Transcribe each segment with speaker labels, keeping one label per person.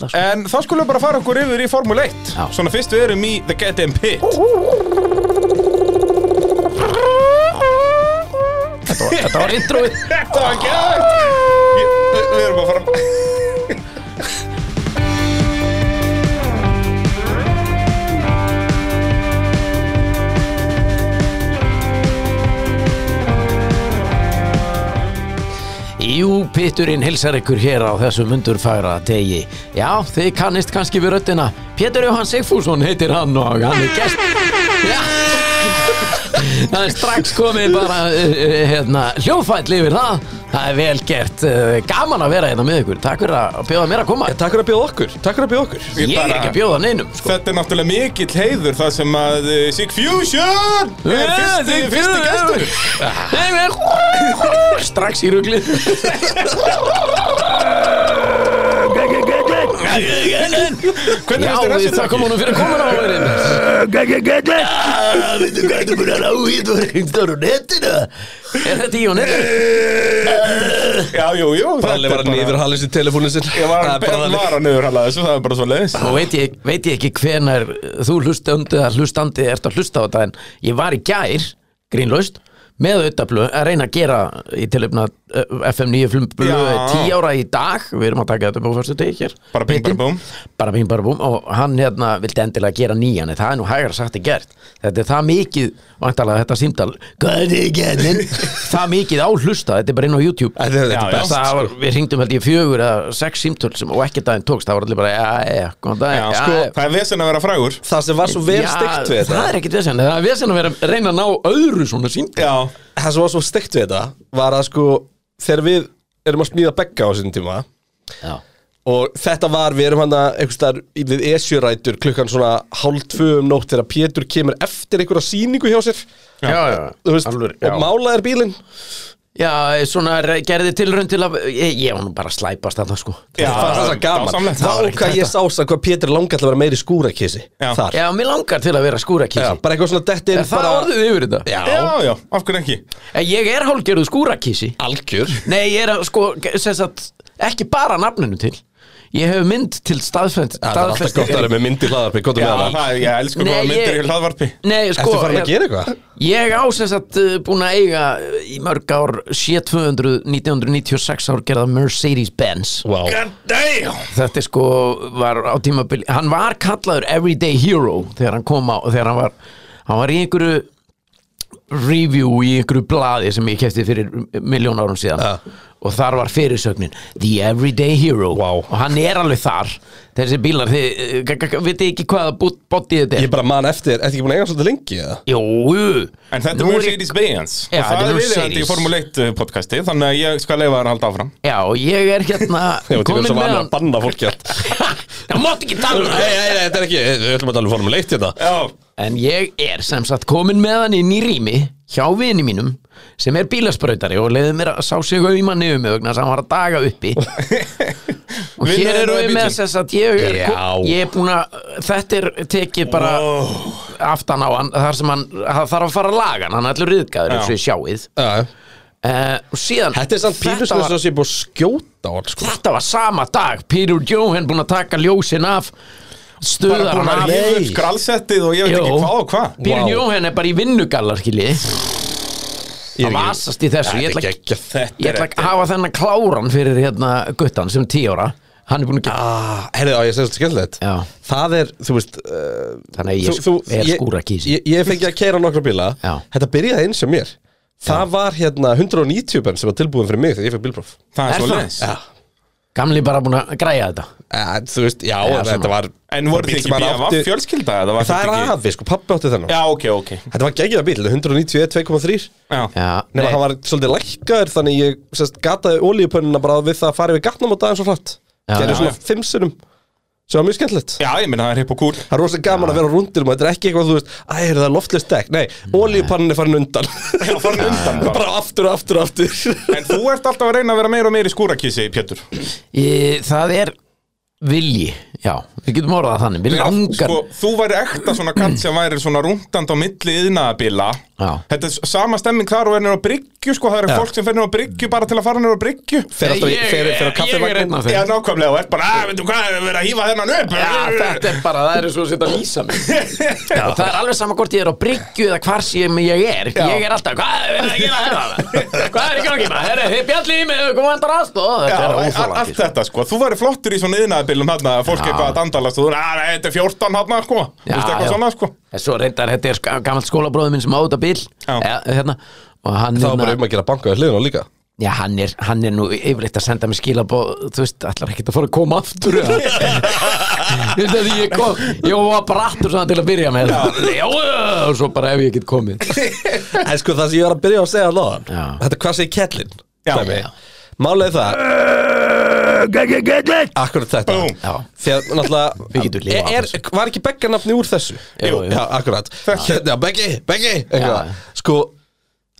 Speaker 1: alla sko.
Speaker 2: En þá skulum við bara fara okkur yfir í Formule 1
Speaker 1: Já.
Speaker 2: Svona fyrst við erum í The Get In Pit
Speaker 1: Þetta var- Þetta var introið
Speaker 2: Þetta var gæt Við erum að fara
Speaker 1: Jú, Péturinn hilsar ykkur hér á þessum undurfæra degi Já, þið kannist kannski við röddina Pétur Jóhann Sigfússon heitir hann og hann er gest Já Það er strax komið bara eh, eh, hérna, hljófæll yfir það Það er vel gert, eh, gaman að vera hérna með ykkur Takk fyrir að bjóða mér að koma
Speaker 3: Takk fyrir að bjóða okkur, takk fyrir að bjóða okkur
Speaker 1: Ég er ekki að bjóða neinum sko.
Speaker 2: Þetta er náttúrulega mikill heiður það sem að uh, Sigfusion er fyrsti, fyrsti gestur
Speaker 1: Nei, mér Strax í ruglið
Speaker 2: Hvernig
Speaker 1: Já,
Speaker 2: finnst þér
Speaker 1: við
Speaker 2: refsinum?
Speaker 1: þakkum honum fyrir komin á verið Veitu hvað þú búin að ná í þú reyndar á netinu Er þetta í á netinu?
Speaker 2: Já, jú, jú
Speaker 3: Palli var að nýfur halið sér telefónu sinn
Speaker 2: Ég var
Speaker 3: Það er bara
Speaker 2: að
Speaker 3: þannig.
Speaker 2: bara niður hala þessu, það er bara svo leiðis
Speaker 1: Nú veit ég, veit ég ekki hvenar þú hlustandi að hlustandi ert að hlusta á þetta en ég var í gær, grínlaust með auðablu að reyna að gera í eh, tilöfna FM 9 flumblu
Speaker 2: Já.
Speaker 1: 10 ára í dag, við erum að taka þetta upp á fyrstu degi hér
Speaker 2: Bara bing, bara búm.
Speaker 1: bara bing bara búm og hann hérna vildi endilega gera nýjan en það er nú hægara sagt en gert þetta er það mikið, vantalega þetta símtal hvað er þið genin? það mikið á hlusta, þetta er bara inn á YouTube
Speaker 3: Þetta er- þetta
Speaker 2: Já, já.
Speaker 3: er best
Speaker 1: það var, við hringdum held ég fjögur eða sex símtöl sem og ekkert aðeins tókst, það var allir bara ja, ja, góðan dag,
Speaker 2: Já,
Speaker 1: ja,
Speaker 2: sko, það er vesen að vera frægur
Speaker 3: eh, Það sem var svo vel steikt við þetta
Speaker 1: það er ekkert vesen, það er vesen að vera að reyna að ná öðru svona símtöl
Speaker 2: Já,
Speaker 3: Það sem var svo steikt við þetta Var að sko, þegar við erum að smíða begga á þessum tíma
Speaker 1: já,
Speaker 3: Og þetta var, við erum hann að einhvers staðar í- við esjurætur klukkan svona hálf tvö um nótt þegar Pétur kemur eftir einhverja sýningu hjá sér
Speaker 1: já, já,
Speaker 3: Þú veist,
Speaker 1: alveg, já.
Speaker 3: og málaðir bílinn
Speaker 1: já, svona re- gerði tilraun til að ég, ég var nú bara að slæpast þarna sko
Speaker 2: Já,
Speaker 3: Það var það gaman
Speaker 2: dásamlegt.
Speaker 3: Þá
Speaker 2: Það var
Speaker 1: ekkert
Speaker 3: hvað ég sá það hvað Pétur langar til að vera meiri skúrakissi
Speaker 2: Já.
Speaker 3: Þar,
Speaker 1: já, mér langar til að vera
Speaker 3: Já,
Speaker 1: skúrakísi
Speaker 3: bara eitthvað svona detti inn
Speaker 1: er það
Speaker 3: bara-
Speaker 1: orðið yfir þetta?
Speaker 3: Já,
Speaker 2: já, já, af hverju ekki
Speaker 1: En ég er hálgerðu skúrakísi
Speaker 3: algjör
Speaker 1: Nei, ég er að sko, sem sagt, ekki bara nafninu til Ég hef mynd til staðfend
Speaker 3: Það er alltaf gott að vera með myndi hlaðarpi, gott að
Speaker 2: Já,
Speaker 3: vera það
Speaker 2: það, ég elsku
Speaker 1: Nei,
Speaker 2: hvaða myndir
Speaker 1: ég-
Speaker 2: í hlaðvarpi
Speaker 1: Nei, sko
Speaker 3: Ertu farin
Speaker 1: ég-
Speaker 3: að gera eitthvað?
Speaker 1: Ég á sem sagt uh, búin að eiga uh, í mörg ár 7200 1996 ár gerða Mercedes-Benz
Speaker 3: Vá
Speaker 2: God damn
Speaker 1: Þetta er sko var á tímabili Hann var kallaður Everyday Hero þegar hann kom á þegar hann var hann var í einhverju review í einhverju blaði sem ég kefti fyrir miljón árum síðan
Speaker 3: Ja.
Speaker 1: og þar var fyrirsögnin The Everyday Hero
Speaker 3: Vá.
Speaker 1: og hann er alveg þar þessi bílar, þið eh, g- g- g- vitið ekki hvaða bóttið þetta
Speaker 3: Ég
Speaker 1: er
Speaker 3: bara man eftir, ertu ekki búin að eiga svolítið lengi eða?
Speaker 1: Jú,
Speaker 2: En þetta er
Speaker 1: nú ég-
Speaker 2: Mercedes-Benz
Speaker 1: Já,
Speaker 2: og
Speaker 1: þetta
Speaker 2: það
Speaker 1: er
Speaker 2: er viðjöndi í
Speaker 1: Mercedes.
Speaker 2: Formule 1 podcasti þannig að ég skal leifa þær að halda áfram
Speaker 1: Já, og ég er hérna
Speaker 3: Ég var til
Speaker 1: komin
Speaker 3: þess að
Speaker 1: með
Speaker 3: vana
Speaker 1: hann
Speaker 3: að banna fólki allt
Speaker 1: Það mátt ekki tala um
Speaker 3: Nei,
Speaker 1: það
Speaker 3: nei, nei, þetta er ekki, við ætlum að tala um Formule 1 hérna
Speaker 2: Já,
Speaker 1: En ég er sem sagt komin með hann inn í rými hjá vini mínum sem er bílasprautari og leiði mér að sá sig auðman yfir mig vegna þess að hann var að daga uppi og
Speaker 2: Vinnu
Speaker 1: hér
Speaker 2: hennar
Speaker 1: eru
Speaker 2: í
Speaker 1: við með
Speaker 2: bílnum.
Speaker 1: þess að ég er,
Speaker 3: Já.
Speaker 1: ég er búin að þetta er tekið bara aftan á hann þar sem hann það þarf að fara að laga hann, hann er allur riðgæður eins og ég sjáið
Speaker 3: Já.
Speaker 1: uh, og síðan
Speaker 3: Þetta er samt pínu
Speaker 1: þetta
Speaker 3: sem
Speaker 1: var,
Speaker 3: þess að ég búið að skjóta á hann sko
Speaker 1: þetta var sama dag Peter Johan búin að taka ljósin af
Speaker 2: bara
Speaker 1: stuðar
Speaker 2: búin
Speaker 1: hann
Speaker 2: að
Speaker 1: af
Speaker 2: rífa upp skralsettið og ég veit
Speaker 1: Jú.
Speaker 2: ekki hvað og hvað
Speaker 1: Peter
Speaker 3: Vá.
Speaker 1: Johan er bara í vinnugallar skiljið að
Speaker 3: Ég er ekki-
Speaker 1: vasast í þessu ég ætla,
Speaker 3: Þetta er
Speaker 1: ekki,
Speaker 3: ekki þetta
Speaker 1: ég ætla ekki að hafa þennan kláran fyrir hérna guttan sem tíu ára hann er búin að gera
Speaker 3: Ah, Herðu, á ég að segja svolítið skemmtilegt
Speaker 1: Já.
Speaker 3: Það er, þú veist uh,
Speaker 1: Þannig að ég sk- er skúrakísi.
Speaker 3: Ég, ég fengi að keira nokkra bíla
Speaker 1: Já.
Speaker 3: Þetta byrjaði eins og mér Það var hérna 190 benn sem var tilbúin fyrir mig þegar ég fekk bílpróf
Speaker 2: Það er
Speaker 1: Er
Speaker 2: svo
Speaker 1: það?
Speaker 2: leiðis
Speaker 1: gamli bara búin að græja þetta
Speaker 3: Eh, Þú veist, já,
Speaker 1: Já, svona.
Speaker 3: þetta var
Speaker 2: En voru þið
Speaker 3: bíll sem
Speaker 2: ekki
Speaker 3: maður
Speaker 2: BFF
Speaker 3: átti-
Speaker 2: fjölskylda? eða var
Speaker 3: Það
Speaker 2: þetta
Speaker 3: er
Speaker 2: ekki-
Speaker 3: afi, sko, pappi átti þennan
Speaker 2: Já, ok, ok
Speaker 3: Þetta var geggjða bíl, þetta er 191, 2,3
Speaker 2: Já,
Speaker 1: já,
Speaker 3: Nefnir
Speaker 1: nei,
Speaker 3: hann var svolítið lækkaður þannig ég sest, gataði ólíupönnuna bara við það að fara yfir gatnum á daginn svo hratt
Speaker 1: Já,
Speaker 3: Gerði
Speaker 1: já,
Speaker 3: svona
Speaker 2: já.
Speaker 3: fimm sinnum sem var mjög skemmtilegt
Speaker 2: já ég minna það er hipp og kúl
Speaker 3: Það er rosa gaman að vera á rúndinum og þetta er ekki eitthvað þú veist Æ, er það loftlist dekk? Nei, ólíupannin er farin undan
Speaker 2: Já, farin undan bara.
Speaker 3: Bara aftur og aftur og aftur
Speaker 2: En þú ert alltaf að reyna að vera meira og meira í skúrakísi, Pétur
Speaker 1: ég, það er vilji, já, við getum orðað það þannig við langar,
Speaker 2: sko, þú væri ekta svona kall sem væri svona rúndand á milli yðnaðabila
Speaker 1: Já.
Speaker 2: þetta er s- sama stemming þar og er nýra á bryggju sko, það eru
Speaker 3: Já.
Speaker 2: fólk sem fer nýra á bryggju bara til að fara nýra á bryggju
Speaker 3: Fer alltaf í,
Speaker 1: Ég-
Speaker 3: fer, fer
Speaker 2: hérna.
Speaker 1: ég
Speaker 3: á
Speaker 1: er einn
Speaker 3: kaffevagnin
Speaker 1: af
Speaker 2: Já,
Speaker 1: þeim
Speaker 2: nákvæmlega, og er bara, að, veitum hvað, við erum að hýfa þennan upp
Speaker 1: Já, þetta er bara, það er svo að setja að lýsa mig Já, það er alveg sama hvort ég er á bryggju eða hvar sem ég er
Speaker 2: Já.
Speaker 1: Ég er alltaf, hvað er verið að gera hérna? Hvað er í gangi maður? Herra, þið bjallið í mig, kom andar aðstóð
Speaker 2: Já,
Speaker 1: Þetta
Speaker 2: a-
Speaker 1: er
Speaker 2: a- allt
Speaker 1: óþólandi sko.
Speaker 2: þetta sko, þú væri flottur í svona yðnaðabilum þarna, að fólk
Speaker 1: Já.
Speaker 2: eitthvað að dandalast og þú er, að nei, þetta er 14 þarna sko, þú veist eitthvað svona sko
Speaker 1: En Svo reyndar, þetta er sk- gamall skólabróður minn sem á þetta bíl
Speaker 2: Já.
Speaker 1: ja, hérna. Og hann,
Speaker 3: Það var bara
Speaker 1: hérna,
Speaker 3: um að gera banka við hliðina á líka
Speaker 1: já, hann, er, hann er nú yfirleitt að senda mér skilabóð Þú veist, ætlar ekki að fara að koma aftur eða? Þú veist að ég kom Ég var brattur svona til að byrja með Já, og svo bara ef ég get komið
Speaker 3: En sko það sem ég var að byrja að segja alveg
Speaker 1: Já.
Speaker 3: Þetta er hvað segir kettlin
Speaker 2: Já.
Speaker 1: Já.
Speaker 3: Málega það Akkurat þetta
Speaker 2: Búm.
Speaker 1: Já.
Speaker 3: Þegar
Speaker 1: Við getum
Speaker 3: náttúrulega
Speaker 1: lifað af
Speaker 3: er, er, Var ekki Begga nafni úr þessu?
Speaker 1: Jú, jú.
Speaker 3: Já, akkurat Hérna, Beggi, Beggi eitthvað.
Speaker 1: Já.
Speaker 3: Sko,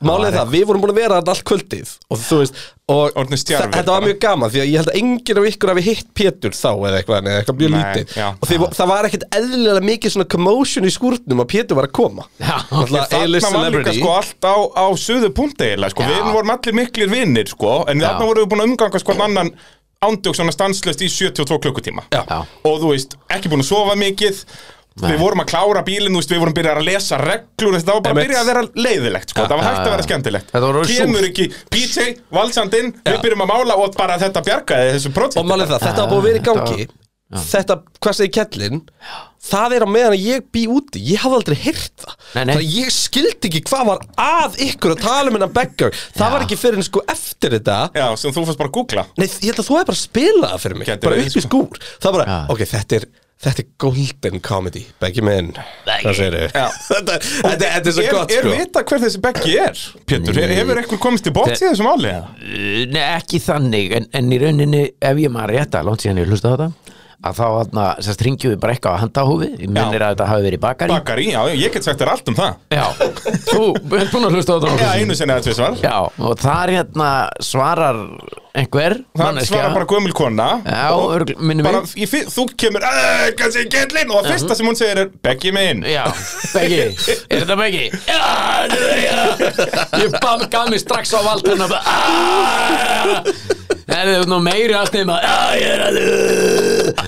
Speaker 3: málega það Við vorum búin að vera þarna allt kvöldið Og þú veist og
Speaker 2: Orðnir stjarfir
Speaker 3: þa- Þetta var
Speaker 2: bara.
Speaker 3: mjög gaman Því að ég held að enginn af ykkur hafi hitt Pétur þá Eða eitthvað, eða eitthvað mjög
Speaker 2: Nei,
Speaker 3: lítið
Speaker 2: já.
Speaker 3: Og því, það var ekkit eðlilega mikið svona commotion í skúrnum Að Pétur var að koma
Speaker 1: Já.
Speaker 3: Náttúrulega A-list
Speaker 2: Þarna var líka
Speaker 3: celebrity.
Speaker 2: sko allt á, á suðu punkti eiginlega sko,
Speaker 1: Já.
Speaker 2: við vorum allir miklir vinnir sko, en
Speaker 1: Já.
Speaker 2: þarna vorum við búin að umgangast hvern annan ándjók svona stanslöst í 72 klukkutíma
Speaker 3: Já.
Speaker 1: Já.
Speaker 2: og þú veist, ekki búin að sofa mikið Við vorum að klára bílinn, þú veist, við vorum byrjað að lesa reglur Þetta var bara að
Speaker 3: Einmitt.
Speaker 2: byrja að vera leiðilegt, sko Það var
Speaker 1: já,
Speaker 2: hægt að
Speaker 1: já.
Speaker 2: vera skemmtilegt
Speaker 1: Þetta var orðið
Speaker 2: Kemur ekki PJ, valsandinn, við byrjum að mála Og bara þetta bjargaði þessu projekti
Speaker 3: Og málið það, þetta var búið að vera í gangi Þetta, hvað segir kettlin Það er á meðan að ég bý úti Ég hafði aldrei heyrt það
Speaker 1: Nei, nei.
Speaker 3: Það að ég skildi ekki hvað var að ykkur að tala um hennan beggar Það var ekki fyrir en sko eftir þetta
Speaker 2: Já, sem þú fannst bara að googla
Speaker 3: Nei, ég held að þú hefði bara spilað það fyrir mig
Speaker 2: Gæti
Speaker 3: Bara
Speaker 2: verið,
Speaker 3: upp í
Speaker 2: sko.
Speaker 3: skúr Það er bara,
Speaker 1: Já.
Speaker 3: ok, þetta er Þetta er golden comedy, beggi minn
Speaker 1: Beggi.
Speaker 3: Hvað segirðu?
Speaker 2: Já.
Speaker 3: Þetta, þetta, þetta er svo
Speaker 2: Er,
Speaker 3: gott
Speaker 2: er
Speaker 3: sko
Speaker 2: vita hver þessi beggi er, Pétur? Hefur, hefur eitthvað komist í bótt í þessu máli?
Speaker 1: Uh, Nei, ekki þannig, en, en í rauninni ef ég maður rétt að langt síðan ég hlusta á þetta að þá aðna, sérst, ringjum við bara eitthvað á handahúfi, ég minnir að þetta hafi verið í bakari
Speaker 2: Bakari, já, ég get sagt þér allt um það
Speaker 1: Já, þú ert búin að hlusta á þetta
Speaker 2: Já,
Speaker 1: nokkrum sinnum.
Speaker 2: einu sinni eða tvisvar
Speaker 1: Já, og þar hérna svarar einhver
Speaker 2: Það svarar bara gömul kona
Speaker 1: Já,
Speaker 2: og
Speaker 1: örgl- minnum
Speaker 2: bara,
Speaker 1: mig.
Speaker 2: ég, fi- Þú kemur, "Eh, kannski gellin Og það fyrsta sem hún segir er, beggi minn
Speaker 1: Já, Beggi, er þetta Beggi? Já, þetta er Beggi Ég bam, gaf mig strax á vald hennar bara, "Ah!" Það er nú meiri að snima Já, ég er að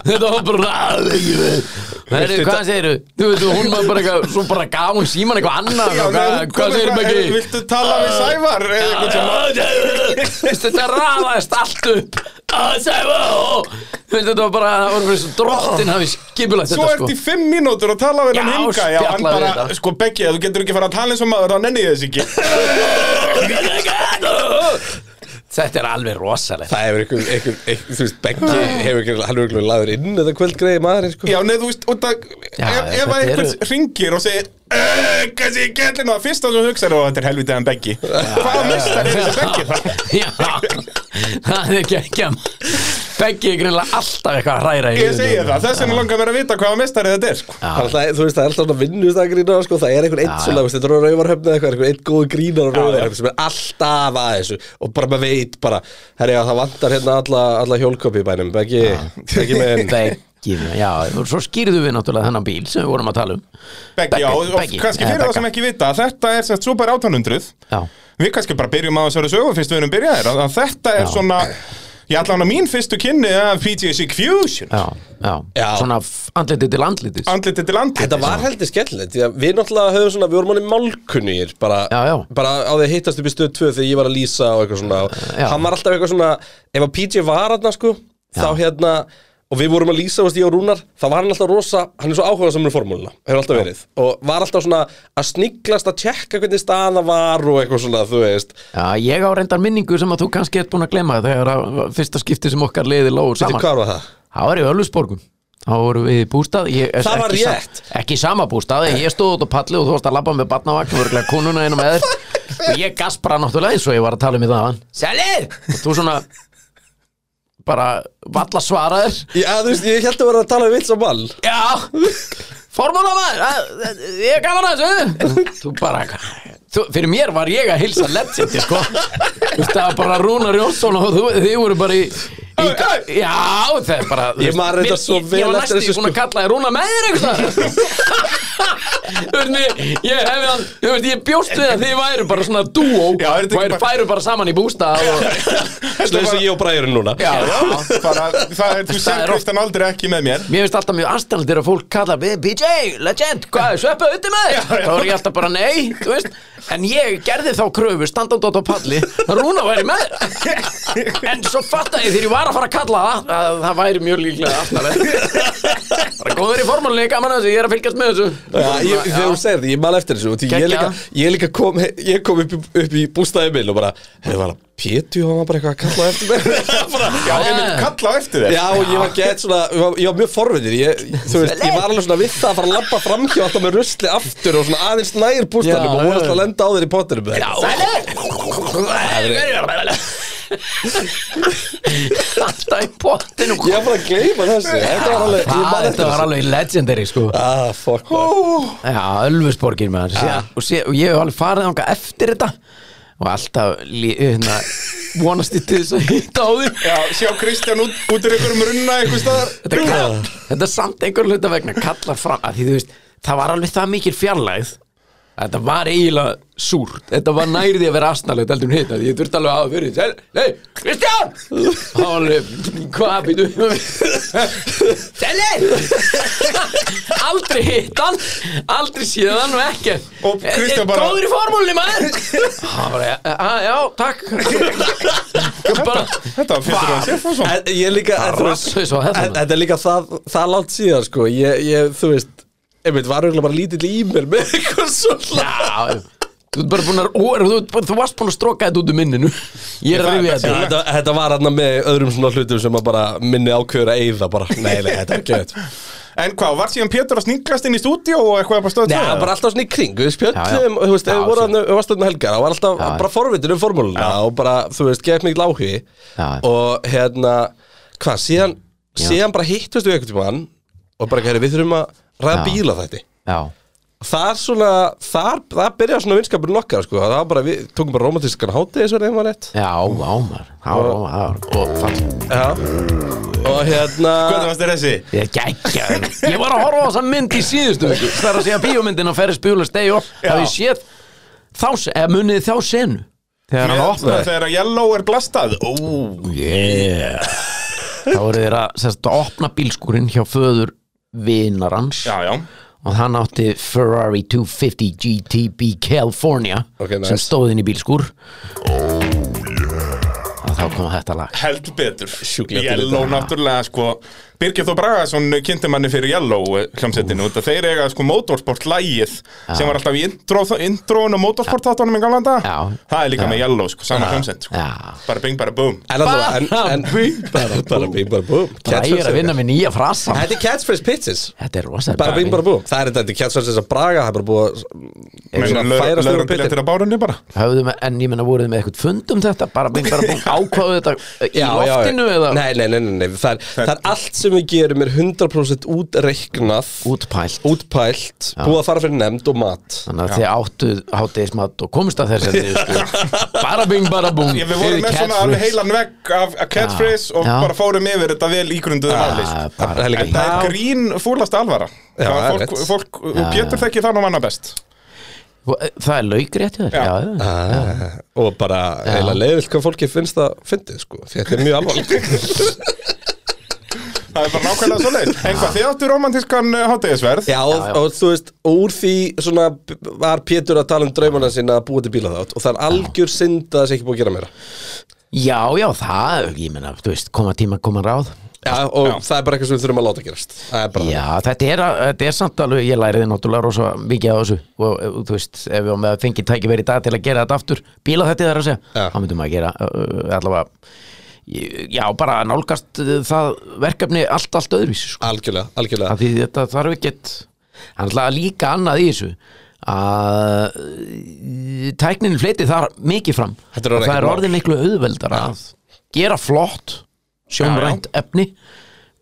Speaker 1: Þetta var bara "Ah, Beggi minn." Það er, hvað segirðu? Þú veit, hún var bara eitthvað Svo bara gaf hún síman eitthvað annað
Speaker 2: Já,
Speaker 1: og
Speaker 2: nei, hún
Speaker 1: Hvað, hvað
Speaker 2: kom
Speaker 1: segirðu
Speaker 2: eitthvað, "Eh,
Speaker 1: Beggi?
Speaker 2: Viltu tala við Sævar? eða eitthvað sem-
Speaker 1: Þú veist, Þetta raðaðist allt upp Ah, Sævar, ó. Þú veist, Þetta var bara, það var bara svo drottin hafi skipulagt
Speaker 2: Svo
Speaker 1: þetta sko
Speaker 2: ert í fimm mínútur að tala við hann
Speaker 1: Já,
Speaker 2: hinga Já, hann
Speaker 1: spjalla við
Speaker 2: bara,
Speaker 1: þetta.
Speaker 2: sko Beggi, ef þú getur ekki fara að tala eins og maður, þá nenni ég þess ekki
Speaker 1: Þetta er alveg rosalegt
Speaker 3: Það hefur ykkur, ykkur, ykkur, þú veist, Beggi hefur ykkur, hann hefur ykkur laður inn eða kvöldgreiði maðurinn, sko
Speaker 2: Já, neðu, þú veist, út að Ef,
Speaker 1: Já,
Speaker 2: ef
Speaker 1: þetta
Speaker 2: að einhvers
Speaker 1: eru-
Speaker 2: ringir og segir "Eh, Kannski ég gellin og það fyrsta sem þú hugsar Og þetta er helvitaðan Beggi Hvaða mistar er þessi Beggi það?
Speaker 1: Já, það er ekki ekki að Beggi er greinlega alltaf eitthvað að hræra í
Speaker 2: Ég
Speaker 1: lífinu.
Speaker 2: segi það, þess vegna langar mér að vita hvaða mestari þetta er sko.
Speaker 3: Það er alltaf, þú veist, það er alltaf svona vinnustagrínar sko, það er einhvern einn
Speaker 1: Já,
Speaker 3: svona, þú veist, þetta er rauvarhöfni eða eitthvað, einhvern einn góð grínar
Speaker 2: Já,
Speaker 3: og rauvarhöfni sem er alltaf að þessu og bara maður veit bara, herri, já, það vantar hérna alla, alla hjólköpi í bænum, ekki, ekki með enn.
Speaker 1: Beggi, já, og svo skýrðu við náttúrulega þennan bíl sem við vorum að tala um
Speaker 2: Beggi, já, og og kannski fyrir það sem ekki vita að Þetta er sett Super 800
Speaker 1: Já,
Speaker 2: Við kannski bara byrjum á þessari sögu fyrst við erum byrjaðir að- að Þetta er
Speaker 1: Já.
Speaker 2: svona Ég ætla hann að mín fyrstu kynni af PTSD Fusion
Speaker 1: já, já,
Speaker 3: Já.
Speaker 1: svona f- andlitið til andlitið
Speaker 2: Andliti til andliti
Speaker 3: Þetta var heldur skemmtilegt, því að við náttúrulega höfum svona, við vorum alveg málkunnir, bara,
Speaker 1: Já, já.
Speaker 3: bara á því að hittast upp í stöð 2 þegar ég var að lýsa og eitthvað svona, og
Speaker 1: Já.
Speaker 3: hann var alltaf eitthvað svona, ef að PJ var hann, sko, þá hérna, og við vorum að lýsa, veist, ég og Rúnar, þá var hann alltaf rosa, hann er svo áhugað samur formúluna, hefur alltaf verið, og var alltaf svona að sniglast að tjekka hvernig staða var og eitthvað svona, þú veist,
Speaker 1: Já, ég á reyndar minningu sem að þú kannski ert búin að glema þegar að fyrsta skipti sem okkar liði lóður
Speaker 3: Veitir,
Speaker 1: saman
Speaker 3: hvað var það?
Speaker 1: Það var í Ölfusborgum Þá vorum við í bústað ég,
Speaker 3: Það var
Speaker 1: ekki sa-
Speaker 3: rétt.
Speaker 1: Ekki í sama bústað, ég stóð út á palli og þú varst að labba með barnavagn og örgulega konuna einu með þér og ég gaspra náttúrulega eins og ég var að tala um það hann Selir! Og þú svona bara valla svaraðir
Speaker 3: Já, þú veist, ég held að vera að tala um vits og mann.
Speaker 1: Já, formúla maður að- að- Ég er gaman að þessu Þú bara þú, Fyrir mér var ég að hilsa ledsindi sko Þú veist, Það var bara Rúnar Jónsson og þú, þið voru bara í Í ga- Já, það er bara þú
Speaker 3: Ég
Speaker 1: veist,
Speaker 3: man
Speaker 1: mér-
Speaker 3: þetta svo
Speaker 1: ég-
Speaker 3: vel
Speaker 1: Ég var
Speaker 3: eftir
Speaker 1: næstu
Speaker 3: þessu,
Speaker 1: búin að
Speaker 3: sko.
Speaker 1: kalla þér Rúna með þér eitthvað Hvernig, ég hefði hann Þú veist, ég bjóst við að þið væru bara svona dúó
Speaker 2: Já, er þetta ekki
Speaker 1: Væru
Speaker 2: bara-
Speaker 1: færu bara saman í bústað og,
Speaker 3: Svo eins og ég og Bræðurinn núna
Speaker 1: Já,
Speaker 2: bara, það er, þú sér
Speaker 1: Það er oft-
Speaker 2: Kristján aldrei ekki með mér
Speaker 1: Mér finnst alltaf mjög aðstæðan þegar fólk kallar við BJ, legend, hvað er sveppa uti með þér? Þá er ég alltaf bara nei, þú veist En ég gerði þá kröfu, standandi átt á palli að Rúna væri með þér. En svo fatta ég þegar ég var að fara að kalla það að það væri mjög líklega aðstæðan Bara góður í formúlinni, gaman að þessu, ég er að fylgjast með þessu
Speaker 3: Já, ég,
Speaker 1: Já.
Speaker 3: þegar þú segir þetta, ég man eftir þessu því ég
Speaker 1: Geggjað.
Speaker 3: líka, ég líka kom, ég kom upp, í- upp í bústæði minn og bara, hefur var að Pétu, hann var bara eitthvað að kalla eftir mér bara,
Speaker 2: Já, ég myndi kalla á eftir þér
Speaker 3: Já, og ég var gett svona, ég var, ég var mjög forvitin ég, þú veist, ég var alveg svona við það að fara að labba framhjá alltaf með rusli aftur og svona aðeins nær
Speaker 1: Já,
Speaker 3: bústæðanum og
Speaker 1: já,
Speaker 3: vonast
Speaker 1: já.
Speaker 3: að lenda á þér í pottinum Já,
Speaker 1: Alltaf í pottinu
Speaker 3: Ég var bara að gleyma þessu, þetta var alveg, ég
Speaker 1: Það
Speaker 3: man
Speaker 1: þetta
Speaker 3: eftir
Speaker 1: var
Speaker 3: þessu
Speaker 1: alveg legendary sko
Speaker 3: Ah, fuck man
Speaker 1: Já, Ölfusborgin með hann og, sé, og ég hef alveg farið ánga eftir þetta og alltaf lí- hérna, vonast ég til þess að hitta á því
Speaker 2: Já, sjá Kristján út, út úr einhverjum runna einhver staðar
Speaker 1: þetta, kall, þetta er samt einhver hluta vegna kallar fram að því þú veist, það var alveg það mikil fjarlægð að Þetta var eiginlega súrt Þetta var nærði að vera astnalegt heldur en hitt af því Ég þurfti alveg að hafa fyrir þess Nei, Kristján! Það var alveg, Hvað býtu? Selli! Aldrei hitt hann Aldrei séð hann og ekkert
Speaker 2: Og Kristján
Speaker 1: Er- er
Speaker 2: bara-
Speaker 1: Góður í formúlunni maður Það var bara, já, takk Ég bara
Speaker 2: Þetta var Pétur og Sérfánsson
Speaker 3: En Ég líka, en þú veist,
Speaker 1: Rassus á þetta
Speaker 3: En- Þetta er líka það, það látt síðan sko ég, ég, Þú veist Einmitt var auðvitað bara lítill e-mail með eitthvað svona
Speaker 1: Já, þú ert bara búin að ó, er, þú, ert bara- þú varst búin að stroka þetta út úr minninu Ég er að
Speaker 2: Það er
Speaker 1: rifja
Speaker 2: bara
Speaker 1: þetta
Speaker 3: þetta, þetta var hann með öðrum svona hlutum sem að bara minni ákveður að eyða bara Nei, nei, þetta er ekki veit
Speaker 2: En hvað, var síðan Pétur að sninglast inn í stúdíó og eitthvað bara stöð
Speaker 3: Nei, það var bara alltaf svona í kring,
Speaker 1: Já,
Speaker 3: við
Speaker 1: já.
Speaker 3: spjöldum, þú veist, ef
Speaker 1: Já,
Speaker 3: við vorum
Speaker 1: síðan.
Speaker 3: að vastöðum helgar, það var alltaf
Speaker 1: Já, já.
Speaker 3: bara forvitin um formúluna og bara, þú veist, gefið mikið láhugi
Speaker 1: Já, já.
Speaker 3: og hérna, hvað, síðan, síðan bara hittust við einhvern tímann og bara, herri, við þurfum að ræða
Speaker 1: Já.
Speaker 3: bíla þetta
Speaker 1: Já,
Speaker 3: þar svona, þar, það byrjaði svona vinskapurinn okkar, sko, það var bara, við tókum bara romantískan hátegi, svo reyðum var rétt
Speaker 1: já, ámar Ámar, og fannst
Speaker 3: Já, og hérna
Speaker 1: Ah.
Speaker 2: Hvað varst þér þessi?
Speaker 1: Ég gækja Ég var að horfa á þessa mynd í síðustu viku Það er að segja bíómyndin að ferri spjúla stegi og Það ég séð þá, se- eða munið þá senu Þegar hann
Speaker 2: Með-
Speaker 1: opnaði
Speaker 2: Þegar að yellow er blastað Ó,
Speaker 1: Yeah Þá voru þeir að sérst, að opna bílskúrin hjá föður vinar hans
Speaker 2: já, já
Speaker 1: og hann átti Ferrari 250 GTB California
Speaker 3: Ok, nice. Oh,
Speaker 1: sem stóð inn í bílskúr og þá kom þetta lag
Speaker 2: Heldur betur
Speaker 3: Sjúklega
Speaker 2: Yellow
Speaker 1: dýrt.
Speaker 2: náttúrulega sko Birgir Þó Bragaðsson kynnti manni fyrir Yellow eh, hljómsveitinu út að þeir eiga sko motorsport lægið sem var alltaf í intro, introun og motorsport þáttunum í gamla dag
Speaker 1: Já.
Speaker 2: Það er líka með Yellow sko, sama hljómsveit sko.
Speaker 1: Já.
Speaker 2: Bara bing bara boom
Speaker 3: En allavega, en,
Speaker 1: Bara
Speaker 3: en
Speaker 1: bing, bara
Speaker 3: Bara
Speaker 1: búm.
Speaker 3: bing bara búm
Speaker 1: Það er að vinna með nýja frasa
Speaker 3: Þetta er catchphrase pitches
Speaker 1: Þetta er rosa
Speaker 3: Bara bing bara búm Það er þetta, þetta er catchphrase þess að braga Það er bara búið að
Speaker 2: Meina,
Speaker 3: svona
Speaker 2: lög-
Speaker 3: færast yfir
Speaker 2: lögreglan
Speaker 3: pittin.
Speaker 2: léttir á bárunni bara
Speaker 1: Höfðum, En ég menna voruð þið með eitthvað fundum þetta Bara bing bara bing ákváðu þetta í
Speaker 3: Já, já, já.
Speaker 1: loftinu eða
Speaker 3: Nei, nei, nei, nei, nei. Það, er, það er allt sem við gerum er 100% útreiknað
Speaker 1: útpælt
Speaker 3: Útpælt Búið að fara fyrir nefnd og mat
Speaker 1: Þannig að þið áttu hátegismat og komist að þess að þið sko. Bara bing bara búm
Speaker 2: Ég, við vorum
Speaker 1: Fyrir
Speaker 2: með svona
Speaker 1: catchphrase.
Speaker 2: alveg heilan vegg af af catchphrase
Speaker 1: Já.
Speaker 2: og
Speaker 1: Já.
Speaker 2: bara fórum yfir þetta vel ígrunduðu máli sko.
Speaker 1: Ah, bara-
Speaker 3: Það er líka
Speaker 2: En það er grín fúlast alvara
Speaker 3: Já,
Speaker 2: Það
Speaker 3: það er
Speaker 2: er fólk,
Speaker 3: rétt.
Speaker 2: fólk, og Pétur þekki þannig manna best
Speaker 1: Það er laugrétt hjá þér
Speaker 2: Já.
Speaker 1: Já, já.
Speaker 3: Ah, Og bara heila leiðvilt hvað fólki finnst það fyndið sko Því þetta er mjög alvarlegt
Speaker 2: Það er bara nákvæmlega svo leið En hvað, þið áttu romantískan eh, hátegisverð
Speaker 3: Já, og,
Speaker 1: Já, já.
Speaker 3: og þú veist, úr því svona b- var Pétur að tala um draumana sinna að búa til bíla þátt og það er algjör synd að það sé ekki búið að gera meira
Speaker 1: Já, já, það, ég meina, þú veist, koma tíma, koma ráð
Speaker 3: Já, og það er bara eitthvað sem við þurfum að láta gerast Það er bara
Speaker 1: Já, þetta er, að- þetta er samt alveg, ég læriði náttúrulega rosa mikið á þessu og eh, þú veist, ef við með fengið tækifæri í dag til að gera þetta aftur, bíla þetta þar að segja
Speaker 3: Já.
Speaker 1: þá myndum maður að gera uh, allavega eh, já, bara nálgast eh, það verkefni allt, allt öðruvísi sko.
Speaker 3: Algjörlega, algjörlega
Speaker 1: af því þetta þarf ekkert hann ætlaði líka annað í þessu að eh, tæknin fleti þar mikið fram
Speaker 3: Þetta
Speaker 1: Og
Speaker 3: er orðið
Speaker 1: það
Speaker 3: ekkert
Speaker 1: er
Speaker 3: mál.
Speaker 1: orðið miklu auðveldar að gera flott sjónrænt efni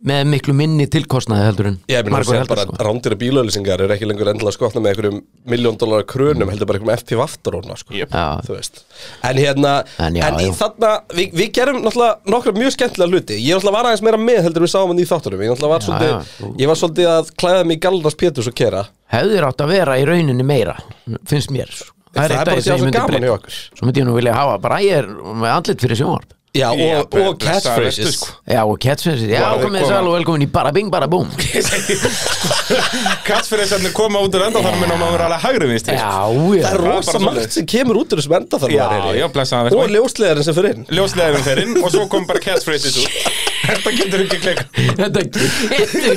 Speaker 1: með miklu minni tilkostnaði heldur en
Speaker 3: Ég meina, þú
Speaker 1: margur
Speaker 3: sér
Speaker 1: heldur
Speaker 3: bara
Speaker 1: sko.
Speaker 3: sko. rándýra bílauðlýsingar er ekki lengur endilega skotna með einhverjum miljón dólar krönum, heldur bara einhverjum FPV aftaróna, sko.
Speaker 2: Jep.
Speaker 1: Já.
Speaker 3: Þú veist. En hérna,
Speaker 1: En
Speaker 3: en,
Speaker 1: já,
Speaker 3: í
Speaker 1: já.
Speaker 3: þarna, við, við gerum náttúrulega nokkra mjög skemmtilega hluti. Ég náttúrulega var aðeins meira með heldur en við sáum hann í þáttunum. Ég náttúrulega var
Speaker 1: Já,
Speaker 3: svolítið,
Speaker 1: já.
Speaker 3: ég var svolítið að klæða mig í Galdars Péturs og kera.
Speaker 1: hefðir átt að vera í rauninni meira finnst mér sko.
Speaker 3: Það
Speaker 1: eitt
Speaker 3: er
Speaker 1: af
Speaker 3: bara
Speaker 1: því
Speaker 3: því að
Speaker 1: sem ég
Speaker 3: það er
Speaker 1: myndi
Speaker 3: svo gaman
Speaker 1: breyta.
Speaker 3: hjá okkur.
Speaker 1: svo myndi ég nú vilja hafa bara ég er með andlit fyrir sjónvarp
Speaker 3: Já, og,
Speaker 2: Já,
Speaker 3: og,
Speaker 2: blessaður vertu,
Speaker 3: catchphrases.
Speaker 2: sko.
Speaker 1: já og catchphrases já
Speaker 2: Já,
Speaker 1: komið
Speaker 2: koma.
Speaker 1: þess alveg velkomin í bara bing bara búm
Speaker 2: Kattfyrirsarnir koma út úr endaþarmin og maður er alveg hægri vinstri sko.
Speaker 1: já
Speaker 3: Það er
Speaker 1: já
Speaker 2: bara
Speaker 3: rosa
Speaker 2: svoleiðis.
Speaker 3: margt sem kemur út úr þessum enda þar
Speaker 2: Já, já, blessaðan vertu.
Speaker 3: Og ljósleðarinn sem fyrir inn
Speaker 2: Ljósleðurinn fer inn og svo kom bara catchphrases út Þetta getur ekki klika
Speaker 1: þetta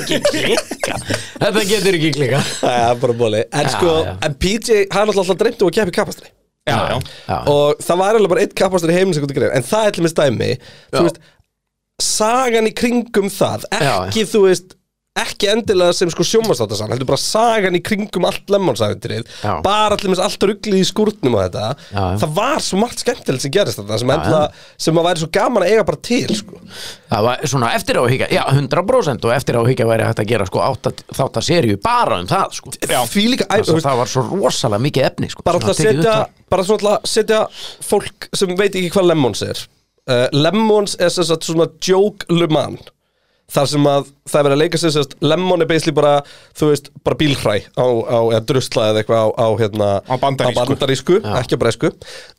Speaker 1: getur ekki klika þetta getur ekki klika
Speaker 3: Það er bara bóli En
Speaker 1: Já,
Speaker 3: sko,
Speaker 1: já.
Speaker 3: en PJ, hann alltaf dreymdi um að keppa í kapastri
Speaker 2: Já, já
Speaker 1: já
Speaker 3: Og það var alveg bara eitt kapastri heiminn sem gott að greina En það er til með stæmi Þú veist, sagan í kringum það
Speaker 1: Já,
Speaker 3: Ekki, þú veist ekki endilega sem sko sjómastáttasann heldur bara sagan í kringum allt lemmonsæðintrið
Speaker 1: Já.
Speaker 3: bara allir með allt ruglið í skúrtnum og þetta,
Speaker 1: Já, já.
Speaker 3: það var svo margt skemmtilegt sem gerist þetta, sem, endla, sem að væri svo gaman að eiga bara til sko.
Speaker 1: það var svona eftir á að higgja já 100% og eftir á að higgja væri hægt að gera sko átta, þátt að seríu bara um það sko
Speaker 2: Já.
Speaker 3: því líka,
Speaker 1: Þess að það var svo rosalega mikið efni sko,
Speaker 3: bara
Speaker 1: sem var
Speaker 3: alltaf
Speaker 1: tekið
Speaker 3: setja,
Speaker 1: utan.
Speaker 3: bara svona alltaf setja fólk sem veit ekki hvað Lemons er uh, Lemons er sem sagt svona joke le man þar sem að það er verið að leika sér sem sagt Lemon er basically bara, þú veist, bara bílhræ á, á eða drusla eða eitthvað á, á hérna,
Speaker 2: Á bandarísku.
Speaker 3: á bandarísku ekki á bresku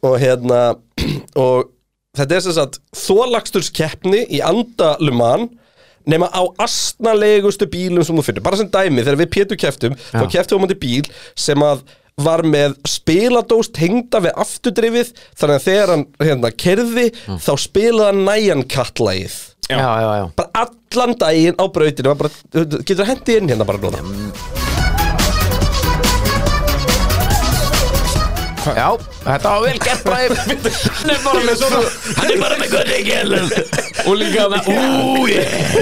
Speaker 3: og hérna, og þetta er sem sagt þólagsturskeppni í anda le man nema á astnalegustu bílum sem þú finnur, bara sem dæmi, þegar við pétu keftum þá keftum við á móti bíl sem að var með spiladós tengda við afturdrifið þannig að þegar hann hérna, kerði þá spilaði hann næjan kattlægið
Speaker 2: Já.
Speaker 1: já já já
Speaker 3: bara allan daginn á brautinu maður bara, getur hendi inn hérna bara núna
Speaker 1: Já, þetta var vel gert bræði Hann er bara með svona Hann er bara með gönni ekki Og líka með Ú, yeah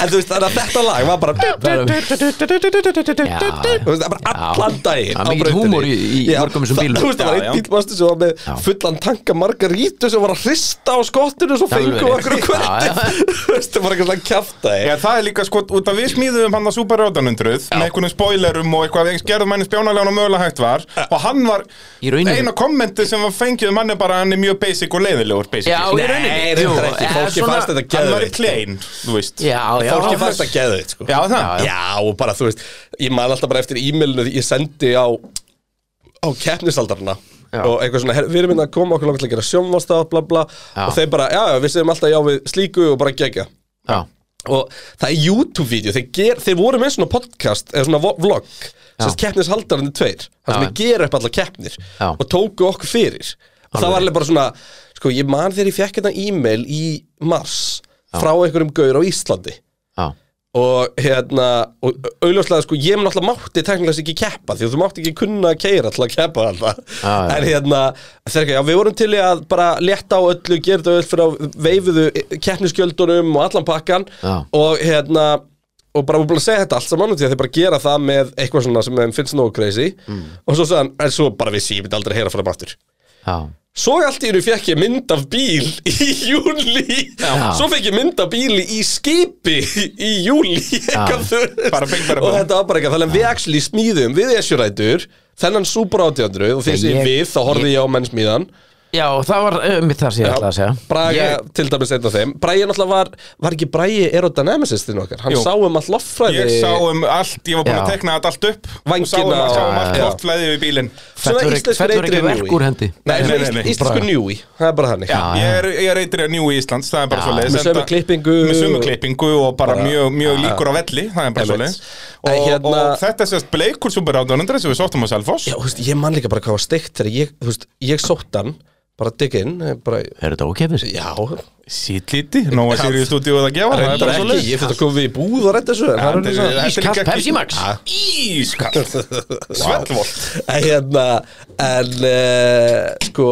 Speaker 3: en þú veist þannig að þetta lag var bara
Speaker 1: Bara-
Speaker 3: Þú veist, það er bara allan
Speaker 1: Það
Speaker 3: daginn á
Speaker 1: er mikill
Speaker 3: brautinni.
Speaker 1: húmor í- í
Speaker 3: Já,
Speaker 1: mörgum þessum
Speaker 3: það-
Speaker 1: bílum.
Speaker 3: Þú veist, það
Speaker 2: Já,
Speaker 3: var einn
Speaker 2: já.
Speaker 3: bílmastu sem var með
Speaker 1: Já.
Speaker 3: fullan tanka margarítu sem var að hrista á skottinu og svo
Speaker 1: Það er
Speaker 3: fengu
Speaker 1: alveg
Speaker 3: okkur
Speaker 1: rétt. Já,
Speaker 3: hvernig Þú veist, það var eitthvað svona kjafta
Speaker 2: Já, það er líka sko, út að við smíðum hann að Super 800 með einhvernum spoilerum og eitthvað eins gerðum hann spjónalegan og mögulega hægt var og hann var,
Speaker 1: Í rauninni-
Speaker 2: eina kommenti sem var fengið um hann er bara hann er mjög basic og leiðilegur basic
Speaker 1: Já, í rauninni
Speaker 3: Nei,
Speaker 1: Jú,
Speaker 3: reyndar ekki,
Speaker 1: eh,
Speaker 3: fólki
Speaker 1: svona-
Speaker 3: fannst þetta
Speaker 2: Hann var í
Speaker 3: geðveikt sko.
Speaker 2: klein, þú veist
Speaker 1: Já, já
Speaker 3: Fólki fannst þetta geðveikt sko
Speaker 2: Já, það
Speaker 1: Já,
Speaker 3: Já, og bara þú veist, ég man alltaf bara eftir e-mailinu því ég sendi á á keppnisaldarna
Speaker 1: Já.
Speaker 3: og eitthvað svona, "Her- við erum inn að koma okkur langt til að gera sjónvastáð, bla bla,
Speaker 1: Já.
Speaker 3: og þeir bara, já, já, við segjum alltaf já við slíku og bara gegja
Speaker 1: Já,
Speaker 3: og það er YouTube-vídeó þeir, ger- þeir voru með svona podcast eða svona vo- vlog sem keppnishaldarandi tveir þar
Speaker 1: Já.
Speaker 3: sem þeir gera upp allar keppnir
Speaker 1: Já.
Speaker 3: og tóku okkur fyrir og það var alveg bara svona sko ég man þegar ég fekk þetta e-mail í mars frá einhverjum gaur á Íslandi
Speaker 1: já
Speaker 3: og hérna og auðljóslega sko ég mun alltaf mátti teknilegs ekki keppa því að þú mátti ekki kunna að keira til að keppa alltaf
Speaker 1: Ah, Já, já.
Speaker 3: en hérna þeir ekki, já við vorum til í að bara létta á öllu, gera þetta öll fyrir að veifuðu keppniskjöldunum og allan pakkan
Speaker 1: Já.
Speaker 3: og hérna og bara búin að segja þetta allt saman út því að þeir bara gera það með eitthvað svona sem þeim finnst nógu crazy
Speaker 1: Mm.
Speaker 3: og svo sagðan, en svo bara vissi ég myndi aldrei heyra frá þeim aftur
Speaker 1: Já,
Speaker 3: Svo allt í einu fekk ég mynd af bíl í júli
Speaker 1: Já.
Speaker 3: Svo fekk ég mynd af bíl í skipi í júli Eitthvað, þú veist.
Speaker 2: Bara bing, bara bing.
Speaker 3: Og þetta var bara eitthvað Þannig að við actually smíðum við esjurætur Þennan Super 800 og því
Speaker 1: Nei,
Speaker 3: sem
Speaker 1: ég-
Speaker 3: ég við þá horfði ég á mennsmíðan
Speaker 1: já það var uh, mitt það sem ég ætlaði að segja
Speaker 3: Braga
Speaker 1: Ég-
Speaker 3: til dæmis einn af þeim Bragi náttúrulega var, var ekki Bragi aerodynamicistinn okkar Hann
Speaker 2: Jú.
Speaker 3: sá um all loffræði
Speaker 2: Ég sá um allt, ég var búin að
Speaker 1: Já.
Speaker 2: tekna þetta allt upp
Speaker 3: Vængina
Speaker 2: og sá um,
Speaker 3: og-
Speaker 2: sá um allt
Speaker 3: Já.
Speaker 2: loftflæðið við bílinn
Speaker 1: Fellur ekki- fellur ekki verk úr hendi.
Speaker 3: Nei,
Speaker 2: Nei,
Speaker 3: svona
Speaker 2: nei, nei,
Speaker 3: ísl- íslensku
Speaker 1: Braga.
Speaker 3: njúi Það er bara þannig
Speaker 2: Já, ég er, ég er eitri að njú í Íslands, það er bara
Speaker 1: Já.
Speaker 2: svo leiðis
Speaker 3: Með sömu klippingu.
Speaker 2: Með sömu klippingu og bara,
Speaker 3: Bara-
Speaker 2: mjög, mjög líkur á velli, það er bara svo
Speaker 3: Einmitt.
Speaker 2: leiðis
Speaker 3: En
Speaker 2: og,
Speaker 3: hérna-
Speaker 2: og þetta er sérst bleikur Super 800 sem við sóttum á Selfoss
Speaker 3: Já, þú veist, ég man líka bara hvað var steikt þegar ég, þú veist, ég sótt hann bara digg inn, eh, bara,
Speaker 1: Er þetta ókefis?
Speaker 3: já
Speaker 2: Sýtlíti, Nóa
Speaker 3: Já.
Speaker 2: Sirius stúdíu að gefa, það er
Speaker 3: reyndar
Speaker 2: bara svo
Speaker 3: ekki,
Speaker 2: leiðis
Speaker 3: ég fyrir að koma við í búð og reynda þessu en það er alveg svona-
Speaker 1: Ískalt Pepsi Max
Speaker 2: Ískall Svellvolt
Speaker 3: En hérna, en uh, sko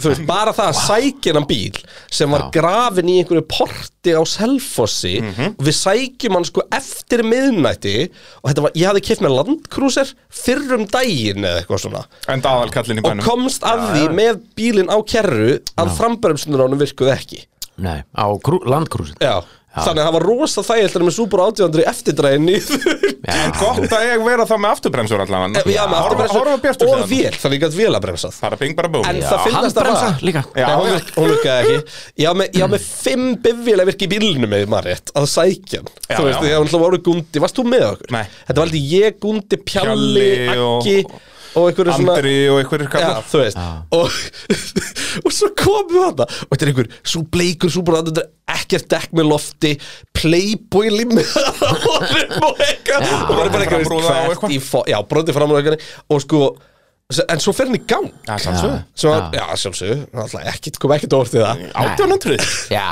Speaker 3: þú veist, bara það að sækja hann bíl sem var
Speaker 1: Já.
Speaker 3: grafin í einhverju porti á Selfossi
Speaker 2: Mhm.
Speaker 3: og við sækjum hann sko eftir miðnætti og þetta var, ég hafði keft með landkrúser fyrrum um daginn eða eitthvað svona
Speaker 2: En daðalkallin í
Speaker 3: og
Speaker 2: bænum
Speaker 3: komst að því með bílinn á kerru að frambremsunar á hann virkuði ekki
Speaker 1: Nei, á krú, landkrúsin
Speaker 3: Já, þannig að það var rosa þægildar með Subaru 800 eftirdræðin niður
Speaker 2: En gott að ég vera það með afturbremsur allavega
Speaker 3: Eh, Já, með afturbremsu
Speaker 2: Horfa bjartur
Speaker 3: og vél, þannig að ég gætt vél að bremsað
Speaker 2: Bara bing bara bú
Speaker 3: En
Speaker 2: Já,
Speaker 3: það finnast það
Speaker 1: handbremsa
Speaker 3: bara-
Speaker 1: líka.
Speaker 3: Nei,
Speaker 2: Já,
Speaker 3: hún,
Speaker 2: já.
Speaker 3: virk, hún virkaði ekki Ég á með, ég á með fimm bifvél að virka í bílunum með Marrétt að sækja hann
Speaker 2: Já,
Speaker 3: Þú veist,
Speaker 2: já.
Speaker 3: ég var alltaf voru Gundi, varst þú með okkur?
Speaker 2: Nei.
Speaker 3: Þetta var alltaf ég, Gundi, Pjalli,
Speaker 2: Pjalli og-
Speaker 3: Aggi og einhverju svona
Speaker 2: Andri og einhverjir
Speaker 3: Já,
Speaker 2: kallar
Speaker 3: þú veist og, og svo komum við þetta Og þetta er einhver svo bleikur Subaru 800 Ekkert dekk með lofti Playboy limmi Hórum og eitthvað
Speaker 1: Já,
Speaker 3: Og maður er bara eitthvað
Speaker 2: brúða og
Speaker 3: veist, hvert
Speaker 2: eitthvað.
Speaker 3: í fó- Já, brotið fram og eitthvað Og sko, s- en svo fer hann í gang
Speaker 2: Já, sjálfsögðu
Speaker 3: Svo, já, sjálfsögðu, náttúrulega ekkert, kom ekkert orð til það
Speaker 2: 1800
Speaker 1: Já,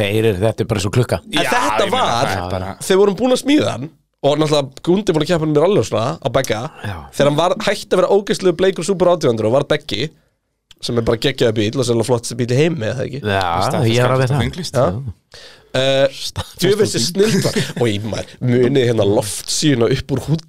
Speaker 1: þeir eru, þetta er bara svo klukka
Speaker 3: En
Speaker 2: Já,
Speaker 3: þetta
Speaker 2: ég meina,
Speaker 3: var,
Speaker 2: það er bara-
Speaker 3: þeir vorum búin að smíða hann Og náttúrulega Gundi búin að keppa hann mér alveg svona á begga
Speaker 1: Já.
Speaker 3: Þegar hann var hætt að vera ógeðsluðu bleikur Super 800 og var beggi Sem er bara geggjaði bíl og sennilega flottast bíl í heimi eða ekki
Speaker 1: Já, ég er að veit það
Speaker 3: uh, Djöfessi snild var Og ég maður munið hérna loftsýna upp úr húttinu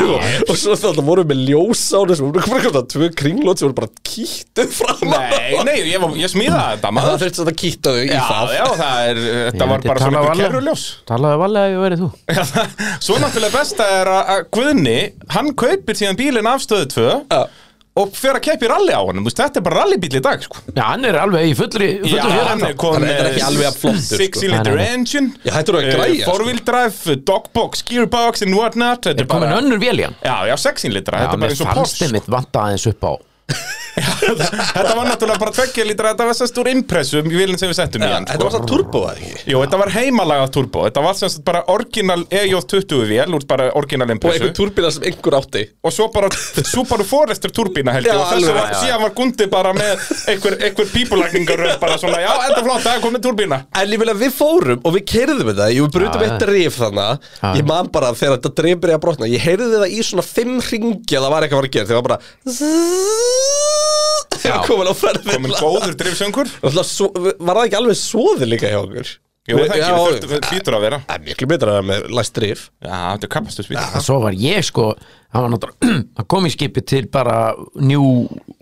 Speaker 3: og, og svo þarna vorum við með ljósa á þessu Við vorum bara komið að tvö kringlót sem voru bara kýttuð fram
Speaker 2: Nei, nei, ég, var- ég smíða þetta
Speaker 3: Það
Speaker 2: maður
Speaker 3: þurfti að kýtta þau í
Speaker 2: Já,
Speaker 3: það
Speaker 2: já, það er, þetta var bara svona einhver kerruljós
Speaker 1: Talaðu valega að ég verið þú
Speaker 2: Já, það- Svo náttúrulega besta er að að Guðni, hann kaupir síðan bílinn af stöðu 2
Speaker 3: Já.
Speaker 2: og fer að keppi rally á honum, þú veist, þetta er bara rallybíl í dag sko.
Speaker 1: Já, hann er alveg í fullri, fullri
Speaker 2: Já, hann er
Speaker 3: Hann
Speaker 2: komið
Speaker 3: er reyndar ekki alveg jafn flottur, sko.
Speaker 2: 6 cylinder
Speaker 1: Nei, nei, nei.
Speaker 2: engine
Speaker 3: Já, þetta eru að
Speaker 2: eh,
Speaker 3: græja, sko.
Speaker 2: Four wheel drive, dogbox, gearbox and what not Þetta
Speaker 1: Er komin önnur vél í hann
Speaker 2: Já, já, 6 cylinder, þetta
Speaker 1: Já,
Speaker 2: er bara
Speaker 1: mér
Speaker 2: eins og sko.
Speaker 1: fannst
Speaker 2: Porsche
Speaker 1: þeim mitt vanta aðeins upp á
Speaker 2: Þetta var náttúrulega bara 2 litra, þetta var sérst úr impressum í vilin sem við settum í
Speaker 3: Já,
Speaker 2: hann sko.
Speaker 3: Þetta var það turboðað ekki
Speaker 2: Jú, þetta var heimalaga turbo, þetta var semst bara orginal EJ20 vél, úr bara orginal
Speaker 3: Og
Speaker 2: impressu
Speaker 3: einhver turbina sem einhver átti
Speaker 2: og svo bara Subaru Forester turbína held ég
Speaker 3: Já,
Speaker 2: og þessu
Speaker 3: alveg,
Speaker 2: var,
Speaker 3: já, já.
Speaker 2: síðan var Gundi bara með einhver, einhver pípulækningar bara svona, já, þetta er flott, það er komið turbína
Speaker 3: En ég vil að við fórum og við kerðum þetta Jú, við brutum
Speaker 1: Já,
Speaker 3: eitt
Speaker 1: já.
Speaker 3: drif þannig
Speaker 1: Já.
Speaker 3: Ég man bara þegar þetta drif byrjaði að brotna Ég heyrði það í svona fimm ringi að það var eitthvað að fara að gera Þegar var bara Þegar komin á ferðin
Speaker 2: komin góður drifsöngur
Speaker 3: Var það ekki alveg svoði líka hjá okkur?
Speaker 2: Jú, það ekki,
Speaker 3: Já,
Speaker 2: við þurftum, við býtur að vera
Speaker 3: Það er miklu betra að vera með læst drif
Speaker 2: Já, þetta er kapastusbíl
Speaker 1: En svo var ég sko hann var náttúrulega, hann kom í skipi til bara New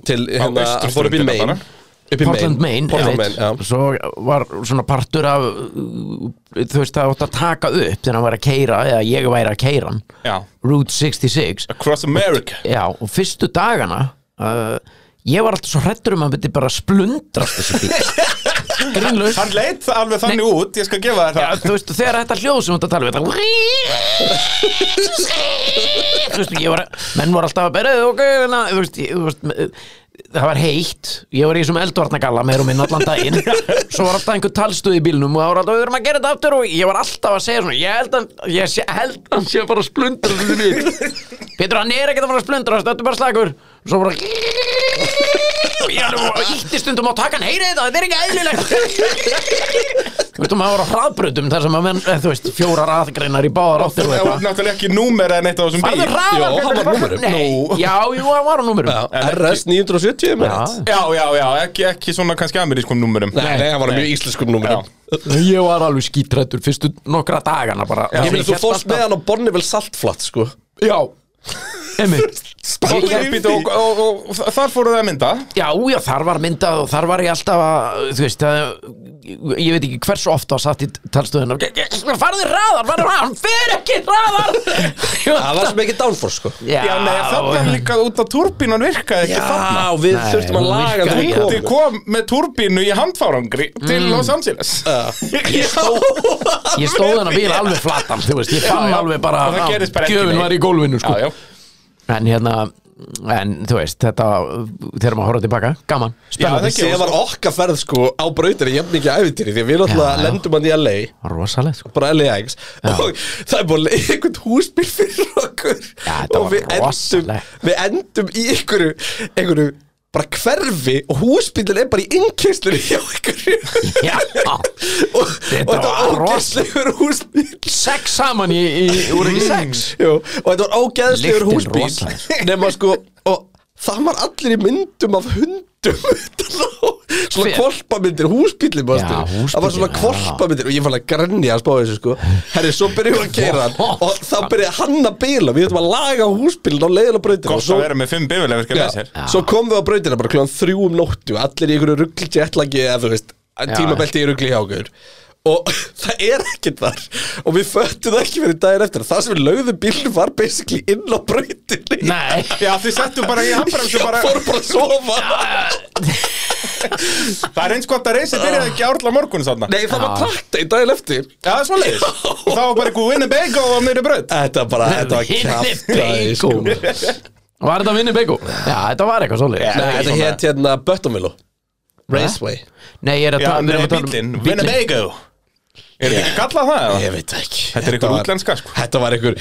Speaker 3: Til hérna,
Speaker 2: austurströndina
Speaker 3: hann fór upp í Maine
Speaker 2: bara.
Speaker 3: Upp í
Speaker 1: Portland, Maine,
Speaker 3: Portland,
Speaker 1: einmitt.
Speaker 3: Maine, já
Speaker 1: svo var svona partur af uh, þú veist það átt að taka upp þegar hann var að keira, eða ég væri að keira hann
Speaker 2: Já,
Speaker 1: Route 66
Speaker 2: Across America
Speaker 1: já, og fyrstu dagana uh, ég var alltaf svo hrættur um að hann myndi bara splundrast þessi bíl grínlaus
Speaker 2: Hann leit alveg þannig út, ég skal gefa þér
Speaker 1: Já,
Speaker 2: það
Speaker 1: þú veist, þegar þetta hljóð sem þú ert að tala við þetta Þú veist, ég var menn voru alltaf að bera ok, na, þú veist, ég, þú veist me- það var heitt, ég var í þessum eldvarnagalla meir og minn allan daginn svo var alltaf einhver talstuð í bílnum og það var alltaf, við erum að gera þetta aftur og ég var alltaf að segja svona, ég held að ég sé, held að hann sé bara að splundra þessu bíl Pétur, hann er ekkert að fara að splundra þetta er bara slagur, svo bara og ég alveg ítti stundum á takan heyrið þetta, þetta er ekki eðlilegt Þú veist, og maður var á hraðbröðum þar sem að menn, eh, þú veist, fjórar aðgreinar í báðar áttir
Speaker 2: Það
Speaker 1: og
Speaker 2: var
Speaker 1: eitthvað.
Speaker 2: náttúrulega ekki númer en eitt af þessum
Speaker 1: Farðu
Speaker 2: bíl
Speaker 1: hraðar!
Speaker 3: Jó, hann var á númerum.
Speaker 1: Nei, já, jú, hann var á númurum.
Speaker 3: Já, RS 970 með þetta.
Speaker 2: Já, já, já, ekki, ekki svona kannski amerískum númerum
Speaker 3: Nei, nei, hann var á mjög íslenskum númurum
Speaker 1: Ég var alveg skítrættur fyrstu nokkra dagana bara.
Speaker 3: Ég meina, þú fórst með hann á Bonnivel saltflatt, sko
Speaker 1: Já, einmitt.
Speaker 2: Og,
Speaker 1: Ég- ég-
Speaker 2: og, og, og, og þar fóru það að mynda
Speaker 1: Já, já, þar var myndað og þar var ég alltaf að, þú veist, að, ég ég veit ekki hversu ofta að satt í talstöðuna. Farði hraðar, farði hraðar, hann fer ekki hraðar!
Speaker 3: Það var sem ekki downforce, sko
Speaker 1: Já,
Speaker 2: Já, nei, það var líka út að turbínan virkaði ekki þarna
Speaker 3: Já, við
Speaker 1: Nei,
Speaker 3: þurftum að
Speaker 1: hún
Speaker 3: laga
Speaker 1: virkaði
Speaker 3: það
Speaker 1: ekki.
Speaker 2: Þið kom með turbínu í handfárangri til Los Angeles
Speaker 3: Ég stóð
Speaker 1: Ég stóð hennar bíl alveg flatan, þú veist, ég fann
Speaker 2: já.
Speaker 1: alveg bara
Speaker 2: Og það
Speaker 1: já,
Speaker 2: gerist bara ekki
Speaker 1: gjöfin
Speaker 2: neitt.
Speaker 1: var í gólfinu, sko.
Speaker 2: Já, já
Speaker 1: En hérna, en þú veist, þetta, þegar maður horfður tilbaka, gaman,
Speaker 2: Já,
Speaker 1: spennandi,
Speaker 2: það-
Speaker 3: Sér var okkar ferð sko á brautinni jafn ekki æfintýri því að við náttúrulega
Speaker 1: Já, já.
Speaker 3: lendum hann í LA
Speaker 1: rosalegt, sko.
Speaker 3: bara LAX og það er búin einhvern húsbíl fyrir okkur
Speaker 1: þetta
Speaker 3: og
Speaker 1: var
Speaker 3: við endum,
Speaker 1: rosalegt.
Speaker 3: við endum í einhverju, einhverju bara hverfi og húsbílinn er bara í innkesslunni hjá einhverju
Speaker 1: Já,
Speaker 3: og, og
Speaker 1: Þetta
Speaker 3: þetta
Speaker 1: var
Speaker 3: var ógæslegur húsbíl
Speaker 1: sex saman í, í
Speaker 2: Mm.
Speaker 1: úr ekki sex.
Speaker 3: Jú, og þetta var ógeðslegur
Speaker 1: Lyktin
Speaker 3: húsbíl
Speaker 1: rosaleg.
Speaker 3: nema sko og það var allir í myndum af hundum utan á, svona
Speaker 1: Hver?
Speaker 3: kvolpamyndir, húsbíli
Speaker 1: Já, húsbíllinn,
Speaker 3: það var svona
Speaker 1: já.
Speaker 3: kvolpamyndir og ég fann að grenja að spá þessu sko herri, svo byrjuðum við að keira hann og þá byrjuði hann að bila, við þurfum að laga húsbílinn á leiðin á brautina og
Speaker 2: Gott
Speaker 3: svo,
Speaker 2: að vera með fimm bifilegverkja með sér
Speaker 3: já, svo komum við á brautina bara kljóðan þrjú um nóttu allir í einhverju ruggli jetlagi eða þú veist, tímabelti í ruggli hjá okkur og það er ekkert þar og við föttum það ekki fyrir daginn eftir það sem við lögðum bílnum var basically inn á brautinni
Speaker 1: Nei
Speaker 2: Já, þið settu bara í handbremsu bara
Speaker 3: fór bara að sofa
Speaker 2: Það er eins gott að reysa byrjaði ekki árla morgun þarna
Speaker 3: nei það var takt einn daginn eftir
Speaker 2: Já, það er svoleiðis Og það var bara eitthvað Winnebago á meiri bröð
Speaker 3: þetta var bara, þetta var sko. kjátt
Speaker 1: Winnebago Var þetta Winnebago? Já, þetta var eitthvað svolítið
Speaker 3: Nei, þetta hétt hérna Böttumvilo Raceway
Speaker 1: Nei, ég er að
Speaker 2: Já,
Speaker 1: tala- við
Speaker 2: nei,
Speaker 1: erum að tala um
Speaker 2: bílinn,
Speaker 1: bílinn.
Speaker 2: Winnebago Er þetta ekki kallað það? eða?
Speaker 3: Ég veit það ekki
Speaker 2: Þetta er einhver
Speaker 3: var-
Speaker 2: útlenska, sko.
Speaker 3: Þetta var einhver og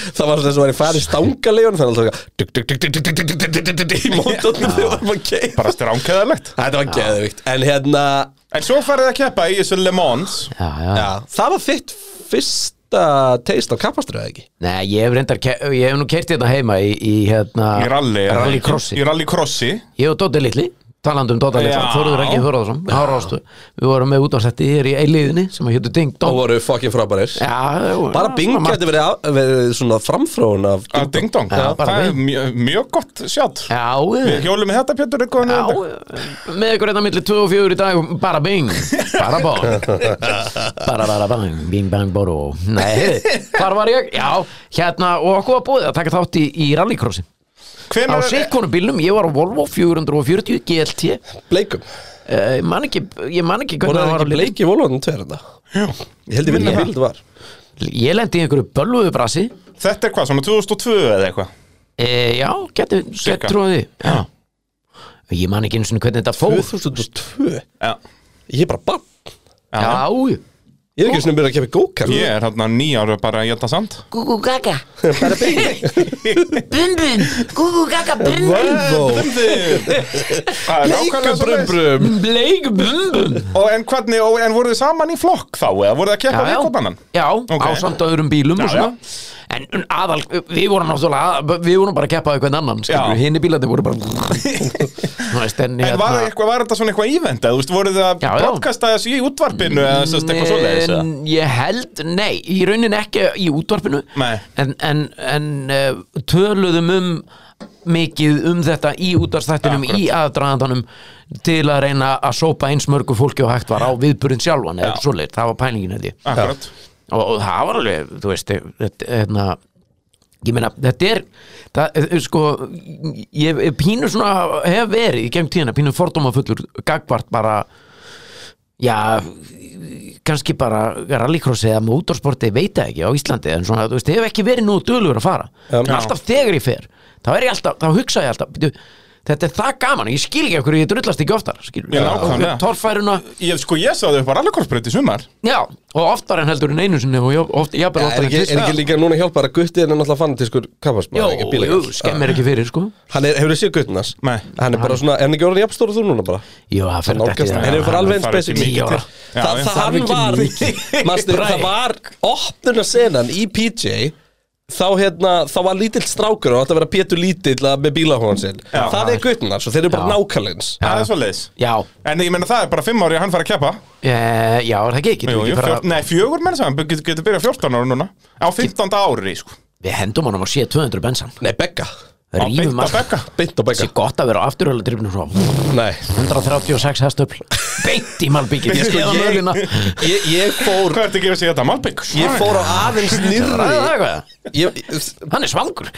Speaker 3: Það var þess að var í færi stangalegun Þannig að það var Í mótornum þegar varum að keira
Speaker 2: Bara stránkeðalegt
Speaker 3: Þetta var geðvikt En hérna
Speaker 2: En svo farið þið að keppa í þessu Le Mans
Speaker 1: Já, já
Speaker 3: já, Það var þitt fyrsta Teist á kapastur eða ekki
Speaker 1: Nei, ég hef reyndar, ke- ég hef nú kert hérna heima í, í hérna
Speaker 2: Í rally
Speaker 1: Rallycrossi
Speaker 2: Í rallycrossi
Speaker 1: Ég og Dóti Lilli, talandi um Dóti Lilli
Speaker 2: Já.
Speaker 1: Þóruður ekki Þóruðarsson, hárástu Við vorum með útvarsætti hér í eiliðinni sem að hétu Ding
Speaker 3: Og
Speaker 1: Dong
Speaker 3: voru fucking frábærir
Speaker 1: Já, jú,
Speaker 3: Bara
Speaker 1: já,
Speaker 3: Bing
Speaker 1: svona
Speaker 2: hérna.
Speaker 1: margt.
Speaker 3: geti verið, á- verið svona framfróun af
Speaker 2: Að Ding Dong
Speaker 1: Já, bara
Speaker 2: Það er
Speaker 1: Ding.
Speaker 2: mjög, mjög gott sjátt
Speaker 1: Já,
Speaker 2: Við hjólum með þetta Pétur eitthvað
Speaker 1: já,
Speaker 2: nú
Speaker 1: með ykkur hérna millir 2 og 4 í dag bara bing, bara bong bara bara bang, bing bang boro nei, hvar var ég? Já, hérna og okkur var búið að taka þátt í, í rallycrossi á
Speaker 2: Hvenær er
Speaker 1: sikkonum bílnum, ég var á Volvo 440 GLT uh,
Speaker 3: bleikum
Speaker 1: Eh, ég man ekki, ég man ekki
Speaker 3: Voru
Speaker 1: hvernig
Speaker 3: það
Speaker 1: það var
Speaker 3: ekki
Speaker 1: á
Speaker 3: bleiki volunum tveir þetta Ég held ég vilja að
Speaker 1: Minna
Speaker 3: bíl þetta var
Speaker 1: lit ég lendi í einhverju bölvuðu brasi
Speaker 2: Þetta er hvað, svona 2002 eða eitthvað
Speaker 1: uh, já, geti,
Speaker 2: Cirka.
Speaker 1: geti trúið því já. ég man ekki eins og hvernig þetta fór
Speaker 3: 2002
Speaker 2: Já
Speaker 3: Ég er bara bann
Speaker 2: Já.
Speaker 1: já,
Speaker 3: Ég er ekki svona byrjað að kepa gókar
Speaker 2: Ég er hérna nýjar bara að geta sand
Speaker 4: Gugu gaga. Bum bum. Gugu gaga bum bum.
Speaker 3: Volvo
Speaker 2: Það er nákvæmlega svo
Speaker 1: Mm.
Speaker 3: brum
Speaker 1: bleik bumbum
Speaker 2: Og en hvernig, og, en voruð þið saman í flokk þá eða voruð þið að keppa
Speaker 1: já,
Speaker 2: við kvotanann?
Speaker 1: já
Speaker 2: Ok.
Speaker 1: á samt öðrum bílum og
Speaker 2: Já,
Speaker 1: svona En en aðal, við vorum náttúrulega að- Við vorum bara að keppa á einhvern annan
Speaker 2: Já.
Speaker 1: Hinn í bílarnir voru bara Þú veist, en,
Speaker 2: En var, það eitthvað, var þetta svona eitthvað ívend eða, þú veist, voruð þið að
Speaker 1: Hérna- Já, já.
Speaker 2: broadcasta þessu í útvarpinu eða þú veist, eitthvað svoleiðis eða?
Speaker 1: En Ég held, nei, í raunin ekki í útvarpinu
Speaker 2: Nei.
Speaker 1: En, en, en uh, töluðum um mikið um þetta í útvarstættinum
Speaker 2: Akkurat.
Speaker 1: í aðdraðandanum til að reyna að sópa eins mörgu fólki og hægt var á viðburinn sjálfan eða
Speaker 2: Já.
Speaker 1: svoleið, það var pælingin held ég
Speaker 2: Akkurat
Speaker 1: og, og það var alveg, þú veist þetta, hérna, ég meina, þetta er það, eh, sko ég, ég pínu svona, hef verið í gegn tíðina, pínu fordómafullur gagvart bara já, kannski bara rallycrossi eða motorsporti, veit það ekki á Íslandi, en svona, þú veist, hef ekki verið nú dölur að fara,
Speaker 3: Já.
Speaker 1: en alltaf þegar ég fer þá er ég alltaf, þá hugsa ég alltaf "Bíddu, þetta er það gaman, ég skil ekki okkur ég drullast ekki oftar, skil
Speaker 2: Já, nákvæmlega.
Speaker 1: torfæruna,
Speaker 2: Ég, sko, ég sá þau bara alveg korsbreyt í sumar
Speaker 1: já, og oftar en heldur en einu sinni og jafnvel oftar
Speaker 3: Já,
Speaker 1: en
Speaker 3: er, ekki,
Speaker 1: tvisvar.
Speaker 3: er ekki líka núna hjálpar að guttið er náttúrulega fanatískur
Speaker 1: Jó,
Speaker 3: kapasmaður, ekki
Speaker 1: jú,
Speaker 3: bílagall
Speaker 1: skemmir ekki fyrir sko
Speaker 3: Hann er, hefur þið séð guttin hans?
Speaker 2: Nei.
Speaker 3: Hann er bara svona, er hann ekki orðin jafnstóra þú núna bara?
Speaker 1: Jú, það fer
Speaker 3: Nálgast
Speaker 1: þetta
Speaker 3: hann.
Speaker 1: ekki
Speaker 3: Hann er bara alveg
Speaker 2: Hann
Speaker 3: eins
Speaker 2: farið ekki
Speaker 3: basic
Speaker 1: mikið til.
Speaker 2: Já,
Speaker 3: Það,
Speaker 2: já.
Speaker 3: það hann var, manstu, það var opnuna senan í PJ Þá hérna, þá var lítill strákur og átti að vera Pétur lítill að- með bílahóðan sinn
Speaker 2: Já.
Speaker 3: Það er guttin hans og þeir eru bara
Speaker 1: Já.
Speaker 3: nákallins
Speaker 2: Það er svoleiðis
Speaker 1: Já,
Speaker 2: En ég meina það er bara fimm ári að hann fara að keppa
Speaker 1: e, já, er það ekki, getum
Speaker 2: Jú,
Speaker 1: við
Speaker 2: jú,
Speaker 1: ekki fara
Speaker 2: fjör, Nei, fjögur menn sem hann getur getur byrjað 14 ára núna Á 15. ári, sko
Speaker 1: Við hendum honum á 7-200 bensan
Speaker 3: Nei, Begga,
Speaker 2: Á
Speaker 1: Rífum
Speaker 2: beint að
Speaker 1: að
Speaker 2: bekka
Speaker 3: beint á
Speaker 1: Þessi
Speaker 3: Begga
Speaker 1: gott að vera á sko. afturhjóla drifnum svo
Speaker 3: Nei,
Speaker 1: 136 hestöfl Beint í malbyggi
Speaker 3: Ég-
Speaker 1: Eða
Speaker 3: ég-
Speaker 1: mölina
Speaker 3: ég, ég fór
Speaker 2: Hvað ertu að gefa sig þetta? Malbygg?
Speaker 3: Ég fór á aðeins
Speaker 1: Ræða það
Speaker 3: nýrri
Speaker 1: eitthvað
Speaker 3: ég,
Speaker 1: Hann er svangur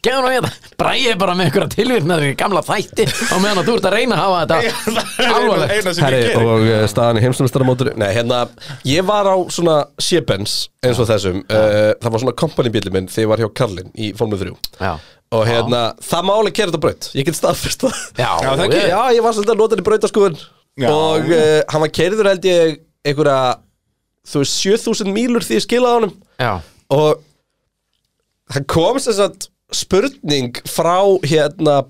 Speaker 1: Gefum hann hérna Bræði bara með einhverja tilvirknaður í gamla þætti á meðan að þú ert að reyna að hafa þetta
Speaker 2: Það er eina-
Speaker 1: alvarlegt
Speaker 2: eina sem ég
Speaker 3: Herri,
Speaker 2: gerir
Speaker 3: og uh, staðan í heimsumstaramótur Nei, hérna, ég var á svona Shebens, eins og þessum uh, Það var svona kompanibíli minn þegar ég var hjá Karlin í Formule 3
Speaker 1: Já.
Speaker 3: Og hérna, það má alveg kera þetta á braut Ég get staðfest það
Speaker 1: Já,
Speaker 3: já, það
Speaker 1: ég-
Speaker 3: ekki, já ég var svolítið að nota þetta í brautaskoðun
Speaker 2: Já.
Speaker 3: Og uh, hann var keriður held ég einhverja, þú veist, 7000 mílur því ég skilaði honum
Speaker 1: Já,
Speaker 3: og það kom sem sagt spurning frá hérna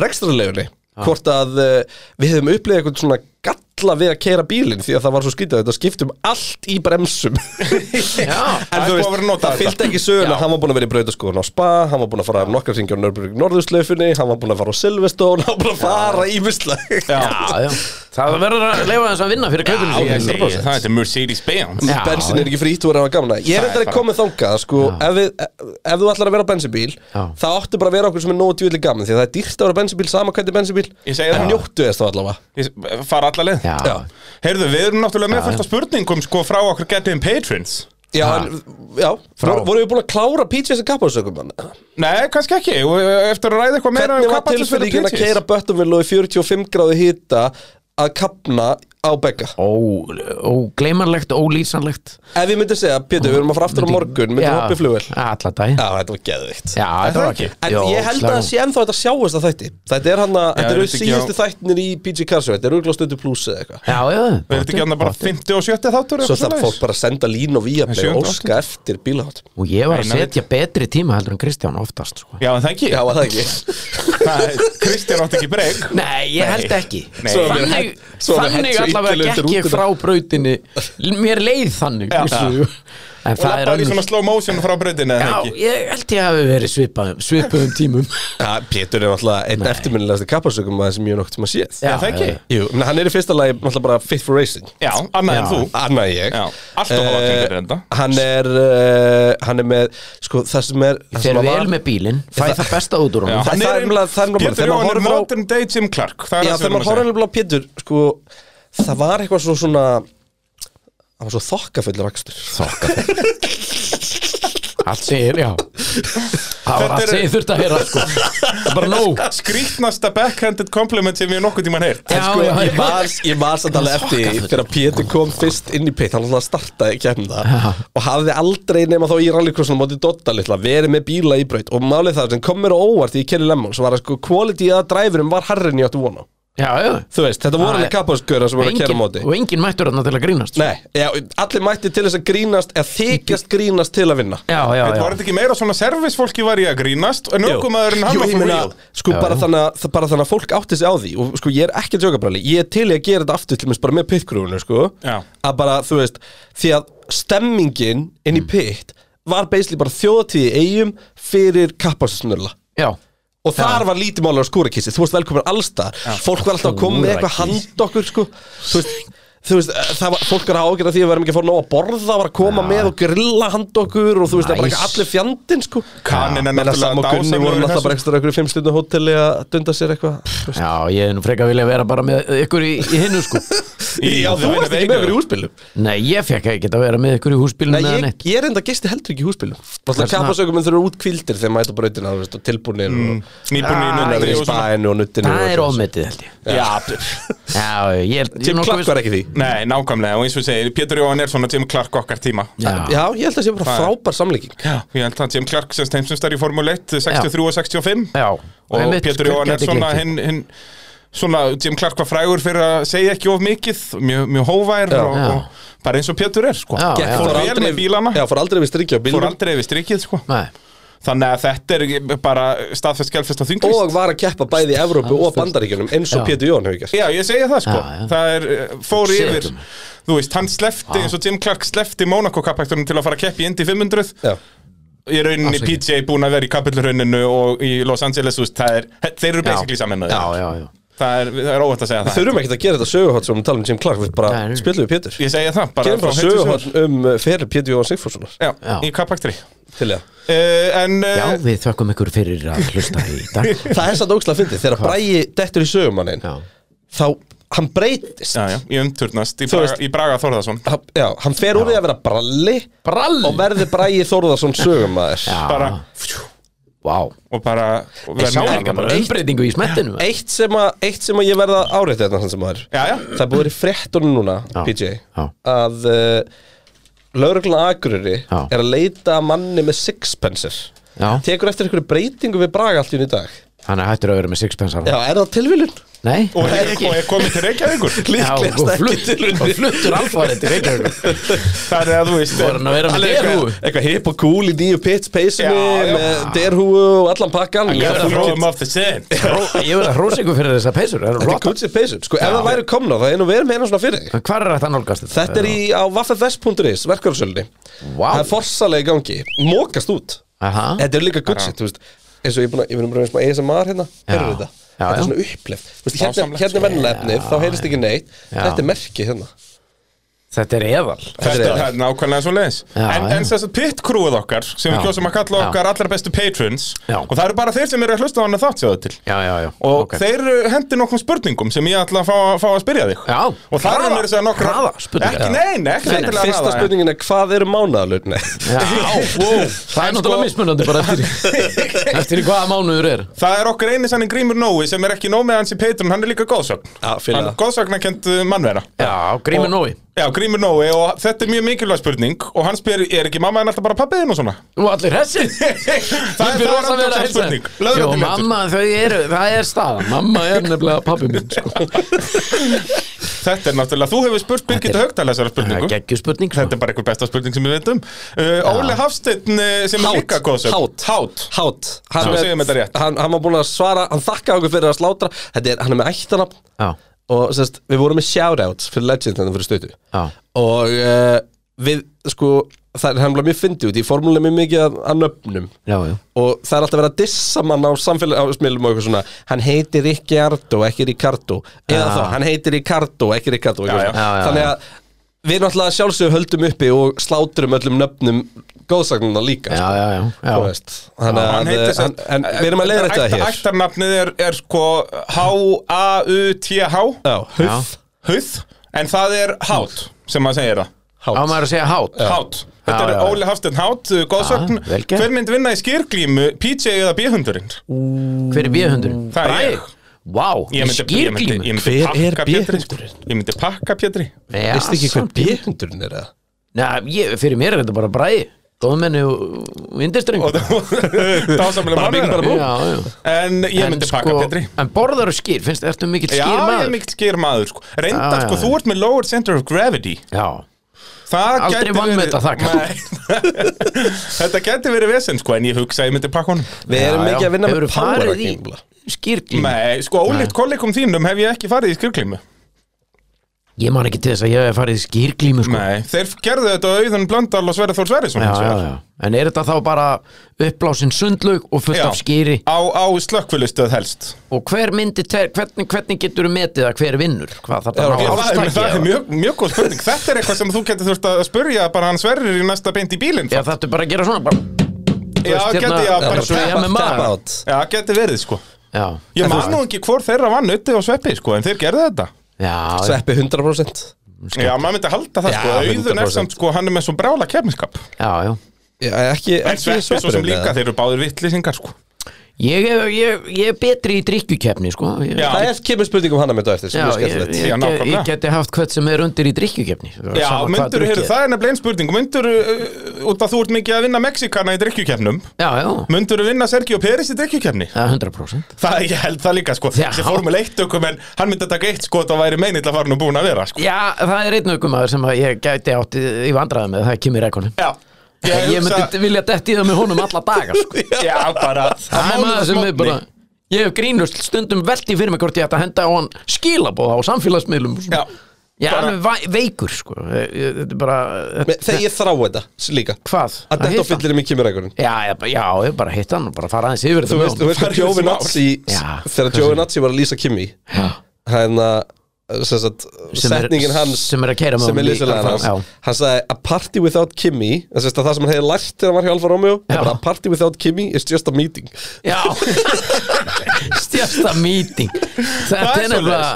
Speaker 3: rekstrarlegunni hvort að uh, við hefum upplifað eitthvað svona galla við að keira bílinn því að það var svo skrítið að þetta skiptum allt í bremsum
Speaker 1: já
Speaker 3: En
Speaker 2: Það er búið að
Speaker 3: þú
Speaker 2: vera
Speaker 3: veist,
Speaker 2: notað
Speaker 3: það
Speaker 2: þetta.
Speaker 3: fylgdi ekki söguna
Speaker 1: Já.
Speaker 3: Hann var búin að vera í brautaskóðun á Spa Hann var búin að fara nokkar hringi á Nörburg Norðurslaufinni Hann var búin að fara á Silveston Hann var búin að fara í mislega
Speaker 1: Já, já Það verður að leifa þess að vinna fyrir kaupinu
Speaker 2: Já,
Speaker 1: sínu.
Speaker 2: ég segi Það heitir Mercedes-Benz
Speaker 1: Já.
Speaker 3: bensin er ekki frýtt og er að gamna
Speaker 2: Það
Speaker 3: ég er
Speaker 2: er
Speaker 3: þetta að
Speaker 2: bara-
Speaker 3: koma þangað sko, ef, við, ef þú ætlar að vera á bensinbíl
Speaker 1: Já.
Speaker 3: þá áttu bara að vera okkur sem er nógu djúvillig gaman því að það er dýrt að vera á bensinbíl, sama hvernig bensinbíl
Speaker 2: Ég segi það.
Speaker 3: en njóttu þess þá allavega
Speaker 2: Ég s- fara alla leið
Speaker 1: Já,
Speaker 3: Já,
Speaker 2: Heyrðu, við erum náttúrulega með fullt af spurningum sko frá okkur getið patrons
Speaker 3: já,
Speaker 1: Ha.
Speaker 3: en, já.
Speaker 1: Frá-
Speaker 3: Voru, voru við búin að klára Peaches sem kappaðsökum hann?
Speaker 2: Nei, kannski ekki, og eh, eftir að ræða eitthvað meira
Speaker 3: Hvernig
Speaker 2: um
Speaker 3: var
Speaker 2: kappaksins fyrir
Speaker 3: tilfinningin að
Speaker 2: Peaches.
Speaker 3: keira Böttumvill og í 45 gráðu hýta að kapna á begga?
Speaker 1: Ó, ógleymanlegt, ólýsanlegt
Speaker 3: Ef ég myndi segja, Pétur, við erum að fara aftur á morgun myndi hoppa í flugvel Já,
Speaker 1: Alla dag Já,
Speaker 3: þetta var geðvikt
Speaker 1: þetta var ekki
Speaker 3: En
Speaker 1: Jó,
Speaker 3: ég held að það
Speaker 1: slagum.
Speaker 3: sé ennþá þetta sjáist að þætti Þetta er hann að, þetta
Speaker 2: er
Speaker 3: eru
Speaker 2: þetta ekki
Speaker 3: síðustu þættinir í PG Carsó Þetta eru auðvitað stundu pluss eða eitthvað
Speaker 1: Já, já
Speaker 2: Við erum ekki annað bara 50 og 70 þáttur
Speaker 3: Svo þarf fólk bara að senda lín og vía
Speaker 2: En
Speaker 3: með
Speaker 2: sjöunda,
Speaker 3: óska eftir bílahátt
Speaker 1: Og ég var að
Speaker 2: Nei, nei,
Speaker 1: setja betri tíma heldur en Kristján oftast sko.
Speaker 2: Já, en það ekki
Speaker 3: Já, var það ekki
Speaker 2: Það- Kristján átti ekki breyk
Speaker 1: Nei, ég held ekki
Speaker 2: Nei.
Speaker 3: Svo er mér
Speaker 1: Þannig,
Speaker 3: hætt- svo er mér
Speaker 1: þannig
Speaker 3: hætt svo
Speaker 1: allavega
Speaker 3: illilega undir
Speaker 1: gekk ég
Speaker 3: rútuna.
Speaker 1: frá brautinni Mér leið þannig
Speaker 2: Já.
Speaker 1: vissu. En
Speaker 2: Og
Speaker 1: það er
Speaker 2: lappaði í
Speaker 1: önnur
Speaker 2: svona slow motion frá breytinni eða
Speaker 1: Já,
Speaker 2: ekki
Speaker 1: ég held ég hafi verið svipaðum, svipuðum tímum
Speaker 3: ja, Pétur er náttúrulega einn
Speaker 1: Nei.
Speaker 3: eftirminnilegasti kappasökum að sem ég nokkuð sem að séð
Speaker 2: það ekki.
Speaker 3: Jú, menn hann er í fyrsta lagi náttúrulega bara fit for racing
Speaker 2: Já, annað en
Speaker 1: Já.
Speaker 2: þú
Speaker 3: Annað ég
Speaker 2: Já, allt of hafa
Speaker 3: Eh,
Speaker 2: klingar enda
Speaker 3: Hann er, uh, hann er með, sko, það sem er það sem
Speaker 1: Þegar
Speaker 3: að
Speaker 1: vel
Speaker 3: var-
Speaker 1: með bílinn, fæ
Speaker 3: Það-
Speaker 1: það besta út úr
Speaker 2: Já,
Speaker 1: honum
Speaker 3: það-
Speaker 2: hann
Speaker 3: það er nefnilega- það er nefnilega-
Speaker 2: Pétur
Speaker 3: þegar maður
Speaker 2: Jóhann er
Speaker 3: horfir á-
Speaker 2: modern day Jim Clark Það er
Speaker 3: Já,
Speaker 2: það
Speaker 3: þegar
Speaker 2: sem
Speaker 3: maður
Speaker 2: við
Speaker 3: horfði
Speaker 2: erum að segja
Speaker 3: alveg á Pétur sko, það var eitthvað svo svona það var svo þokkafullur akstur
Speaker 1: Þokka Allt segir, já Það var
Speaker 2: Þetta
Speaker 1: allt
Speaker 2: eru-
Speaker 1: segir þurft að heyra sko. Það er bara nóg
Speaker 2: Skrýtnasta backhanded compliment sem ég nokkuð tímann heyrt
Speaker 1: Já,
Speaker 3: sko,
Speaker 1: já,
Speaker 3: ég
Speaker 1: já.
Speaker 3: var, ég var samt alveg eftir því
Speaker 1: Þokkafullur.
Speaker 3: þegar Pétur kom fyrst inn í pitt hann alltaf startaði kemna
Speaker 1: Já.
Speaker 3: og hafði aldrei nema þá í rallycrossinu móti Dotta litla verið með bíla í braut og málið það sem kom mér á óvart í Kelly Lemmon svo var að sko quality að dræfurum var harri en ég átti vona
Speaker 1: Já, já
Speaker 3: þú veist þetta voru
Speaker 1: Það
Speaker 3: alveg
Speaker 1: er-
Speaker 3: kapasgöra sem voru að
Speaker 1: Engin-
Speaker 3: kera móti
Speaker 1: Og enginn mættur þarna til að grínast sko.
Speaker 3: Nei, já, allir mætti til þess að grínast eða þykjast grínast til að vinna
Speaker 1: Já, já,
Speaker 2: Þetta
Speaker 1: já
Speaker 2: var þetta ekki meira svona servicefólki var ég að grínast En
Speaker 3: Jú.
Speaker 2: aukumæðurinn hann
Speaker 3: Jú,
Speaker 2: var
Speaker 3: ég
Speaker 2: for
Speaker 3: meina,
Speaker 2: real
Speaker 3: Sko
Speaker 1: Já,
Speaker 3: bara,
Speaker 1: já.
Speaker 3: Þannig, að- það- bara þannig að fólk átti sig á því Og sko ég er ekki að tjóka bræli Ég er til í að gera þetta aftur til mér bara með pitkrúinu sko
Speaker 2: Já.
Speaker 3: Að bara þú veist Því að stemmingin inn í pitt Var basically bara þjóðatíði eigum Fyrir kappasnurla
Speaker 1: Já,
Speaker 3: Og þar var lítið málega skúrakissi Þú veist velkomin allstað Fólk var alltaf að koma með eitthvað
Speaker 1: Skúrakissi.
Speaker 3: hand okkur sko Þú veist Þú veist, eh, það var, fólk er að ágjöra því að við erum ekki að fá nóg að borða var að koma með og grilla hand okkur og þú veist, það er bara
Speaker 1: Nice.
Speaker 3: ekki allir fjandinn sko
Speaker 2: Kaninn er
Speaker 3: Meina Sam og
Speaker 2: náttúrulega
Speaker 3: Gunni voru
Speaker 2: dásamlegur í
Speaker 3: náttúrulega bara
Speaker 2: þessu.
Speaker 3: ekstra einhverju fimmstundu hóteli að dunda sér eitthvað
Speaker 1: já, ég er nú frekar vilja vera bara með ykkur í, í hinnu sko
Speaker 2: Í-
Speaker 3: Já, þú
Speaker 2: Veinu
Speaker 3: varst ekki
Speaker 2: Veinu.
Speaker 3: með okkur í húsbílum
Speaker 1: Nei, ég fekk ekki að vera með ykkur í húsbílunum
Speaker 3: Nei,
Speaker 1: eða
Speaker 3: ég,
Speaker 1: neitt
Speaker 3: ég er enda gisti heldur ekki í húsbílum Það er
Speaker 1: Þess vegna-
Speaker 3: kappasökum en þeir eru útkvildir þegar maður er brautina þú veist, og tilbúinir mm.
Speaker 2: Nýbúin í
Speaker 3: og
Speaker 2: nöndri
Speaker 3: í
Speaker 2: og svona
Speaker 3: spæinu og nuttinu
Speaker 1: Það er ofmetið held ég
Speaker 3: Já,
Speaker 1: Já, ég er ég er
Speaker 3: Tim
Speaker 1: nokkuð
Speaker 3: Clark
Speaker 1: viss-
Speaker 3: var ekki því
Speaker 2: Nei, nákvæmlega, og eins og við segir, Pétur Jóhann er svona Jim Clark okkar tíma
Speaker 1: Já,
Speaker 3: Já, ég held að það sé bara
Speaker 2: Það er-
Speaker 3: frábær samlíking
Speaker 2: Já, ég held að Jim Clark sem steimsumst er í Formule 1 63 og 65
Speaker 1: já
Speaker 2: og
Speaker 1: einmitt,
Speaker 2: Pétur
Speaker 1: hver
Speaker 2: Jóhann er
Speaker 1: gæti
Speaker 2: svona
Speaker 1: gleymt því?
Speaker 2: hinn, hinn svona Jim Clark var frægur fyrir að segja ekki of mikið mjög, mjög hóvær og,
Speaker 1: Já.
Speaker 2: og bara eins og Pétur er sko.
Speaker 1: Já,
Speaker 3: Gekk
Speaker 1: já.
Speaker 2: fór vel með bílana
Speaker 3: Já, fór aldrei við strikja á
Speaker 2: fór
Speaker 3: bílum
Speaker 2: aldrei yfir strikið sko.
Speaker 1: Nei,
Speaker 2: þannig að þetta er bara staðfest, skjálfest og þinglist
Speaker 3: Og var að keppa bæði í Evrópu og Bandaríkjunum eins og
Speaker 1: Já.
Speaker 3: Pétur Jón hefur gert
Speaker 2: Já, ég segja það sko,
Speaker 1: Já, já.
Speaker 2: það er, eh, fór
Speaker 1: Setum.
Speaker 2: yfir Þú veist, hann slefti, eins og Jim Clark slefti Monaco-kappæktunum til að fara að keppi í Indy 500
Speaker 3: Já,
Speaker 2: í rauninni
Speaker 1: Afsakið.
Speaker 2: PJ búin að vera í kapillrauninu og í Los Angeles þú veist, það er, þeir eru basically saman
Speaker 1: já, já, já
Speaker 2: það er, það er óvænt að segja það
Speaker 3: Þurfum ekkert að gera þetta söguhótt sem við tala um Jim Clark Við bara
Speaker 1: Nei, nei.
Speaker 3: spilum við Pétur
Speaker 2: ég segja það, bara
Speaker 3: Gerum bara
Speaker 2: frá heitu
Speaker 3: söguhótt um uh, feril Pétur Jóhann Sigfússonar
Speaker 2: Já,
Speaker 1: Já.
Speaker 2: í kappaktri
Speaker 3: Til ég
Speaker 2: uh, En
Speaker 1: Já,
Speaker 2: uh,
Speaker 1: við þökkum ykkur fyrir að hlusta í dag
Speaker 3: Það er satt ógslag að fyndi, þegar Bræi dettur í sögumannin
Speaker 1: Já,
Speaker 3: þá, hann breytist
Speaker 2: já, já, ég umturnast í
Speaker 3: Þú
Speaker 2: Braga,
Speaker 3: veist-
Speaker 2: í Braga Þórðarsson
Speaker 3: Hann, já, hann fer úr því að vera bralli
Speaker 1: Brall
Speaker 3: og verði Bræi Þórðarsson sögumaður
Speaker 1: Já,
Speaker 2: bara,
Speaker 1: vá
Speaker 2: og bara og
Speaker 1: Ég sá
Speaker 2: verður
Speaker 1: líka bara
Speaker 2: alvarlegur.
Speaker 1: umbreytingu í smettinu
Speaker 3: eitt, sem að, eitt sem að ég verða árétt þetta hann sem maður
Speaker 2: Já, já,
Speaker 3: Það er búið að vera í fréttunum núna,
Speaker 1: Já.
Speaker 3: PJ
Speaker 1: Já.
Speaker 3: að uh, lögregluna Akureyri
Speaker 1: Já.
Speaker 3: er að leita að manni með sixpencer
Speaker 1: Já,
Speaker 3: Tekur eftir einhverju breytingu við Braga allt í einu í dag
Speaker 1: hann er hættur að vera með sixpensar
Speaker 3: Já, er það tilvílun?
Speaker 1: Nei,
Speaker 2: og er, og er komið til Reykjavíkur
Speaker 1: Já, og
Speaker 3: Líklegast ekki
Speaker 1: flutt-
Speaker 3: tilvílun
Speaker 1: og fluttur alfarið til Reykjavík
Speaker 2: Það er að þú veist
Speaker 1: Þú er hann að vera með
Speaker 3: Alveg eitthvað-
Speaker 1: derhúfu
Speaker 3: Eitthvað hip og cool í nýju pits peysunni
Speaker 2: Já, já.
Speaker 3: með derhúfu og allan pakkan
Speaker 1: Ég verð að
Speaker 3: Þetta
Speaker 2: Róðum af þessi
Speaker 1: Hró- Ég verð að hrósa ykkur fyrir þessa peysur Það eru
Speaker 3: er
Speaker 1: flotta.
Speaker 3: kutsið peysun Sko, ef
Speaker 1: Já.
Speaker 3: það væri komna þá einu verið með eina svona fyrir þig
Speaker 1: En Hvar er þetta nálgast þetta?
Speaker 3: Þetta er í, á vaffefess.is, verkvæðarsölunni
Speaker 1: Vá.
Speaker 3: Það er forsalega í gangi, mókast út
Speaker 1: Aha.
Speaker 3: Þetta er líka kutsið, þú veist eins og ég er búin að, ég verðum bara eins og ASMR hérna
Speaker 1: Já.
Speaker 3: Heyrðu þetta,
Speaker 1: Já,
Speaker 3: þetta
Speaker 1: já.
Speaker 3: er svona upplef Þú veist, Hérna,
Speaker 2: Dásamlegt,
Speaker 3: hérna er
Speaker 2: sko.
Speaker 3: vennilega efnið, þá heyrist ekki neitt
Speaker 1: Já.
Speaker 3: Þetta er merkið hérna
Speaker 1: Þetta er eðal
Speaker 2: Þetta
Speaker 3: Þetta
Speaker 2: það
Speaker 3: er-
Speaker 2: er hérna nákvæmlega svo leiðis
Speaker 1: Já,
Speaker 2: En,
Speaker 1: já.
Speaker 2: en þess að pit crewið okkar sem
Speaker 1: Já.
Speaker 2: við kjósum að kalla
Speaker 1: Já.
Speaker 2: okkar allra bestu patrons
Speaker 1: Já.
Speaker 2: og það eru bara þeir sem eru að hlusta á hann að þátt sjáðu til
Speaker 1: Já, já, já
Speaker 2: og
Speaker 1: ok.
Speaker 2: þeir uh, hendi nokkrum spurningum sem ég ætla að fá, fá að spyrja þig
Speaker 1: Já.
Speaker 2: og það
Speaker 1: Hraða-
Speaker 2: er mér að segja nokkra
Speaker 1: hraða spurningar.
Speaker 2: ekki, nei, nei, ekki
Speaker 1: Nei, nei,
Speaker 2: endilega
Speaker 3: Fyrsta
Speaker 2: hraða,
Speaker 3: spurningin er hvað eru mánaðalögn
Speaker 1: Já, wow, það er
Speaker 3: Sko-
Speaker 1: náttúrulega mismunandi bara eftir eftir í hvaða mánuður er
Speaker 2: Það er okkar eini sannig Grímur Nói sem er ekki nóg með hans í Patreon, hann er líka góðsögn
Speaker 3: Já, fyrir
Speaker 2: Hann
Speaker 3: það.
Speaker 2: góðsögnakend mannvera
Speaker 1: Já, Grímur
Speaker 2: Og-
Speaker 1: Nói
Speaker 2: Já, Grímur Nói og þetta er mjög mikilvæg spurning og hann spyr, er ekki mamma en alltaf bara pappið þinn og svona?
Speaker 1: Nú allir hessi
Speaker 2: það er rosa vel að spurning Löður
Speaker 1: Jó,
Speaker 2: þetta mjög
Speaker 1: mamma, þau eru, það er staðan Mamma er nefnilega pabbi minn sko.
Speaker 2: Þetta er náttúrulega, þú hefur spurt Birgitta
Speaker 1: Þetta er-
Speaker 2: Haugdal þessara
Speaker 1: Það
Speaker 2: spurningu
Speaker 1: er sko. geggjusspurning
Speaker 2: Þetta er bara einhver besta spurning sem við veitum uh, Óli Hafsteinn eh, sem
Speaker 3: Hátt,
Speaker 2: er líka góðsögn
Speaker 3: hátt.
Speaker 2: Hátt
Speaker 3: Hátt
Speaker 2: Svo
Speaker 3: hann, er-
Speaker 2: segjum þetta rétt.
Speaker 3: hann, hann var búin að svara, hann þakkaði okkur fyrir að slátra Þetta er, hann er með ættanafn
Speaker 1: Já,
Speaker 3: og sérst, við vorum með shoutouts fyrir Legend þannig fyrir stötu
Speaker 1: já,
Speaker 3: og uh, við, sko, það er hefnilega mjög fyndið út í formúlega mjög mikið að, að nöfnum
Speaker 1: já, já
Speaker 3: og það er alltaf verið að dissa mann á samfélagsmiðlum og eitthvað svona hann heitir Ricciardo, ekki Ricardo eða
Speaker 1: Já.
Speaker 3: þá, hann heitir Ricardo, ekki Ricardo eitthvað
Speaker 2: Já, já.
Speaker 3: svona.
Speaker 1: Já, já,
Speaker 3: þannig
Speaker 1: já.
Speaker 3: að við náttúrulega sjálfsög höldum uppi og slátrum öllum nöfnum góðsagnarna líka
Speaker 1: Já,
Speaker 3: sko,
Speaker 1: já, já,
Speaker 3: þú
Speaker 1: já.
Speaker 3: veist. þannig
Speaker 2: Hann
Speaker 3: að eh,
Speaker 2: heitir
Speaker 3: hann,
Speaker 2: sem-
Speaker 3: en við erum að leiða þetta
Speaker 2: Ætta-
Speaker 3: hér
Speaker 2: Ættarnafnið er, er sko H-A-U-T-H
Speaker 3: já, höf,
Speaker 2: Huð En það er Hátt sem maður segir það
Speaker 1: Á
Speaker 3: hát
Speaker 1: maður að segja hát
Speaker 2: Hátt Þetta
Speaker 1: Já,
Speaker 2: er
Speaker 1: já, já.
Speaker 2: Óli Hafsteinn Hátt, uh, góðsögn
Speaker 1: Já, vel gert.
Speaker 2: Hver mynd vinna í skýrglímu, PJ eða B-hundurinn?
Speaker 1: Hver er B-hundurinn?
Speaker 2: Það er ég.
Speaker 1: Vá,
Speaker 2: Ég myndi, ég myndi, ég myndi
Speaker 3: Hver er
Speaker 2: pakka Pétri, sko.
Speaker 3: B-hundurinn?
Speaker 2: Ég myndi pakka Pétri
Speaker 3: veistu ekki hver B-hundurinn er það?
Speaker 1: Nei, ég, fyrir mér er þetta bara bræði Góðmenni og indistreng
Speaker 2: Og það var samlega
Speaker 3: Bara bing, bara bú.
Speaker 1: Já, já
Speaker 2: En ég myndi pakka Pétri
Speaker 1: En borðar og skýr, finnst þetta mikill
Speaker 2: Já,
Speaker 1: sko, skýr
Speaker 2: ég er
Speaker 1: maður?
Speaker 2: mikill skýr maður sko. Reynda,
Speaker 1: Já,
Speaker 2: sko,
Speaker 1: já,
Speaker 2: þú ert með lower center of gravity
Speaker 1: Já,
Speaker 2: Það
Speaker 1: Aldrei
Speaker 2: gæti
Speaker 1: vanmeta það, kannski.
Speaker 2: Nei. Þetta gæti verið vesen, sko, en ég hugsa að ég myndi pakka honum
Speaker 3: við erum
Speaker 1: já,
Speaker 3: ekki að vinna með
Speaker 1: Hefurðu
Speaker 3: power
Speaker 1: farið í
Speaker 3: nefnilega.
Speaker 1: skýrglímu?
Speaker 2: Nei, sko, ólíkt kollegum þínum hef ég ekki farið í skýrglímu
Speaker 1: Ég man ekki til þess að ég hef farið í skýrglímu sko.
Speaker 2: Nei, þeir gerðu þetta á auðan blöndal og Sverri Þór Sverrisson
Speaker 1: já,
Speaker 2: hins
Speaker 1: já,
Speaker 2: vegar.
Speaker 1: já. En er þetta þá bara uppblásin sundlaug og fullt
Speaker 2: Já.
Speaker 1: af skýri
Speaker 2: Á, á slökkvilustöð helst
Speaker 1: og hver myndi, ter, hvernig, hvernig getur þú metið að hver vinnur? Hvað þarf
Speaker 3: Já,
Speaker 1: það
Speaker 2: Já, það,
Speaker 1: að
Speaker 2: er- það er
Speaker 1: ástækja?
Speaker 2: mjög, mjög góð spurning Þetta er eitthvað sem þú getur þurft að spurja bara hann Sverrir í næsta beint í bílinn
Speaker 1: Já, þetta er bara að gera svona bara,
Speaker 2: Já,
Speaker 1: veist,
Speaker 2: geti ég
Speaker 1: hérna-
Speaker 2: að
Speaker 1: Já,
Speaker 2: bara
Speaker 1: svo ég
Speaker 2: tap-
Speaker 1: með maga.
Speaker 3: Tap out.
Speaker 2: Já, geti verið sko
Speaker 1: Já,
Speaker 2: Ég
Speaker 1: En þú
Speaker 2: man
Speaker 1: veist-
Speaker 2: nú ekki hvort þeirra vann uti og sveppi sko En þeir gerðu þetta
Speaker 1: Já,
Speaker 3: sveppi 100%
Speaker 2: Já, maður myndi halda það
Speaker 3: Já,
Speaker 2: sko Auðun er
Speaker 3: 100%.
Speaker 2: samt sko, hann er með svo brála kefniskap
Speaker 1: já, já
Speaker 3: Já, ekki,
Speaker 2: En
Speaker 3: ekki
Speaker 2: sveppi svo sem
Speaker 3: sveppurinn,
Speaker 2: líka,
Speaker 3: eða?
Speaker 2: þeir eru báðir vittlýsingar sko
Speaker 1: Ég, ég, ég, ég er betri í drikkjukefni sko. ég,
Speaker 2: Já.
Speaker 3: Það er kemur spurning um hana með þetta eftir sem
Speaker 1: já
Speaker 3: er
Speaker 1: ég, ég,
Speaker 3: skemmtilegt
Speaker 2: Já,
Speaker 1: ég,
Speaker 2: nákvæmlega.
Speaker 1: ég geti haft hvert sem er undir í drikkjukefni
Speaker 2: Já, myndur, heyrðu, það er nefnilega einn spurning Myndur, út að þú ert mikið að vinna Mexikana í drikkjukefnum
Speaker 1: Já, já,
Speaker 2: Myndur vinna Sergio Peris í drikkjukefni?
Speaker 1: það er 100%
Speaker 2: Það, ég held það líka, sko
Speaker 1: Já.
Speaker 2: Þessi formule 1 ökum, en hann myndi að taka eitt skot og væri meinill að fara nú búin að vera, sko
Speaker 1: Já, það er einn aukumæður sem að ég gæti átt í í vandræðum með, það er Kimi Rækonin
Speaker 2: Já,
Speaker 1: Ég,
Speaker 2: hugsa-
Speaker 1: myndi vilja detti það með honum alla daga sko.
Speaker 2: Já, bara
Speaker 1: Það er
Speaker 2: málið
Speaker 1: maður sem er bara Ég hef grínust stundum velti fyrir mig hvort ég ætti að henda á hann skilabóða á samfélagsmiðlum og svona.
Speaker 2: Já,
Speaker 1: Ég er
Speaker 2: bara-
Speaker 1: alveg væ- veikur sko Ég- ég- Þetta er bara þetta-
Speaker 3: Men Þegar ég þrá þetta s- líka
Speaker 1: Hvað?
Speaker 3: Að
Speaker 1: hitta
Speaker 3: þetta
Speaker 1: hann?
Speaker 3: fyllir um í kemurreikunum
Speaker 1: Já, ég bara- já, ég bara hitt hann og bara fara aðeins yfir
Speaker 3: Þú
Speaker 1: þetta með
Speaker 3: veist, þú
Speaker 1: honum.
Speaker 3: veist hvað
Speaker 2: Farið
Speaker 3: Jóvi
Speaker 2: smá.
Speaker 3: Natsi
Speaker 1: Já,
Speaker 3: Þegar
Speaker 1: hvað
Speaker 3: Jóvi
Speaker 1: sem-
Speaker 3: Natsi var að lýsa Kimi
Speaker 1: Já.
Speaker 3: Hérna sem sagt,
Speaker 1: Sem er-
Speaker 3: Setningin hans
Speaker 1: sem er að keyra með
Speaker 3: Sem
Speaker 1: honum í
Speaker 3: er lýsilega
Speaker 1: Alfa-
Speaker 3: hans
Speaker 1: já.
Speaker 3: Hann sagði a party without Kimi Það sést að það sem hann hefði lært þegar hann var hjá Alfa Romeo er
Speaker 1: Já.
Speaker 3: bara, A party without Kimi is just a meeting
Speaker 1: Já Stjasta meeting Þetta
Speaker 2: Það er
Speaker 1: er nefnilega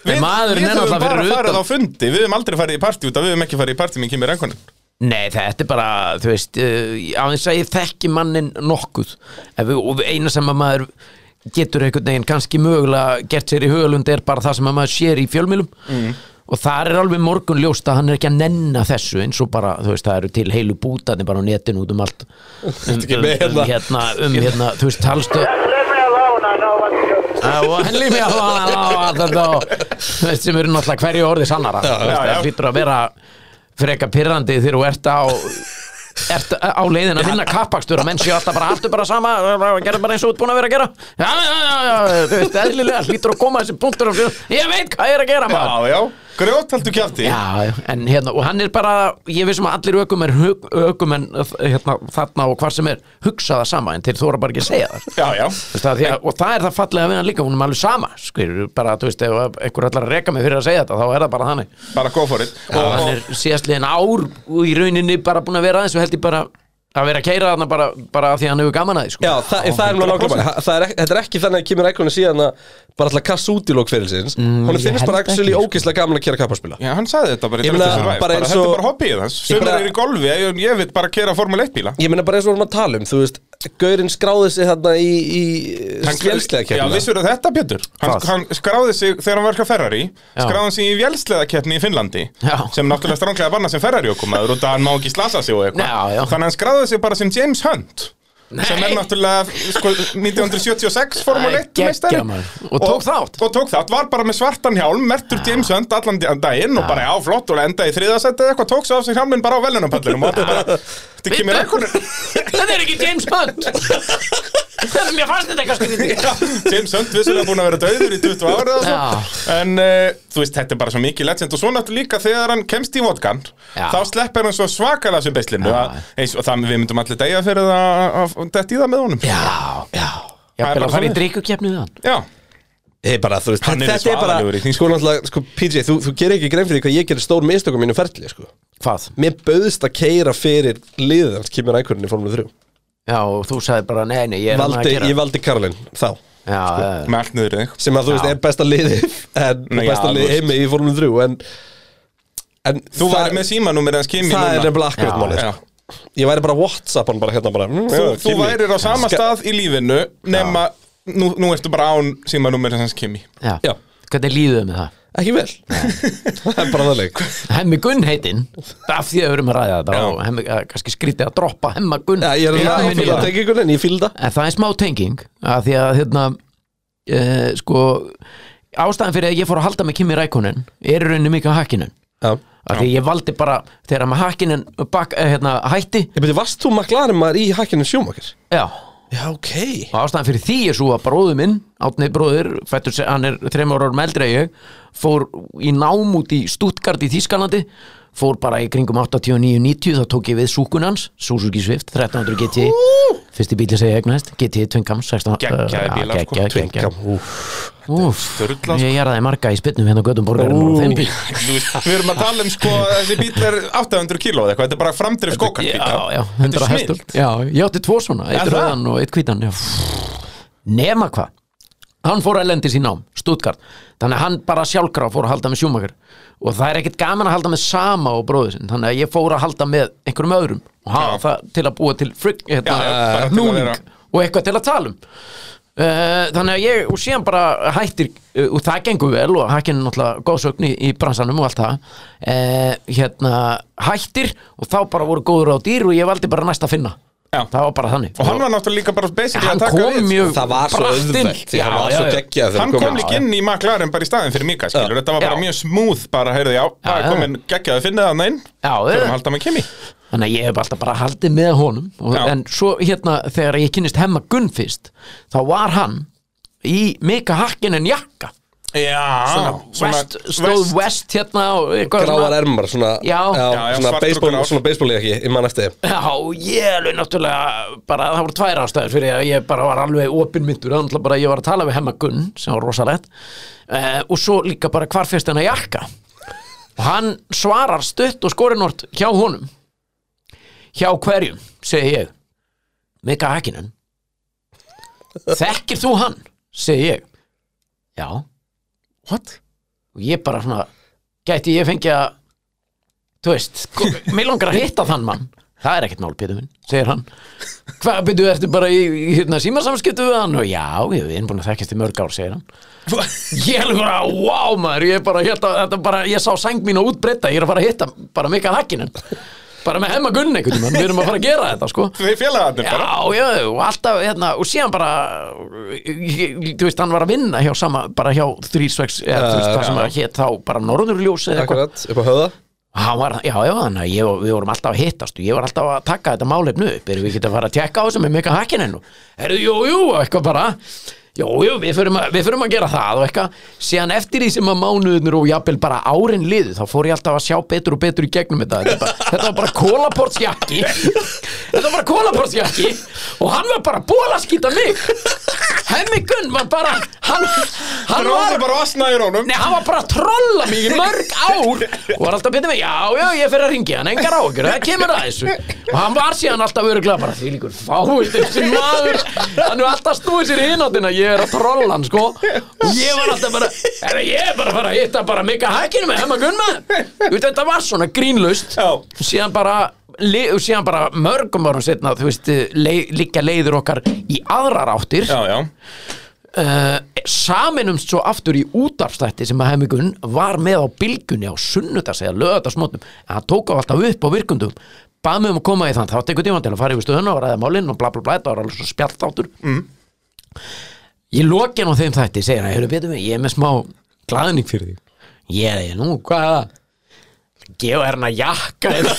Speaker 2: Við,
Speaker 1: En
Speaker 2: við
Speaker 1: maðurinn er
Speaker 2: höfum
Speaker 1: náttúrulega
Speaker 2: bara
Speaker 1: fyrir
Speaker 2: farið
Speaker 1: utan
Speaker 2: á fundi, við höfum aldrei farið í partí út af við höfum ekki farið í partí með Kimi Rækkonen
Speaker 1: Nei, þetta er bara, þú veist uh, aðeins að ég þekki mannin nokkuð Ef við, og eina sem að maður getur einhvern veginn kannski mögulega gert sér í hugalund er bara það sem að maður sér í fjölmilum
Speaker 3: Mm.
Speaker 1: og þar er alveg morgun ljóst að hann er ekki að nenna þessu eins og bara, þú veist, það eru til heilu bútarnir bara á netinu út um allt um, um,
Speaker 3: ekki
Speaker 1: um,
Speaker 3: með hérna.
Speaker 1: hérna, um hérna, þú veist, talstöð
Speaker 5: Leave me alone, I know what to do.
Speaker 1: Já, og hann lífi á þetta og þú veist sem eru náttúrulega hverju orði sannara Þú veist,
Speaker 2: já, já.
Speaker 1: það hlýtur að vera freka pirrandi þegar þú ert á ert á leiðin að vinna kappakstur og menn séu alltaf bara aftur bara sama gerðu bara eins og þú ert búin að vera að gera já, já, já, já, þú veist, eðlilega hlýtur að koma þessi punktur og ég veit hvað ég er að gera maður
Speaker 2: Já, já grjóthaldu kjafti
Speaker 1: Já, já, en hérna, og hann er bara ég vissum að allir ökumenn, hug- ökumenn hérna, þarna og hvar sem er hugsa það sama, en þeir þóra bara ekki að segja það sko.
Speaker 2: já, já.
Speaker 1: Þú veist, að því að, og það er það fallega við hann líka, hún er alveg sama skilur, bara, þú veist, ef einhver ætlar að reka mig fyrir að segja þetta, þá er það bara þannig já,
Speaker 2: bara go for it og,
Speaker 1: hann
Speaker 2: og,
Speaker 1: er síðastliðin ár og í rauninni bara búin að vera aðeins og held ég bara að vera að keira þarna bara, bara af því að hann hefur gaman að því sko.
Speaker 3: Já, það, það er mjög nákvæmlega bara- það er ek- Þetta er ekki þannig að Kimi Rækonin síðan að bara alltaf kassa út í lók fyrir sinns mm, Hún
Speaker 1: ég
Speaker 3: finnst
Speaker 1: held
Speaker 3: bara
Speaker 1: ekki,
Speaker 3: actually
Speaker 1: sko.
Speaker 3: ógeðslega gaman að kera kapparspila
Speaker 2: já, hann sagði þetta bara,
Speaker 3: Ég
Speaker 2: bara,
Speaker 3: meina,
Speaker 2: bara,
Speaker 3: bara
Speaker 2: bara
Speaker 3: eins
Speaker 2: þetta
Speaker 3: og-
Speaker 2: er bara hobbyið hans
Speaker 3: Ég
Speaker 2: sumir
Speaker 3: bara-
Speaker 2: eru í golfi, ég, ég veit bara að kera formule 1 bíla
Speaker 3: Ég meina bara eins og við erum að tala um, þú veist Gaurinn skráði sig þarna í, í skjælslega
Speaker 2: Já,
Speaker 3: kemna
Speaker 2: vissur þetta Björn hann,
Speaker 1: Hvað?
Speaker 2: hann skráði sig þegar hann var hjá Ferrari
Speaker 1: Já.
Speaker 2: skráði sig í vélsleðakeppni í Finnlandi
Speaker 1: Já.
Speaker 2: sem náttúrulega stránglega banna sem Ferrari okkumaður og það hann má ekki slasa sig og
Speaker 1: Já, já.
Speaker 2: eitthvað þannig að hann skráði sig bara sem James Hunt
Speaker 1: Nei.
Speaker 2: sem er náttúrulega sko, 1976 Formule
Speaker 1: Æ,
Speaker 2: 1 meistari.
Speaker 1: geggjað, maður. Og tók þátt.
Speaker 2: og tók þátt, var bara með svartan hjálm mertur James Hunt allan di- daginn og bara já flott og endaði í þriðasætti eða eitthvað tók svo af sig hjálminn bara á velunapallinum og þetta bara, þetta
Speaker 1: Bíddu,
Speaker 2: kemur ekkur
Speaker 1: þetta er ekki James Hunt þetta er mér fannst þetta eitthvað skriðið
Speaker 2: Já, James Hunt vissulega búin að vera döður í 20 ára eða svo En uh, þú veist, þetta er bara svo mikið legend Og svo náttúrulega líka þegar hann kemst í vodkan
Speaker 1: Já.
Speaker 2: Þá sleppir hann svo svakalega sem beislinu
Speaker 1: Já.
Speaker 2: eins, Og þannig við myndum allir degja fyrir það að- að Þetta í það með honum
Speaker 1: Já, já Ég
Speaker 2: Það er bara
Speaker 1: vil að fara í
Speaker 2: þannig.
Speaker 1: drikkukefnið hann
Speaker 2: Já,
Speaker 3: Ég bara, þú veist,
Speaker 2: Hann er
Speaker 3: þetta er
Speaker 2: svaðalegur í
Speaker 3: bara
Speaker 2: því.
Speaker 3: Sko náttúrulega, sko PJ, þú, þú gerir ekki grein fyrir því hvað ég gerir stór mistökum mínu ferli, sko
Speaker 1: Hvað?
Speaker 3: Mér bauðst að keira fyrir liðið hans Kimi Rækonin í Formule 3
Speaker 1: Já, og þú sagði bara nei, nei, ég er hann að
Speaker 3: valdi,
Speaker 1: gera
Speaker 3: Ég valdi Karlin þá
Speaker 1: Já, já,
Speaker 2: með allt niður í þig
Speaker 3: sem að þú veist
Speaker 1: Já.
Speaker 3: er besta liði en
Speaker 2: Nei,
Speaker 3: besta
Speaker 2: já, þú
Speaker 3: liði
Speaker 2: veist.
Speaker 3: heimi í Formule 3 en, en
Speaker 2: Þú væri með símanúmer hans Kimi
Speaker 3: það er
Speaker 2: núna
Speaker 3: nefnilega akkurat
Speaker 1: Já,
Speaker 3: málið
Speaker 2: Já.
Speaker 3: sko. ég væri bara Whatsapp hann bara hérna bara mm,
Speaker 2: Þú,
Speaker 3: já,
Speaker 2: þú
Speaker 3: Kimi.
Speaker 2: værir á sama
Speaker 3: Ska-
Speaker 2: stað í lífinu Nefna, nú, nú ertu bara án símanúmer hans Kimi
Speaker 1: já.
Speaker 3: Já.
Speaker 1: Hvernig líðuðu með það?
Speaker 3: ekki vel það er bara þannig
Speaker 1: Hemmi Gunn heitinn Af því að við erum að ræða þetta
Speaker 2: Já.
Speaker 1: og hemmi, eh, kannski skrítið að droppa Hemma Gunn
Speaker 3: Já, ég er
Speaker 1: Já,
Speaker 3: alveg að
Speaker 1: minni
Speaker 3: fíla
Speaker 1: það.
Speaker 3: tengingun en ég fíla það
Speaker 1: En það er smá tenging að því að hérna e, sko ástæðan fyrir að ég fór að halda með Kimi Rækonin er í rauninni mikið á hakkinin
Speaker 3: Já.
Speaker 1: að því að ég valdi bara þegar maður hakkinin bak, eh, hérna, hætti
Speaker 3: ég beti, varst þú maklarinn maður í hækjunum sjómakir?
Speaker 1: já,
Speaker 3: já, ok
Speaker 1: og ástæðan fyrir því er svo að bróðu minn Átni bróður, fættur, se- hann er þreymur árum eldri en ég fór í nám út í Stuttgart í Þískalandi fór bara í kringum 89-90 þá tók ég við súkun hans, Suzuki Swift 1300 GT, E. fyrsti bíli segja eignast GT Twincam 16
Speaker 2: Geggjaðir
Speaker 1: eh,
Speaker 2: bílar, sko.
Speaker 1: geggjaðir, geggjaðir.
Speaker 3: Twinkam, úf
Speaker 1: Úf,
Speaker 2: sturlað,
Speaker 1: ég jarðaði marga í spynnum hérna á göttum borgarinnar og þeim bíl
Speaker 2: Þú veist, Við erum að tala um sko að Þessi bíl er 800 kíló eða eitthvað Þetta er bara framdrif skókarbíl
Speaker 1: Já, já,
Speaker 2: Þetta
Speaker 1: 100
Speaker 2: er
Speaker 1: hestur
Speaker 2: snilt
Speaker 1: Já, ég átti tvo svona,
Speaker 2: Er
Speaker 1: eitt
Speaker 2: það?
Speaker 1: rauðan og eitt hvítan já. Nema hvað Hann fór að lendi sín nám, Stuttgart Þannig að hann bara sjálfgrá fór að halda með sjúmakar Og það er ekkit gaman að halda með sama og bróðu sinn Þannig að ég fór að halda með einhverjum öðrum Og hafa
Speaker 2: Já.
Speaker 1: það til að búa til frigg, hérna,
Speaker 2: Já, já, bara til að
Speaker 1: núning
Speaker 2: vera-
Speaker 1: Og eitthvað til að tala um Uh, þannig að ég, og síðan bara hættir uh, og það gengur vel og hakkin er náttúrulega góðsögn í, í bransanum og allt það uh, hérna hættir og þá bara voru góður á dýr og ég valdi bara næst að finna
Speaker 2: Já.
Speaker 1: það var bara þannig
Speaker 2: Og hann var náttúrulega líka bara basically
Speaker 1: hann
Speaker 2: að taka
Speaker 1: kom mjög
Speaker 3: það var svo
Speaker 1: bratt inn.
Speaker 3: auðvelt
Speaker 1: já,
Speaker 3: það var
Speaker 1: já,
Speaker 3: svo
Speaker 1: já.
Speaker 3: geggjað þegar
Speaker 2: Hann
Speaker 3: komið.
Speaker 2: kom líka inn í McLaren bara í staðin fyrir Mika skilur Þetta var bara
Speaker 1: Já.
Speaker 2: mjög smúð bara, heyrðu, já, það
Speaker 1: já.
Speaker 2: er komin geggjaði finnið hann inn
Speaker 1: Já,
Speaker 2: Þurfum
Speaker 1: já.
Speaker 2: að halda með Kimi
Speaker 1: Þannig að ég hef alltaf bara haldið með honum og,
Speaker 2: Já.
Speaker 1: En svo hérna þegar ég kynist hemma Gunn fyrst Þá var hann í Mika Hakkinen jakka
Speaker 2: Já,
Speaker 1: West, Stóð West, hérna og eitthvað
Speaker 3: gráar
Speaker 1: svona-
Speaker 3: ermar svona,
Speaker 1: Já. Já,
Speaker 2: já,
Speaker 3: svona
Speaker 2: svartur og
Speaker 3: baseball,
Speaker 2: grár.
Speaker 3: svona baseball ekki, ég man eftir þeim.
Speaker 1: Já, ég alveg náttúrulega bara, það voru tvær ástæður fyrir að ég bara var alveg opinmyndur, þannig að bara ég var að tala við hemma Gunn, sem var rosalegt uh, og svo líka bara hvar fyrst hennar jakka og hann svarar stutt og skorinort hjá honum hjá hverjum, segi ég Mika Hakkinen Þekkir þú hann? segi ég Já, og
Speaker 2: What?
Speaker 1: ég bara svona gæti ég fengið að þú veist, ko- mig langar að hitta þann mann það er ekkert mál, Pétur minn, segir hann hvað, Pétur, ertu bara í, í hérna, símarsamskiptu við hann og já, ég hef innbúin að þekkjast í mörg ár, segir hann ég er bara, wow maður, ég er bara hérna, þetta bara, ég sá sæng mín og útbreyta ég er að fara að hitta bara Mikael Hakkinen bara með hemma gunn einhvern veginn, við erum að fara að gera þetta sko
Speaker 2: Þau félagarnir bara
Speaker 1: Já, já, og alltaf, hérna, og síðan bara ég- ég- þú veist, hann var að vinna hjá sama, bara hjá þrýsvegs eða þú veist, það sem að hétt þá bara Norðurljós eða eitthvað
Speaker 3: akkurat, upp á höða
Speaker 1: Hann var, já, já, þannig að ég, og- við vorum alltaf að hittast og ég var alltaf að taka þetta málefnu upp erum við ekki að fara að tekka á þessu með mika hakkinin og, herðu, jú, jú, og eitthvað bara Jú, jú, við förum, að, við förum að gera það og eitthvað síðan eftir því sem að mánuðinur og jafnvel bara árin liðu þá fór ég alltaf að sjá betur og betur í gegnum þetta þetta, bara- þetta var bara kólaportsjakki þetta var bara kólaportsjakki og hann var bara bólaskýta mig Hemmi Gunn var bara hann, hann var
Speaker 2: Dróðu bara asna í rónum
Speaker 1: Nei, hann var bara að trolla mig í mörg ár og var alltaf að byrja mig, já, já, ég fer að ringja hann, engar áhugur, það kemur að þessu og hann var síðan alltaf öruglega bara því líkur fáið þessi maður hann er alltaf snúið sér í hináttina, ég er að trolla hann, sko og ég var alltaf bara, herra, ég er bara að fara að hitta bara mikka hækinu með hemma gunna Þú veit, þetta var svona grínlust
Speaker 2: Já.
Speaker 1: og síðan bara le- og síðan bara mörgum árum setna þú veist, le, liggja leiður okkar í aðrar áttir
Speaker 2: Já, já
Speaker 1: uh, saminumst svo aftur í útarfstætti sem að Hemmigun var með á bylgunni á sunnudags eða lögadagsmótnum en hann tók á alltaf upp á virkundum bað mig um að koma í þann, þá tekur tíma til að fara yfir stöðuna og ræða málinn og bla bla bla, þetta var alveg svo spjalltáttur mm. ég lokin á þeim þætti segir hann, hefur betur mig, ég er með smá glæðning fyrir því ég, nú, hvað er það? gefa hérna jakka hérna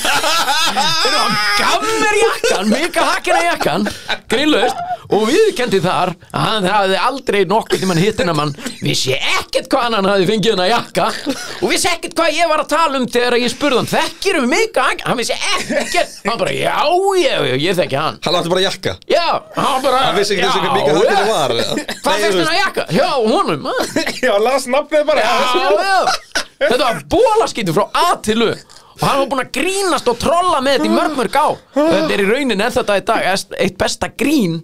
Speaker 1: Þeir eru hann gaf mér jakkan, mika hakkina jakkan grillust og viðkendi þar að hann hafði aldrei nokkuð tímann hitt hennar mann vissi ekkert hvað hann hafði fengið hennar jakka og vissi ekkert hvað ég var að tala um þegar ég spurði hann þekkirum mika hakkin, hann vissi ekkert hann bara já, já, já, ég þekki hann
Speaker 3: Hann átti bara jakka
Speaker 1: já, hann bara
Speaker 3: Hann vissi ekki þessi
Speaker 1: já,
Speaker 3: hver mikið
Speaker 1: já.
Speaker 3: hættir var eða?
Speaker 1: hvað
Speaker 3: Nei,
Speaker 1: fyrst
Speaker 3: þú
Speaker 1: hennar jakka? já, honum, maður
Speaker 2: Já, las nafnið bara
Speaker 1: Já, já. Þetta var bólaskýtu frá A til U Og hann var búinn að grínast og trolla með þetta í mörg mörg á Og þetta er í raunin en þetta í dag Eitt besta grín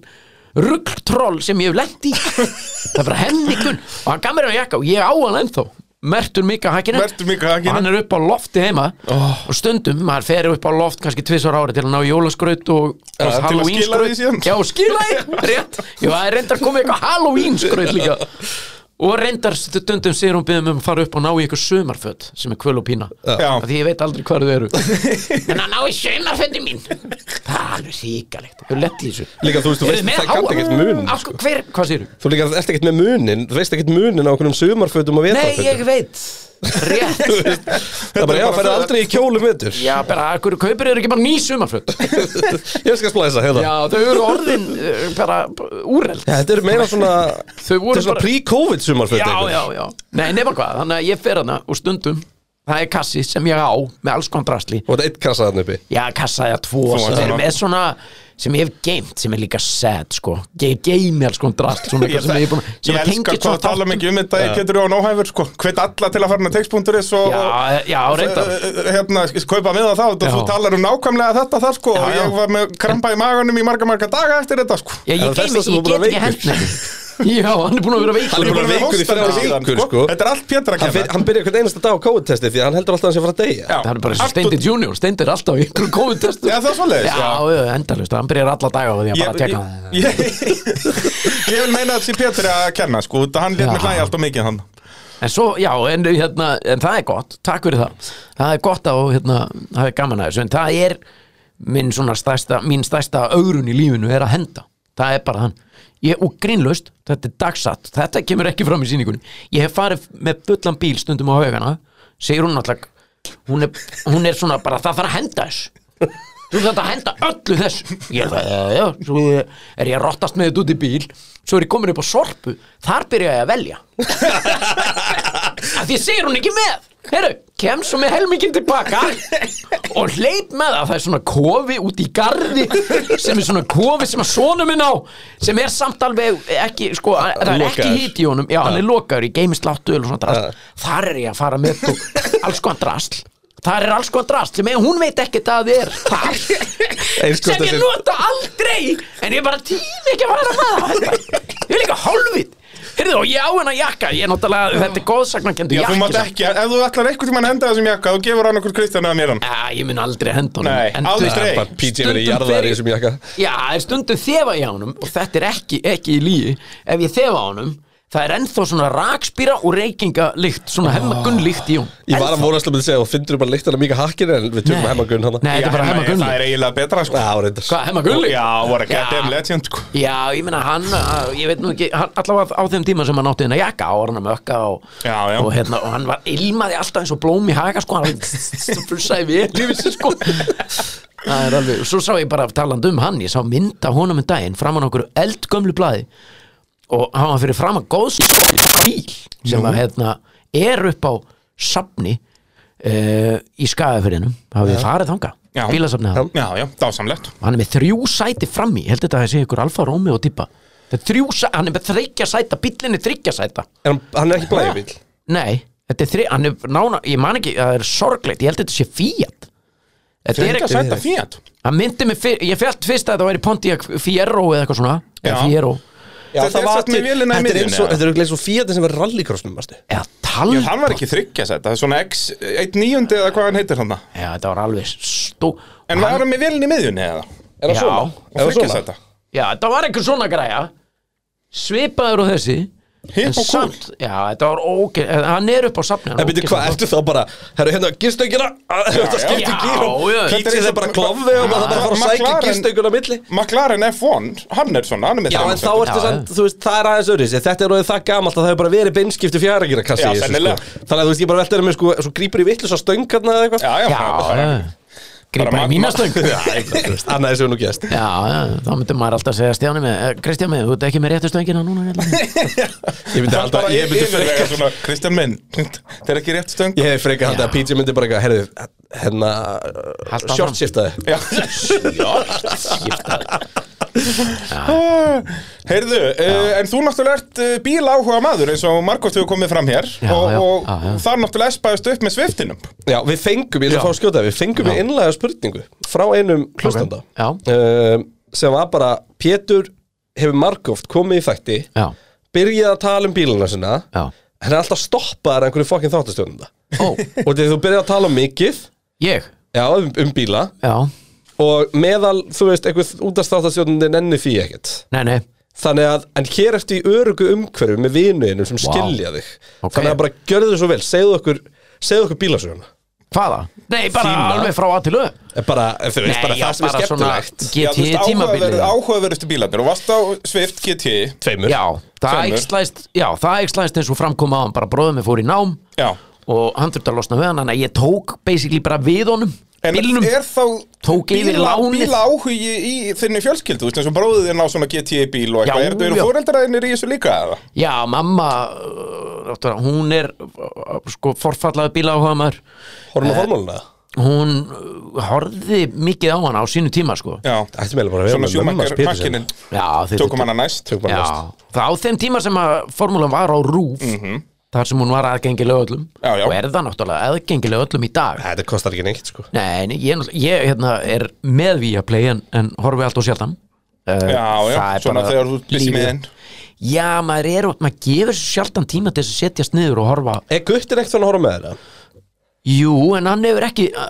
Speaker 1: Ruggtroll sem ég hef lent í Það er bara hennikun Og hann gaf mér hann jakka og ég á hann ennþá Mertur Mika Hakinen
Speaker 2: Mertur Mika Hakkinen. Oh.
Speaker 1: Og Hann er upp á lofti heima Og stundum, maður fer upp á loft kannski tvisvar ári Til að ná jólaskraut og
Speaker 2: til að
Speaker 1: Halloween
Speaker 2: skila því
Speaker 1: skraut.
Speaker 2: síðan.
Speaker 1: Já, skilaði, rétt Já, það er reyndar komið eitthvað Halloween skraut líka Og reyndar stundum sér hún byggðum um að fara upp og ná í eitthvað sömarföt sem er kvöl og pína
Speaker 2: Já.
Speaker 1: Af Því ég veit aldrei hvar þau eru En að ná í sömarfötin mín Það er alveg síkalegt Þú lett í þessu
Speaker 3: Líka þú veist, þú
Speaker 1: Eru
Speaker 3: veist,
Speaker 1: með
Speaker 3: það kann
Speaker 1: háa-
Speaker 3: ekkert mun
Speaker 2: sko.
Speaker 1: Af- Hver, hvað séru?
Speaker 3: Þú líka ert ekkert með munin, þú veist ekkert munin á okkur um sumarfötum og
Speaker 1: Nei, ég
Speaker 3: vetarfötum
Speaker 1: veit Rétt
Speaker 3: Það er bara, já,
Speaker 2: bara
Speaker 3: færðu
Speaker 2: föt.
Speaker 3: aldrei í kjólu mötur
Speaker 1: Já, bara, af hverju kaupir eru ekki bara ný sömarföt
Speaker 3: Ég skal splæsa, hérna
Speaker 1: Já, þau eru orðin eh, bara úreld
Speaker 3: Þetta eru meira svona,
Speaker 1: Þau voru
Speaker 3: þetta er svona
Speaker 1: bara-
Speaker 3: pre-covid sumarfötum
Speaker 1: já, já, já Nei, nema hvað, þannig að ég fer hana og stundum Það er kassi sem ég á með alls kontrastli
Speaker 3: Og þetta er eitt kassa þarna uppi
Speaker 1: Já, kassa eða tvo
Speaker 2: Tvo,
Speaker 1: sem er
Speaker 2: já.
Speaker 1: með svona sem ég hef geimt, sem er líka sad sko. ég geimi alls kontrast svona eitthvað sem ég er búin að- sem
Speaker 2: Ég
Speaker 1: að
Speaker 2: elska
Speaker 1: tengja
Speaker 2: hvað það tala mikið um þetta Ég getur á nóhæfur, sko Hvet alla til að fara inn á text.is um og
Speaker 1: Já, já, reyndar
Speaker 2: og- hérna, kaupa með það þá
Speaker 1: Já.
Speaker 2: þú talar um nákvæmlega þetta þar sko og
Speaker 1: já.
Speaker 2: ég var með krampa í maganum í marga marga daga eftir þetta sko
Speaker 1: Já,
Speaker 3: Er
Speaker 1: ég
Speaker 3: það
Speaker 1: geimi,
Speaker 3: þess að þú
Speaker 1: ég
Speaker 3: búin að
Speaker 1: get ekki
Speaker 3: veikur?
Speaker 1: hendni Já, hann er búin að vera veikur
Speaker 3: Hann er búinn að
Speaker 2: Ég
Speaker 3: veikur í
Speaker 2: hósta
Speaker 3: þrjár
Speaker 2: þetta
Speaker 3: vikur,
Speaker 2: síðan,
Speaker 3: sko.
Speaker 2: Þetta er allt Pétur að
Speaker 3: Hann,
Speaker 2: kenna
Speaker 3: fer, hann byrja eitthvað einasta dag á COVID-testi því að hann heldur alltaf að hann sé að fara að deyja
Speaker 2: Já.
Speaker 1: Það er bara eins og
Speaker 2: Allt
Speaker 1: Steindir
Speaker 2: út-
Speaker 1: Junior, Steindir alltaf í einhverjum COVID-testu
Speaker 2: Já, það er svoleiðis,
Speaker 1: Já, já, endalust, hann byrjar alla daga á því að
Speaker 2: Ég,
Speaker 1: bara tjekka
Speaker 2: ég, ég, ég vil meina að þetta sé Pétur að kenna sko, þetta hann létt
Speaker 1: Já.
Speaker 2: mig hlæja allt og mikið hann
Speaker 1: En svo, já, en, hérna, en það er gott, takk fyrir það Það er gott að, hérna, það er gaman að þessu En það er minn svona stærsta, mín stærsta augrun í lífinu er að henda Það er bara hann ég, Og grínlaust, þetta er dagsatt, þetta kemur ekki fram í sýningunni Ég hef farið með fullan bíl stundum á haugana Segir hún náttúrulega hún er, hún er svona bara, það þarf að henda þessu Þú þarf að henda öllu þessu Ég er það, já, já, svo er ég að rottast með þetta út í bíl Svo er ég komin upp á sorpu Þar byrja ég að velja að því segir hún ekki með Heru, kem svo með helmingin tilbaka og hleyp með það það er svona kofi út í garði sem er svona kofi sem að sonu minn á sem er samt alveg ekki sko, það er ekki
Speaker 3: Lokaður.
Speaker 1: hít í honum já, hann er lokaður í geimistláttu og svona drast þar er ég að fara með þú alls konar drast þar er alls konar drast sem ég, hún veit ekkert að það er þar
Speaker 3: Eins gott
Speaker 1: sem
Speaker 3: að
Speaker 1: ég
Speaker 3: sé-
Speaker 1: nota aldrei en ég bara tími ekki að fara með það ég er líka hálfið Heyrðu, og ég á hennar jakka, ég er náttúrulega, þetta er góðsagnakendu
Speaker 2: Já,
Speaker 1: jakki
Speaker 2: þú mátt ekki, ef þú ætlar einhvern tímann að henda þessum jakka þú gefur hann okkur Kristján eða mér hann
Speaker 1: Já, ég mun aldrei henda honum
Speaker 2: Nei,
Speaker 1: þú
Speaker 2: aldrei.
Speaker 1: veist-
Speaker 2: Nei,
Speaker 3: Bara PJ verið
Speaker 1: stundum fer
Speaker 3: jarðaður í
Speaker 1: ég-
Speaker 3: þessum jakka
Speaker 1: Já, er stundum þefa í honum og þetta er ekki, ekki í líi Ef ég þefa á honum, það er ennþá svona rakspýra og reykinga líkt Svona hemmagunn líkt í hún
Speaker 3: Ég var að vonast að myndi segja og finnur bara lyktina mika hakkinu en við tökum
Speaker 1: Nei.
Speaker 3: hemmagun hann
Speaker 1: Nei, þetta er bara
Speaker 2: Já,
Speaker 1: hemmagunn
Speaker 2: Það er eiginlega betra sko
Speaker 3: Já, reyndar
Speaker 1: Hvað, hemmagunn líkt?
Speaker 2: Já, voru að geta
Speaker 1: Já.
Speaker 2: um legend sko
Speaker 1: Já, ég meina hann, uh, ég veit nú ekki, hann, allavega á þeim tíma sem hann átti hennar jakka á hann að mökka og,
Speaker 2: Já, já.
Speaker 1: og, hérna, og hann var ilmaði alltaf eins og blóm í haka sko, hann flussaði vel yfir sig sko. Það er um alveg, svo sá ég bara taland um hann, ég sá mynd af honum en daginn framan okkur eldgömlu blaði og hann var fyrir fram að góðs bíl sem að hérna er upp á safni uh, í skæðafyrinum hafið þið farið þanga,
Speaker 2: Já.
Speaker 1: bílasafnið hann.
Speaker 2: Já, já, dásamlegt
Speaker 1: hann er með þrjú sæti frammi ég held þetta að það sé ykkur Alfa Rómi og Dibba Það er þrjú sæ- hann er með þryggja sæta, bílinni þryggja sæta
Speaker 3: Er hann, hann er ekki blæjubíl
Speaker 1: nei, þetta er þri, hann er nána ég man ekki, það er sorglegt, ég held þetta sé Fiat þetta er
Speaker 2: Þryggja
Speaker 1: ekki,
Speaker 2: sæta Fiat
Speaker 1: hann myndi mig fyrir, ég fælt fyrst að þetta væri Pontiac Fiero eða eitthvað svona, eða
Speaker 2: Já.
Speaker 1: Fiero
Speaker 3: Já,
Speaker 2: Þetta
Speaker 3: það
Speaker 2: er
Speaker 3: var
Speaker 2: satt með
Speaker 3: til-
Speaker 2: vélina í
Speaker 3: Þetta er eins og
Speaker 2: miðjunni,
Speaker 3: Þetta er eins og fíatin sem er rallycrossnum varstu.
Speaker 1: eða
Speaker 2: Já,
Speaker 1: tal
Speaker 2: Hann var ekki þryggja sæta, það er svona X, 1 níundi eða hvað hann heitir hann
Speaker 1: Já, þetta var alveg stó
Speaker 2: En var hann með velin í miðjunni eða?
Speaker 3: Er það
Speaker 1: Já.
Speaker 3: svona?
Speaker 2: Og
Speaker 3: Er það
Speaker 2: þryggja
Speaker 3: svona?
Speaker 2: sæta
Speaker 1: Já, þetta var einhver svona græja Svipaður og þessi en
Speaker 2: Hipp og kúl
Speaker 1: samt- Já, þetta var ógeð en Hann er upp á safni hann
Speaker 3: En byrju,
Speaker 1: ógeð-
Speaker 3: hvað ertu þá bara Herru, hérna, gistöngina Þetta skipti
Speaker 1: já,
Speaker 3: gír og
Speaker 1: já, þetta er
Speaker 3: Pítsi
Speaker 2: eins
Speaker 3: það
Speaker 2: og-
Speaker 3: bara klofði og maður þarf bara að fara að sækja
Speaker 2: McLaren-
Speaker 3: gistönguna á milli
Speaker 2: McLaren F1, hann er svona, hann er með
Speaker 3: Já,
Speaker 2: þriggja
Speaker 3: en þá
Speaker 2: sæta.
Speaker 3: ertu
Speaker 1: Já,
Speaker 3: samt, þú veist, það er aðeins öðris Þetta er orðið það gamalt að það hefur bara verið beinskipti fjaragira kassi
Speaker 2: Já,
Speaker 3: í þessu,
Speaker 2: sennilega.
Speaker 3: sko. Þannig að þú veist, ég bara velta verið með sko Svo grípur í vittlis á stöngarna eða eitthvað
Speaker 2: Já, já,
Speaker 1: Já,
Speaker 2: það er-
Speaker 1: já. grípa
Speaker 2: Bara
Speaker 1: í
Speaker 2: ma-
Speaker 1: mínastöng
Speaker 2: ma-
Speaker 1: Já,
Speaker 3: Þú veist, Annað þessu nú gæst
Speaker 1: já, þá myndum maður alltaf að segja Stjáni með eh, Kristján með, þú ert ekki með réttu stöngina núna hérna.
Speaker 3: Ég
Speaker 2: Það
Speaker 3: myndi
Speaker 2: er
Speaker 3: alltaf,
Speaker 2: bara
Speaker 3: ég myndi
Speaker 2: yfirlega
Speaker 3: frekar
Speaker 2: svona, Kristján minn, það er ekki rétt stöng
Speaker 3: Ég hef frekar haldið að Pítsi myndi bara eitthvað Herðu, hérna,
Speaker 1: Haltu áfram.
Speaker 3: shortshiftaði
Speaker 2: Já. Heyrðu, uh, en þú náttúrulega ert uh, bíláhuga maður eins og Margot hefur komið fram hér
Speaker 1: Já,
Speaker 2: og,
Speaker 1: já,
Speaker 2: og
Speaker 1: já, já.
Speaker 2: þar náttúrulega espaðist upp með sviftinum
Speaker 3: Já, við fengum, ég ætla að fá að skjóta það, við fengum við innlega spurningu frá einum hlustanda
Speaker 1: Já.
Speaker 3: um, sem var bara Pétur hefur margóft komið í þætti
Speaker 1: Já,
Speaker 3: byrjaði að tala um bíluna sinna
Speaker 1: já
Speaker 3: hann er alltaf stoppaðar einhverju fokkin þáttastjónum það
Speaker 1: Ó,
Speaker 3: og þegar þú byrjaði að tala um mikið
Speaker 1: ég
Speaker 3: já, um, um bíla
Speaker 1: Já,
Speaker 3: og meðal, þú veist, einhver útastáttasjónum nenni því ekkert
Speaker 1: nei, nei
Speaker 3: þannig að, en hér ertu í örugu umhverfi með vinuðinum sem skilja þig
Speaker 1: Ok.
Speaker 3: þannig að bara gjörðu þig svo vel, segðu okkur segðu okkur bílasöguna
Speaker 1: Hvaða? Nei, bara
Speaker 3: Þína.
Speaker 1: alveg frá að til öð
Speaker 3: bara, þú veist, bara
Speaker 1: Nei, já,
Speaker 3: það sem er
Speaker 1: bara svona
Speaker 3: skemmtilegt
Speaker 1: GT tímabilið
Speaker 2: Áhugaverðustu bílarnir og varst á svift GT
Speaker 3: Tveimur
Speaker 1: Já, það
Speaker 2: Tveimur.
Speaker 1: ægslæst Já, það ægslæst eins og framkom á hann bara bróðum við fór í nám
Speaker 2: Já,
Speaker 1: og hann þurfti að losna við hann þannig að ég tók basically bara við honum
Speaker 2: en
Speaker 1: bílnum
Speaker 2: er þá
Speaker 1: Tók yfir lánið.
Speaker 2: bíláhugi í þinni fjölskyldu, þú veist eins og bróðið þinn á svona GT bíl og eitthvað,
Speaker 1: Já,
Speaker 2: ertu
Speaker 1: já.
Speaker 2: eru fóreldræðinir í þessu líka eða?
Speaker 1: já, mamma uh, náttúrulega, hún er uh, sko forfallaði bíláhugamar
Speaker 3: Horfum á formáluna
Speaker 1: hún uh, horfði mikið á hann á sínu tíma sko
Speaker 2: Já,
Speaker 3: Ættum eiginlega bara að vera
Speaker 2: svona
Speaker 3: með mömmu
Speaker 2: sjúmakar
Speaker 3: hans Péturs hérna.
Speaker 2: makkinin,
Speaker 1: já, þeir-
Speaker 2: tökum hana næst
Speaker 3: Tökum hann
Speaker 1: já,
Speaker 3: næst
Speaker 1: það á þeim tíma sem að formúlan var á rúf þar sem hún var aðgengileg öllum
Speaker 2: Mhm. Já, já.
Speaker 1: og er það náttúrulega aðgengileg öllum í dag
Speaker 3: hérna? Þetta kostar ekki neitt sko
Speaker 1: Nei, nei, ég, er náttúrulega- ég hérna, er með Viaplay en, en horfi allt og sjaldan uh,
Speaker 2: Já, já, svona þegar þú ert busy með þeim.
Speaker 1: Já, maður er, maður gefur sér sjaldan tíma til þess að setjast niður og horfa
Speaker 3: Er guttin ekkert svona að horfa með þeirra?
Speaker 1: Jú, en hann hefur ekki uh,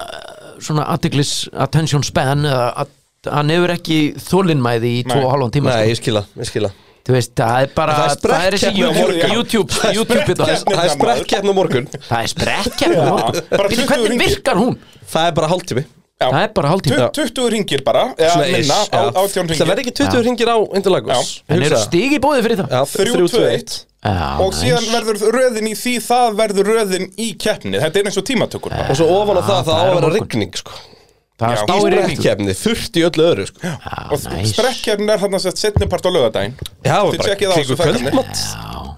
Speaker 1: svona athyglis, attention span eða að, hann hefur ekki þólinmæði í tvo og halvan tíma
Speaker 3: Nei,
Speaker 1: sko.
Speaker 3: ég skila, ég skila
Speaker 1: Þú veist, það er bara,
Speaker 3: En það er
Speaker 1: það er þessi
Speaker 3: sprettkeppni á
Speaker 1: YouTube,
Speaker 2: morgun.
Speaker 1: YouTube, YouTube
Speaker 2: sprettkeppni.
Speaker 1: það,
Speaker 3: Það er sprett keppn á morgun
Speaker 1: það er sprettkeppni á morgun.
Speaker 2: bara
Speaker 1: Býtu,
Speaker 2: 20
Speaker 1: Hvernig
Speaker 2: hringir.
Speaker 1: virkar hún?
Speaker 3: Það er bara hálftími
Speaker 2: Já.
Speaker 1: Það er bara hálftíma
Speaker 2: 20 ringir bara, eða
Speaker 3: Svona ish,
Speaker 2: minna,
Speaker 3: já.
Speaker 2: á- átján
Speaker 3: Það verður
Speaker 2: ringir
Speaker 3: ekki 20 ringir á Interlagos
Speaker 2: Já.
Speaker 1: En eru stig í bóði fyrir það?
Speaker 2: 3, 2, 1
Speaker 1: Já,
Speaker 2: og síðan
Speaker 1: Ah, nice.
Speaker 2: verður röðin í því það verður röðin í keppni þetta er eins og tímatökur bara.
Speaker 3: Og svo ofan á það, það á
Speaker 1: það er
Speaker 3: að
Speaker 1: á
Speaker 3: vera
Speaker 1: morgun.
Speaker 3: rigning sko
Speaker 1: Það er
Speaker 2: Já.
Speaker 1: spáir í
Speaker 3: Sprett keppni, þurft í öllu öðru sko Já,
Speaker 1: Já,
Speaker 2: og
Speaker 1: næs.
Speaker 2: sprekkjarn er þarna sett setni part á lögadaginn
Speaker 3: það
Speaker 2: Þið
Speaker 3: er bara
Speaker 2: tjekkið á þessu
Speaker 3: klingu
Speaker 2: þættinni.
Speaker 3: kvöldmatt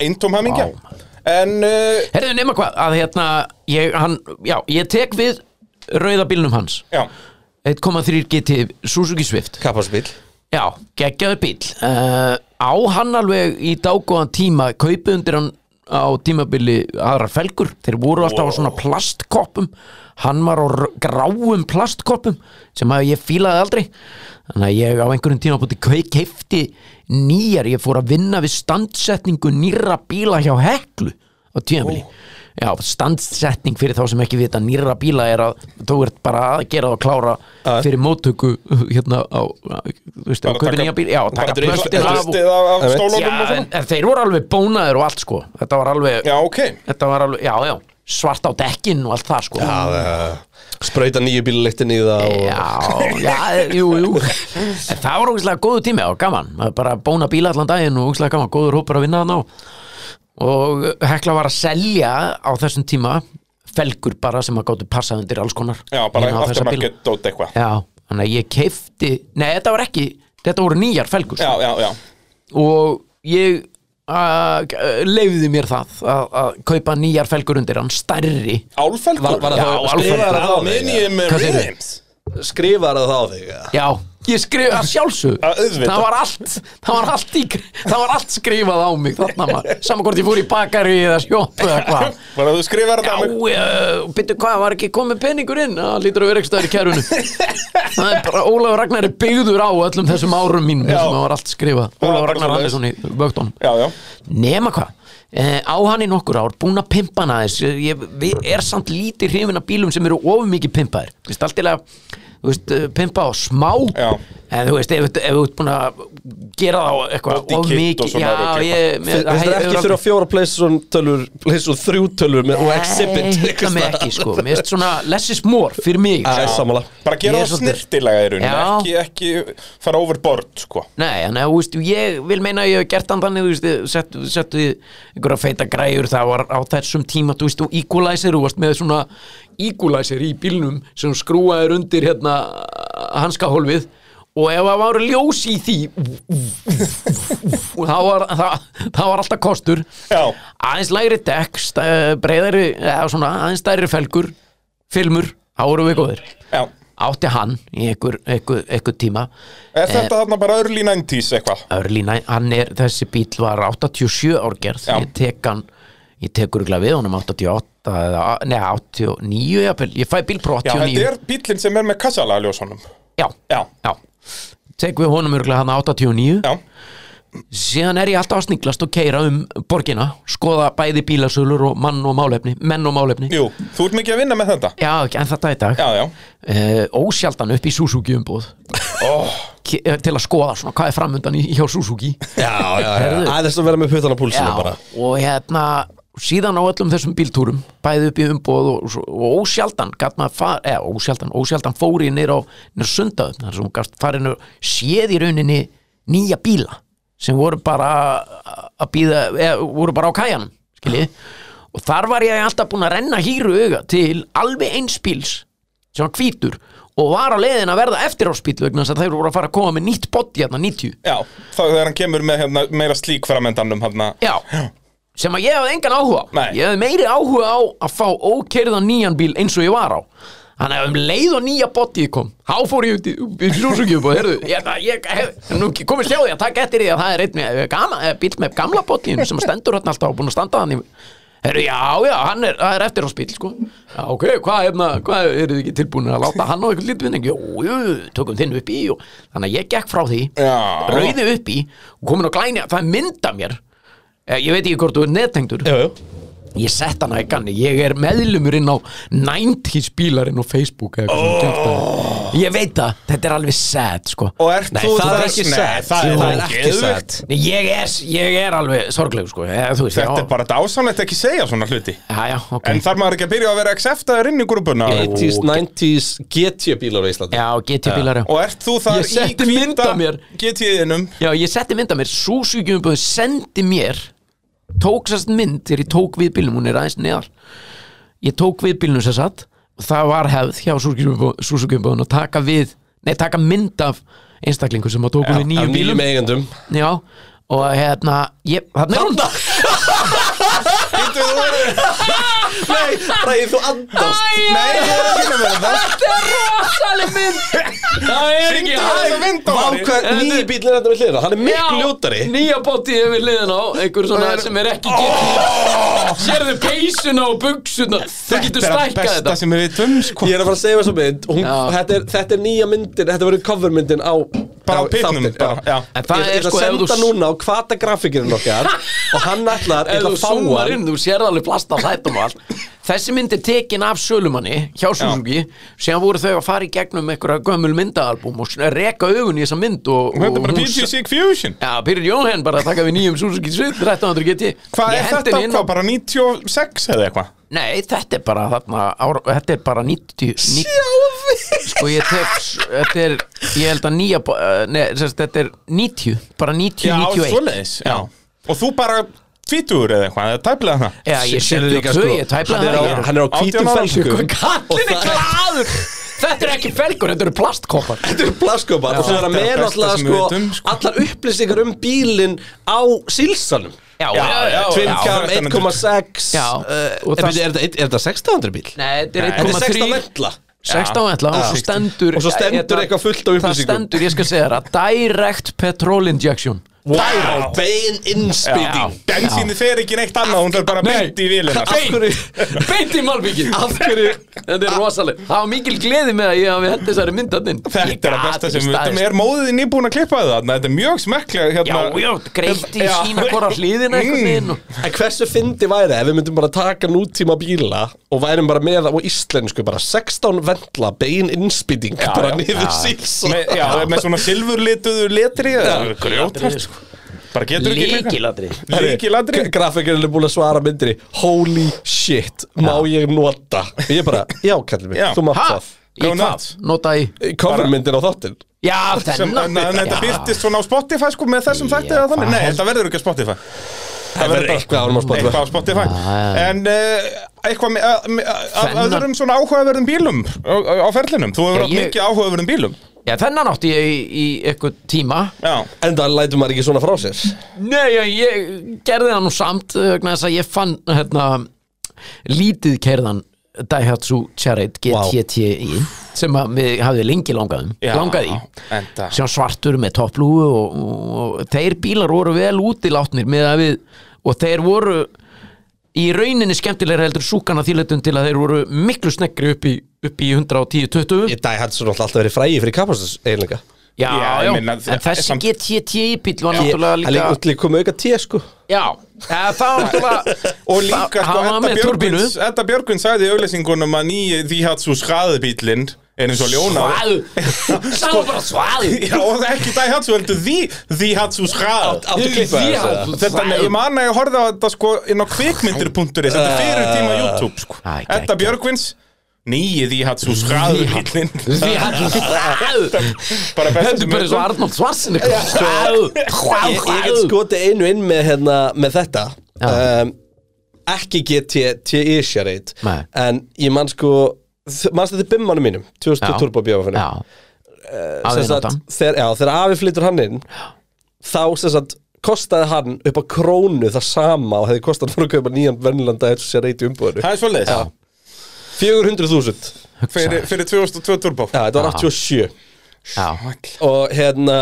Speaker 2: eintóm hamingja
Speaker 1: Vá,
Speaker 2: en uh,
Speaker 1: Herðu nema hvað, að hérna ég, hann, já, ég tek við rauða bílnum hans
Speaker 2: já,
Speaker 1: 1,3 GT Suzuki Swift
Speaker 3: Kappasbíl
Speaker 1: Já, geggjaður bíl uh, Á hann alveg í dágóðan tíma kaupið undir hann á tímabili aðrar felgur, þeir voru alltaf á svona plastkoppum hann var á r- gráum plastkoppum sem að ég fílaði aldrei þannig að ég á einhverjum tíma búti keifti nýjar, ég fór að vinna við standsetningu nýra bíla hjá Heklu á tímabili Já, standsetning fyrir þá sem ekki vita nýra bíla er að þú ert bara að gera það og klára fyrir móttöku hérna á, þú veist,
Speaker 2: Bara
Speaker 1: að kaupa
Speaker 2: taka-
Speaker 1: nýja bíl Já, taka
Speaker 2: bara
Speaker 1: plöstin af og-
Speaker 2: plöstið af, af
Speaker 3: Einmitt.
Speaker 2: stólunum og
Speaker 1: Já, en,
Speaker 2: svona
Speaker 1: en þeir voru alveg bónaðir og allt sko Þetta var alveg,
Speaker 2: já, ok,
Speaker 1: þetta var alveg, já, já svart á dekkin og allt það sko Já,
Speaker 3: Sprauta nýju bíluliktin í það og
Speaker 1: já, jú, jú En það var ógæslega góðu tími og gaman Maður bara bóna bíla allan daginn og ógæslega gaman góður hópur að vinna þarna á og Hekla var að selja á þessum tíma felgur bara sem að gáttu passað undir alls konar
Speaker 2: já, bara
Speaker 1: Hérna á þessa bíla.
Speaker 2: aftermarket dót eitthvað
Speaker 1: Já, þannig að ég keifti Nei, þetta var ekki, þetta voru nýjar felgur
Speaker 2: já, já, já,
Speaker 1: og ég uh, leifði mér það að, að kaupa nýjar felgur undir hann stærri
Speaker 2: Álfelgur?
Speaker 3: Var- var það-
Speaker 2: Já,
Speaker 1: var-
Speaker 2: skrifaði
Speaker 3: var-
Speaker 2: það á Millennium
Speaker 1: Hvað segirðu?
Speaker 2: Rhythms
Speaker 3: Skrifar það á þig eða?
Speaker 1: Já, ég skrifa að sjálfsög
Speaker 2: Að auðvitað.
Speaker 1: Það var allt Það var allt, í, það var allt skrifað á mig þarna maður Saman hvort ég fór í bakari eða sjoppu eða hvað
Speaker 2: Var það þú skrifar
Speaker 1: Já,
Speaker 2: þetta á mig?
Speaker 1: uh, byrju hvað, var ekki komið peningur inn? Það lítur að vera ekki stæðir í kærunu Það er bara, Ólafur Ragnar er byggður á öllum þessum árum mínum
Speaker 2: Já.
Speaker 1: þessum það var allt skrifað
Speaker 2: var
Speaker 1: Ólafur
Speaker 2: bara
Speaker 1: Ragnar
Speaker 2: svoleiðis.
Speaker 1: Andersson í vögtunum
Speaker 2: Já, já
Speaker 1: Nema hvað, eh, á hann í nokkur ár, búin að pimpa hann aðeins, Ég- ég við- er samt lítið hrifin af bílum sem eru of mikið pimpaðir, þú veist, allt til að, þú veist, eh, pimpa á smá,
Speaker 2: Já.
Speaker 1: en þú veist, ef ef þú ert búin að gera þá eitthvað
Speaker 2: Body
Speaker 1: of
Speaker 2: kit og
Speaker 1: mikið,
Speaker 2: svona
Speaker 1: já,
Speaker 2: rugl.
Speaker 1: ég, mér-
Speaker 3: Þetta er
Speaker 1: hefur
Speaker 3: ekki
Speaker 1: aldrei-
Speaker 3: þurfa fjóra PlayStation tölur PlayStation 3 tölur með, og Exhibit
Speaker 1: Nei, hitta mig ekki, sko, mér finnst svona, less is more fyrir mig,
Speaker 3: Það
Speaker 1: sko.
Speaker 3: er sammála
Speaker 2: Bara
Speaker 1: Ég
Speaker 2: gera
Speaker 1: er
Speaker 2: það
Speaker 1: svolítið-
Speaker 2: snirtilega í rauninni
Speaker 1: Já.
Speaker 2: ekki, ekki fara overboard, sko
Speaker 1: Nei, en eh, þú veist, ég vil meina að ég hef gert hann þannig, þú veist, sett, sett við einhverja feita græjur, það var á þessum tíma, þú veist, og equalizer, þú varst með svona equalizer í bílnum sem skrúaður undir hérna hanskahólfið og ef það var ljós í því þá var, það, það var alltaf kostur
Speaker 2: Já.
Speaker 1: aðeins lægri dekk stæ- breiðari, eða svona aðeins stærri felgur, filmur, þá voru við góðir
Speaker 2: Já
Speaker 1: átti hann í einhver, einhver, einhver tíma Eh.
Speaker 2: Er þetta þarna bara early 90s eitthvað?
Speaker 1: Örlína, hann er, þessi bíl var 87 árgerð,
Speaker 2: Já.
Speaker 1: ég tek hann ég tek urgla við honum 88 eða, nei 89 jafnvel, ég fæ bíl pro
Speaker 2: Já,
Speaker 1: 89
Speaker 2: þetta er bíllinn sem er með kassalega ljósunum
Speaker 1: já,
Speaker 2: Já,
Speaker 1: já, tek við honum urgla hann 89,
Speaker 2: já,
Speaker 1: síðan er ég alltaf að sniglast og keira um borgina, skoða bæði bílasölur og mann og málefni, menn og málefni
Speaker 2: jú, þú ert mikið að vinna með þetta
Speaker 1: já, ekki, en þetta í dag
Speaker 2: Já, já,
Speaker 1: uh, ósjaldan upp í Suzuki umbúð
Speaker 2: oh,
Speaker 1: Ke- til að skoða svona hvað er framundan í, hjá Suzuki
Speaker 3: Já, já,
Speaker 1: Heyrðu.
Speaker 3: Aðeins að vera með puttana púlsinu bara
Speaker 1: og hérna síðan á öllum þessum bíltúrum bæði upp í umbóð og, svo- og ósjaldan gat maður far, eða ósjaldan, ósjaldan fóri nýr á nýr sundað þar sem hún gast farinu séð í rauninni nýja bíla sem voru bara að býða, eða voru bara á kæjanum skiljið, og þar var ég alltaf búin að renna hýru auga til alveg eins bíls sem var hvítur og var á leiðin að verða eftiráspíl vegna þess að þeir voru að fara að koma með nýtt body hérna 90
Speaker 2: já Þá þegar hann kemur með hérna, meira slík framendanum hérna
Speaker 1: Já, sem að ég hafði engan áhuga á
Speaker 2: Nei.
Speaker 1: Ég hafði meiri áhuga á að fá ókerðan nýjan bíl eins og ég var á Þannig að um leið og nýja botti kom Há fór ég út í, í slúsugjöf og heyrðu Ég, ég hef, nú komið sjá því að taka eftir því að það er einn með gama, eh, bíll með gamla bottinu sem stendur hérna alltaf og búin að standa hann í Heyrðu, já, já, hann er, það er eftir á spil, sko Já, ok, hvað, hefna, hvað eru þið ekki tilbúin að láta hann á eitthvað lítvinning? Jú, jú, tökum þinn upp í og... Þannig að ég gekk frá því
Speaker 2: Já.
Speaker 1: rauði upp í og komin á glæni það mynda mér Eh, ég veit ekki hvort þú er nettengdur
Speaker 3: Jú, jú
Speaker 1: ég sett hana í ganni, ég er meðlumur inn á 90s bílarinn á Facebook eða eitthvað svona
Speaker 2: Oh.
Speaker 1: kjaftæði. ég veit það, þetta er alveg sad sko.
Speaker 2: Og ert
Speaker 3: Nei,
Speaker 2: þú
Speaker 3: það er
Speaker 2: þess-
Speaker 3: ekki
Speaker 2: Nei,
Speaker 3: sad.
Speaker 2: Það
Speaker 3: Jú,
Speaker 2: er, það
Speaker 3: það
Speaker 2: er
Speaker 3: er ekki
Speaker 2: geðveikt.
Speaker 3: sad.
Speaker 1: Nei, ég, er, ég er alveg sorgleg sko. eða, þú veist,
Speaker 2: Þetta
Speaker 1: já,
Speaker 2: er bara dásanlegt ekki segja svona hluti
Speaker 1: já, já, ok.
Speaker 2: En þarf maður ekki að byrja að vera acceptaður inn í grúpuna
Speaker 3: 80s, 90s GT bílar á Íslandi
Speaker 1: já, GT bílar já.
Speaker 2: Og ert þú
Speaker 1: Ég
Speaker 2: þar
Speaker 1: setti
Speaker 2: í
Speaker 1: mynd af mér.
Speaker 2: GT-inum
Speaker 1: já, ég setti mynda mér, súsugjumbuðu sendi mér tók sérst mynd þegar ég tók við bílnum, hún er aðeins neðar ég tók við bílnum sér satt og það var hefð hjá súsugjumbuðun að taka við, nei, taka mynd af einstaklingu sem að tók við
Speaker 3: Af
Speaker 1: nýjum bílum
Speaker 3: nýjum eigendum
Speaker 1: Já, og hérna ég, Þannig er hún
Speaker 2: Þú verður-
Speaker 3: Nei, ræði þú andast
Speaker 2: Nei, þú verður ekki með þetta
Speaker 1: Þetta er rosaleg mynd Það er
Speaker 2: Sýndu þessa mynd á manni.
Speaker 3: Vákvæð, nýjum bíl er þetta við hliðina Hann er miklu ljótari
Speaker 1: Nýja bótti yfir liðin á Einhver svona sem er ekki getið Sérðu peysuna og buksuna Þú
Speaker 2: Þetta
Speaker 1: getur
Speaker 2: er að
Speaker 1: stækkað
Speaker 2: besta
Speaker 1: þetta
Speaker 2: sem við vitum sko.
Speaker 3: Ég er að fara að segja þessu mynd hún,
Speaker 1: Já.
Speaker 3: þetta, er, þetta er nýja myndin, þetta verður covermyndin á
Speaker 2: Bara á
Speaker 3: á
Speaker 2: pitnum,
Speaker 3: þáttinn,
Speaker 2: bara, já.
Speaker 1: En það
Speaker 3: Ég
Speaker 1: er
Speaker 3: ég ætla
Speaker 1: sko
Speaker 3: að
Speaker 1: ef þú
Speaker 3: senda
Speaker 1: s-
Speaker 3: núna á hvata grafikirinn okkar Og hann ætlar, ég
Speaker 1: Ef
Speaker 3: ætla
Speaker 1: þú
Speaker 3: að fá
Speaker 1: súmar
Speaker 3: hann
Speaker 1: inn, þú sér alveg plast af hættum og allt Þessi mynd er tekin af sölumanni hjá Suzuki síðan voru þau að fara í gegnum einhverja gömul myndaalbum og svona reka augun í þessa mynd og,
Speaker 2: Þetta er bara
Speaker 1: hún-
Speaker 2: PGC Fusion
Speaker 1: Já, Pyrir Jóhann bara að taka við nýjum Suzuki Swift 1300 GT
Speaker 2: Hvað
Speaker 1: Ég
Speaker 2: er
Speaker 1: hendi
Speaker 2: þetta?
Speaker 1: henni inn
Speaker 2: Hvað,
Speaker 1: á-
Speaker 2: bara 96 eða eitthvað?
Speaker 1: Nei, þetta er bara þarna ára, Þetta er bara 90 Sjáfi Sko ég tek s- Þetta er Ég held að nýja bo- eh, Nei, sérst, þetta er 90 Bara 90,
Speaker 2: Já,
Speaker 1: 91
Speaker 2: svoleiðis já. Og þú bara tvítur eða eitthvað, eða tæplega það
Speaker 1: Já, ég
Speaker 3: Sér
Speaker 1: sé líka
Speaker 3: líka, sko,
Speaker 1: Ég tæpla
Speaker 3: hann er
Speaker 1: það
Speaker 3: á-
Speaker 1: ég-
Speaker 3: Hann er á hvítum
Speaker 2: 18 ára.
Speaker 3: felsku
Speaker 1: Kallinn er glaður Þetta er ekki felgur, þetta eru plastkoppar
Speaker 3: Þetta eru plaskopar og svo er að
Speaker 2: Þetta er
Speaker 3: með
Speaker 2: það besta
Speaker 3: náttúrulega
Speaker 2: sem við
Speaker 3: sko,
Speaker 2: vitum, sko.
Speaker 3: allar upplýsingar um bílinn á sílsanum
Speaker 1: Já,
Speaker 3: Twin Cam,
Speaker 2: 1300.
Speaker 3: 1,6
Speaker 1: Já,
Speaker 3: uh,
Speaker 1: og
Speaker 3: en
Speaker 1: það-
Speaker 3: byrju, Er þetta- er þetta 600 bíl?
Speaker 1: Nei, þetta er
Speaker 3: Þetta er 16
Speaker 1: 1,3
Speaker 3: ventla
Speaker 1: 16 ætla og svo stendur hérna-
Speaker 3: Og svo stendur eitthvað fullt af
Speaker 1: Það
Speaker 3: upplýsingum.
Speaker 1: stendur, ég skal segja þér að direct petrol injection
Speaker 3: Wow, bein innspýting
Speaker 2: Bensíni fer ekki neitt annað, hún þarf bara
Speaker 1: Nei.
Speaker 2: beint í vilina
Speaker 1: Af
Speaker 2: sko.
Speaker 1: hverju, beint í malbyggjum Af hverju, þetta er rosaleg Það var mikil gleði með að ég hafi hent þessari myndarninn
Speaker 2: Þetta er að besta sem við veitum Er móðið nýbúin að klippa það? Þetta er mjög smekklega
Speaker 1: Já,
Speaker 2: hérna
Speaker 1: já, greitt í sína hvora hlýðina einhvern veginn og-
Speaker 3: En hversu fyndi væri ef við myndum bara taka nútíma bíla og værum bara með á íslensku bara 16 vendla bein innspýting bara
Speaker 2: já.
Speaker 3: niður sílsan
Speaker 2: Með, já, með svona silfurlituðu letri eða grjótast
Speaker 1: sko.
Speaker 2: Bara getur ekki
Speaker 1: Líkilatri
Speaker 2: Líkiladri
Speaker 3: Grafikirinn er búin að svara myndri Holy shit, má ég nota Ég bara, já kallið mig,
Speaker 2: Já.
Speaker 3: þú mátt
Speaker 1: Ha?
Speaker 3: það
Speaker 1: Í
Speaker 2: Go
Speaker 1: hvað?
Speaker 2: nuts.
Speaker 1: Nota í
Speaker 3: Covermyndin á þáttinn
Speaker 1: Já,
Speaker 2: sem, en, en þetta byrtist svona á Spotify sko með þessum þætti eða þannig, nei þetta verður ekki á Spotify
Speaker 3: Það verður eitthvað ánum á Spotify
Speaker 2: eitthvað á Spotify en uh, eitthvað með- að- með- af
Speaker 1: Þennan-
Speaker 2: öðrum svona áhugaverðum bílum á, á ferlinum, þú hefur
Speaker 1: Já,
Speaker 2: átt
Speaker 1: ég-
Speaker 2: mikið áhugaverðum bílum
Speaker 1: Já, þennan átti ég í, í eitthvað tíma
Speaker 2: já,
Speaker 3: En það lætur maður ekki svona frá sér
Speaker 1: Nei, ég, ég gerði það nú samt eh, vegna þess að ég fann hérna, lítið kerðan Daihatsu Charade GTTI sem að mig hafði lengi langað um
Speaker 2: já
Speaker 1: langaði í
Speaker 2: enda
Speaker 1: sem svartur með topplúu og, og, og þeir bílar voru vel útilátnir með að við og þeir voru í rauninni skemmtilega heldur súkana þýletum til að þeir voru miklu sneggri upp í, upp í 110-20
Speaker 3: Ég dæ hans svona alltaf verið frægi fyrir kapastus eiginlega
Speaker 1: Já,
Speaker 2: Já,
Speaker 1: já,
Speaker 2: ég meina,
Speaker 1: en þessi
Speaker 2: samt-
Speaker 1: GTTI bíl var
Speaker 3: Ég-
Speaker 1: náttúrulega
Speaker 3: Það
Speaker 1: líka
Speaker 3: er líka komið auka tíu sko
Speaker 1: Já, eða, það var náttúrulega
Speaker 2: og líka sko,
Speaker 1: Það var
Speaker 2: Edda
Speaker 1: með turbínu
Speaker 2: Björgvins Edda Björgvins sagði í auðlýsingunum að nýji því hatt svo skræðubílinn er eins og ljóna
Speaker 1: Svaðu Það var bara svaðu
Speaker 2: Já, og það er ekki dæ hatt svo, heldur því því hatt svo skræð
Speaker 3: Áttu klippað
Speaker 1: Því
Speaker 3: þessu?
Speaker 1: að-
Speaker 2: Þetta, ég man að ég horfði á þetta sko inn á kvikmyndir.is Þetta er fyrir tíma YouTube sko
Speaker 1: Æ, geggjað.
Speaker 2: Edda Björgvins Nýið í hatt svo skræður hillin
Speaker 1: Því hann Svaðu
Speaker 2: Bara
Speaker 1: Þetta
Speaker 2: bestu
Speaker 1: er bara eins og Arnold Schwarzenegger Svaðu
Speaker 3: Ég, ég get
Speaker 1: Svaðu
Speaker 3: skotið einu inn með, hérna, með þetta
Speaker 1: Já.
Speaker 3: um, Ekki GTI sjareit
Speaker 1: Nei.
Speaker 3: En ég man sko Manst þetta bimmanum mínum 2000 turbo bjófinu
Speaker 1: Já Aðeins
Speaker 3: þegar, já, þegar afi flyttur hann inn Þá sem sagt kostaði hann upp á krónu það sama og hefði kostað hann fyrir að kaupa nýjan vennlanda þessu sér reyt í umbúðinu
Speaker 2: Það er svolítið
Speaker 3: 400.000
Speaker 2: fyrir, fyrir 2002 turbo
Speaker 3: Já, þetta var 87
Speaker 1: Já
Speaker 3: og hérna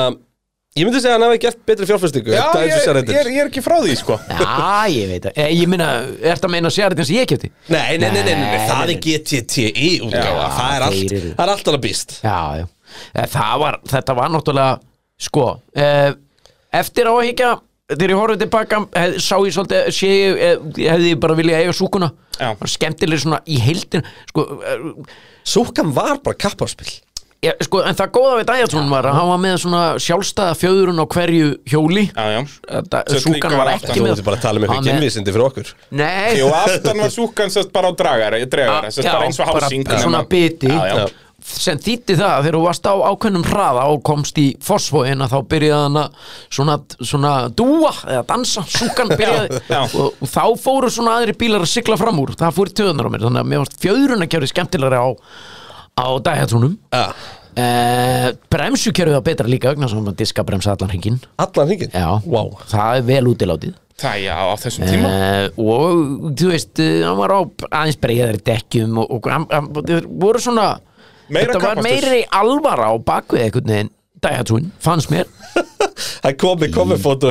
Speaker 3: ég myndi segja að hann hafi gert betri fjárfæstingu
Speaker 2: Já, ég,
Speaker 3: þetta er
Speaker 2: ég,
Speaker 3: þessu
Speaker 2: er,
Speaker 3: sérreitir
Speaker 2: ég er ekki frá því sko
Speaker 1: Já, ég veit að eh, Ég meina, ertu að meina sérið eins og ég kefti?
Speaker 3: Nei, nei, nei, nei, nei, nei,
Speaker 1: Nei,
Speaker 3: það
Speaker 1: nei,
Speaker 3: er GTTI E útgáfa,
Speaker 1: Já,
Speaker 3: það er allt,
Speaker 1: þeir eru-
Speaker 3: það er allt alveg býst
Speaker 1: Já, já. Eh, Það var, þetta var náttúrulega, sko, eh, eftir á að higgja, þegar ég horfði tilbaka, hef, sá ég svolítið, sé ég, eh, ég hefði bara viljað eiga súkuna.
Speaker 2: Já.
Speaker 1: Var skemmtileg svona í heildin, sko, eh,
Speaker 3: Súkan var bara kappaspil
Speaker 1: ég, sko, en það góða við Dæjartson var að hann var með svona sjálfstæða fjöðurinn á hverju hjóli.
Speaker 2: Já, já
Speaker 1: Þetta,
Speaker 2: Svo
Speaker 1: súkan
Speaker 2: líka
Speaker 1: var
Speaker 2: var
Speaker 1: ekki
Speaker 3: Það
Speaker 2: aftan.
Speaker 1: með
Speaker 3: mútti bara að tala um eitthvað
Speaker 1: Hann með-
Speaker 3: kynvísindi fyrir okkur
Speaker 1: Nei,
Speaker 2: Jú, aftan var súkan sérst bara á dragara Ég dregar sérst
Speaker 1: Ah, Já,
Speaker 2: bara eins og
Speaker 1: bara
Speaker 2: hásing
Speaker 1: svona
Speaker 2: nema-
Speaker 1: biti
Speaker 2: Já, já
Speaker 1: sem þýtti það að þegar þú varst á ákveðnum hraða og komst í fosfóin að þá byrjaði hann að svona, svona dúa eða dansa, súkan byrjaði
Speaker 2: Já.
Speaker 1: og, og þá fóru svona aðri bílar að sigla fram úr, það fóru töðunar á mér þannig að mér varst fjöðrun að kjári skemmtilegri á á dæhatrúnum
Speaker 3: Já.
Speaker 1: eh, bremsukerfið var betra líka vegna sem að diska bremsa allan hringin
Speaker 3: Allan hringin
Speaker 1: já,
Speaker 3: Vá.
Speaker 1: það er vel útilátið
Speaker 2: Það já, á þessum tíma
Speaker 1: Uh, og þú veist, eh, hann var á aðeins breyðari dekkjum og, og hann, hann, þeir voru svona
Speaker 2: Meira
Speaker 1: þetta var
Speaker 2: kappaktur.
Speaker 1: meiri alvara á bakvið einhvern veginn Daihatsun, fannst mér
Speaker 3: Það komi, komi fótó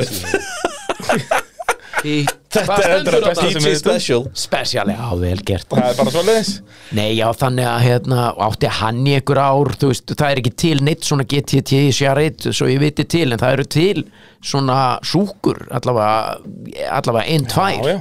Speaker 1: Í,
Speaker 3: Þetta
Speaker 1: hvað
Speaker 3: er
Speaker 1: stendur
Speaker 2: þetta besta
Speaker 1: þarna?
Speaker 2: sem við-
Speaker 3: DJ Special
Speaker 1: Special, já, vel gert
Speaker 2: Það er bara svolítið
Speaker 1: Nei, já, þannig að hérna, átti hann í einhver ár, þú veist, það er ekki til neitt svona GTT, sérreitt, svo ég viti til en það eru til svona súkur, allavega allavega einn, tvær
Speaker 2: Já, já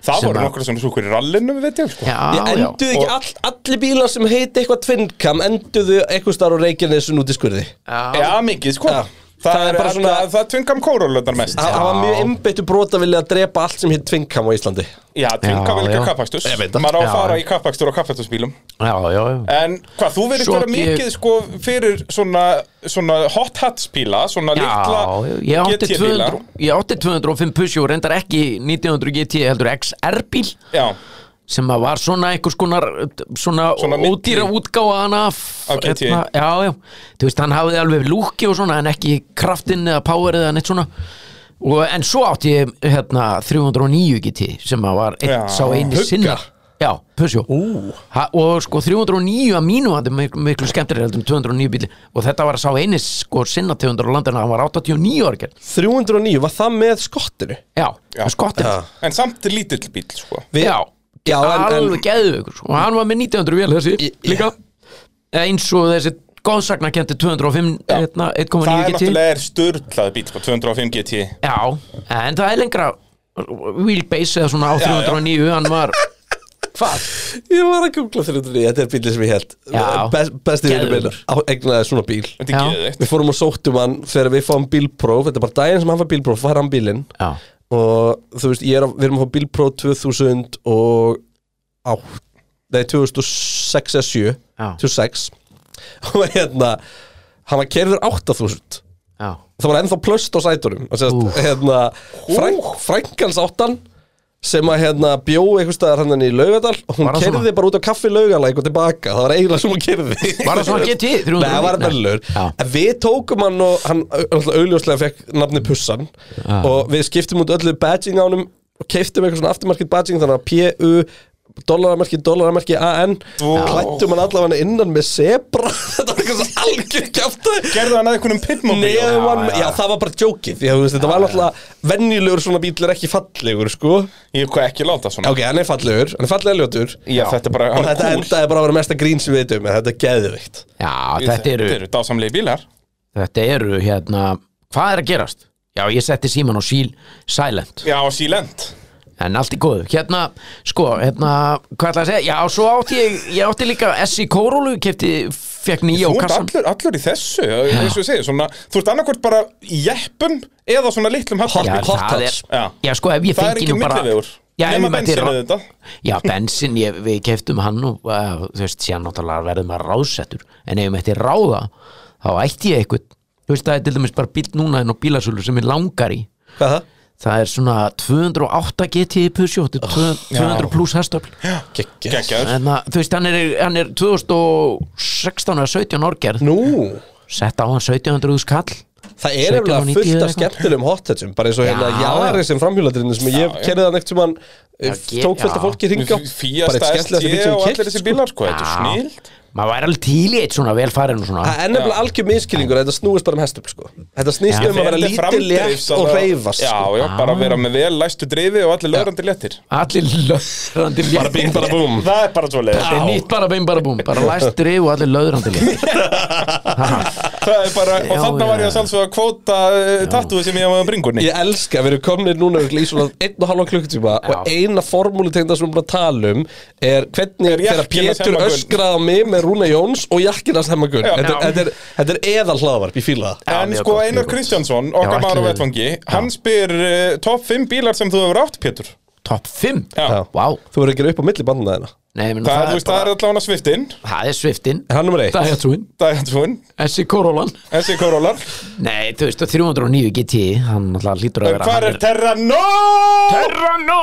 Speaker 2: Það
Speaker 1: Sem
Speaker 2: voru
Speaker 1: að-
Speaker 2: nokkra svona súkur í rallinu, við veitum sko
Speaker 1: Ah, já,
Speaker 3: Ég
Speaker 1: já.
Speaker 3: enduði ekki
Speaker 2: Og-
Speaker 3: all, allir bílar sem heiti eitthvað tvinnkam Enduðu eitthvað starf á Reykjanesun út í skurði
Speaker 1: já.
Speaker 2: Já, mikið sko
Speaker 3: Já.
Speaker 2: Það,
Speaker 3: Það er
Speaker 2: er
Speaker 3: bara
Speaker 2: bara
Speaker 3: svona-
Speaker 2: Það tvingam kórólöndar mest
Speaker 3: Það það var mjög einbeittu brot að vilja að drepa allt sem heit tvinnkam á Íslandi
Speaker 2: Já, tvinga
Speaker 1: Já,
Speaker 2: vel ekki
Speaker 1: já.
Speaker 2: kappakstus
Speaker 3: Ég veit það.
Speaker 2: Maður á að
Speaker 1: Já,
Speaker 2: fara
Speaker 1: já.
Speaker 2: í kappakstur og kappakstusbílum
Speaker 1: já, já, já.
Speaker 2: En hvað, þú verður
Speaker 1: Svo
Speaker 2: vera
Speaker 1: ég-
Speaker 2: mikið sko fyrir svona, svona hot hats bíla Svona
Speaker 1: Já, ég
Speaker 2: litla
Speaker 1: átti,
Speaker 2: GT bíla
Speaker 1: 200, ég átti 205 Peugeot, reyndar ekki 1900 GT heldur XR bíl
Speaker 2: Já,
Speaker 1: sem að var svona einhvers konar svona,
Speaker 2: Svona milli-
Speaker 1: ódýra útgáfa hana af,
Speaker 2: Af KTA.
Speaker 1: hérna, já, já, þú veist, hann hafði alveg lúki og svona en ekki kraftinn eða powerið eða neitt svona og, en svo átti ég hérna 309 GT sem að var einn
Speaker 2: Já,
Speaker 1: sá eini
Speaker 2: hugga.
Speaker 1: sinnar Já, Peugeot ha, og sko 309 að mínu þetta er miklu, miklu skemmtilega heldur en 209 bíli og þetta var að sá eini sko sinna 200 á landinu, hann var 89 orgel
Speaker 3: 309, var það með skottinu?
Speaker 1: Já,
Speaker 2: Já.
Speaker 1: já. skottir
Speaker 3: Já.
Speaker 2: En samt lítill bíl, sko
Speaker 3: Við-
Speaker 1: Já,
Speaker 3: Já, en, en
Speaker 1: alveg geðvökur sko. og hann var með 1900 vél þessi
Speaker 3: Í-
Speaker 1: líka eins og þessi góðsakna kendi 205 hérna, 1,9
Speaker 2: Það er
Speaker 1: GT.
Speaker 2: náttúrulega er sturlað bíl, sko 205 GT
Speaker 1: Já, en það er lengra wheelbase eða svona á
Speaker 2: Já, já.
Speaker 1: 309 hann var hvað?
Speaker 3: ég var að googla 309, þetta er bílið sem ég held
Speaker 1: Já.
Speaker 3: Best, Besti vinnur
Speaker 1: Geðveikur.
Speaker 3: minnar, á egnaði svona bíl
Speaker 2: Þetta
Speaker 1: Já.
Speaker 2: er geðið
Speaker 3: Við fórum og sóttum hann þegar við fáum bílpróf Þetta er bara daginn sem hann fær bílpróf, fær hann bílinn
Speaker 1: Já,
Speaker 3: Og þú veist, ég er að, við erum að fá bílpróf 2000 og á, nei, 2006 eða 7
Speaker 1: Já.
Speaker 3: 2006 Og hérna, hann var kerður 8000
Speaker 1: já,
Speaker 3: það var ennþá plöst á sætunum og
Speaker 1: Úff.
Speaker 3: sérst, hérna, frænk, frænkans áttan sem að hérna bjó einhvers staðar hann í Laugadal og hún
Speaker 1: Var það
Speaker 3: kerði
Speaker 1: svona?
Speaker 3: bara út á kaffi Laugalæk og tilbaka, það var eiginlega sem hún kerði
Speaker 1: Var það svona E GT? 300?
Speaker 3: Nei, það var
Speaker 1: Nei.
Speaker 3: bellur
Speaker 1: Já.
Speaker 3: En við tókum hann og hann öll, augljóslega fekk nafni Pussan og við skiptum út öllu badging ánum og keiftum eitthvað svona aftermarket badging þannig að PU dollaramerki, dollaramerki, AN
Speaker 2: Ó.
Speaker 3: klættum hann allavega innan með zebra þetta var eitthvað svo algjör kjáftæði
Speaker 2: Gerðu hann að einhvernum pitmobil
Speaker 3: Neðan var,
Speaker 1: já,
Speaker 3: já,
Speaker 1: já.
Speaker 3: það var bara djókið Já, þú veist, þetta var náttúrulega venjulegur svona bíl er ekki fallegur, sko
Speaker 2: Ég hef ekki láta svona
Speaker 3: Ok, hann er fallegur, hann er fallega ljótur
Speaker 2: Já, þetta er bara,
Speaker 3: Og
Speaker 2: hann
Speaker 3: þetta
Speaker 2: er
Speaker 3: endaði bara að vera mesta grín sem við veitum En þetta er geðvikt
Speaker 1: já
Speaker 2: cool
Speaker 1: þetta eru
Speaker 2: dásamlegi bílar
Speaker 1: þetta eru hérna hvað er að gerast? Já, ég setti síman á síl silent
Speaker 2: Já, sílend
Speaker 1: En allt í góðu, hérna, sko, hérna, hvað ætla að segja, já, svo átti ég, ég átti líka SI Kórólu, kefti, fekk
Speaker 2: Þú
Speaker 1: nýja á
Speaker 2: ert
Speaker 1: kassan.
Speaker 2: allur, allur í þessu, eins og ég segi svona, Þú ert annarkvort bara í jeppum eða svona litlum
Speaker 1: Já,
Speaker 2: hallbíl
Speaker 3: Hot
Speaker 1: það er,
Speaker 3: touch.
Speaker 2: Já.
Speaker 1: já, sko, ef ég
Speaker 2: Það er
Speaker 1: fengi
Speaker 2: ekki
Speaker 1: nú bara,
Speaker 2: millivegur
Speaker 1: já, ef
Speaker 2: Nefna
Speaker 1: ég mætti,
Speaker 2: bensin
Speaker 1: ra-
Speaker 2: við þetta
Speaker 1: já, bensin, ég, við keftum hann og, uh, þú veist, síðan náttúrulega verðum að ráðsettur, en ef ég mætti ráða, þá ætti ég eitthvað, þú veist, það er til dæmis bara bíl núna en á bílasölu sem ég langar í,
Speaker 3: Hvað er það?
Speaker 1: það er svona 208 GT Peugeot, þetta
Speaker 2: Oh,
Speaker 1: er 200 pluss hestöfl.
Speaker 3: Gekkið
Speaker 2: Gekkjaður
Speaker 1: En það, þú veist, hann er, hann er 2016 eða 17 orgerð
Speaker 3: Nú,
Speaker 1: sett á hann 1700 skall
Speaker 3: það er eflega
Speaker 1: 17 og 90
Speaker 3: fullt af
Speaker 1: eða eitthvað.
Speaker 3: skemmtilegum hot touchum Bara eins og hérna
Speaker 1: Já.
Speaker 3: jári sem framhjúladrinu Sem ég
Speaker 2: Já, já.
Speaker 3: kerði það neitt sem hann
Speaker 1: ge-
Speaker 3: eh, Tók fullt af
Speaker 1: já.
Speaker 3: fólki hringa
Speaker 1: sko.
Speaker 2: Fíasta ST og allir þessi bílar sko, þetta er snilt
Speaker 1: maður væri alveg til í eitt svona velfærin og svona
Speaker 3: Það er nefnilega algjör miskilningur að þetta snúist bara um hestum sko. Þetta snýst um að vera lítið létt og reyfast
Speaker 2: Já,
Speaker 3: sko.
Speaker 2: já, bara vera með vel læstu drifi og allir lögrandi léttir
Speaker 1: allir löðrandi bara
Speaker 3: bing, bara búm.
Speaker 2: Það er bara svo
Speaker 1: þetta er nýtt bara bein bara búm bara læst drif og allir löðrandi
Speaker 2: Það er bara, og
Speaker 1: Já,
Speaker 2: þannig
Speaker 1: já.
Speaker 2: var ég að sannsög að kvóta tattúi sem ég hafði á bringunni
Speaker 3: Ég elska að við erum komnir núna örugglega í svona einn og halva klukkutíma og eina formúli tegna sem við erum búin að tala um er hvernig
Speaker 2: Er jakkinn
Speaker 3: þegar
Speaker 2: hans
Speaker 3: Pétur
Speaker 2: Hemma Gunn?
Speaker 3: öskraði á mig með Rúna Jóns og jakkinast hemma gunn
Speaker 2: Já.
Speaker 3: þetta, er-
Speaker 1: Já.
Speaker 3: þetta, er- þetta er eðal hlaðvarp, ég fíla það
Speaker 2: En sko Einar Kristjánsson, okkar maður á vettvangi Hann spyr eh, topp 5 bílar sem þú hefur átt, Pétur
Speaker 1: top 5
Speaker 2: Já.
Speaker 1: vá
Speaker 3: Þú verður ekki upp á milli bandina þeirna
Speaker 1: Nei, menn,
Speaker 2: Það,
Speaker 1: það,
Speaker 2: þú veist, það er allavega sviftin
Speaker 1: það er sviftin
Speaker 3: Er hann nummer eitt?
Speaker 1: það er trúin
Speaker 2: Dæjansfún,
Speaker 1: S.I. Kórólan
Speaker 2: þessi Corolla
Speaker 1: nei þú veist 309 GT hann alltaf hlýtur að vera
Speaker 2: Hvað
Speaker 1: hann
Speaker 2: er Terranó?
Speaker 1: Terranó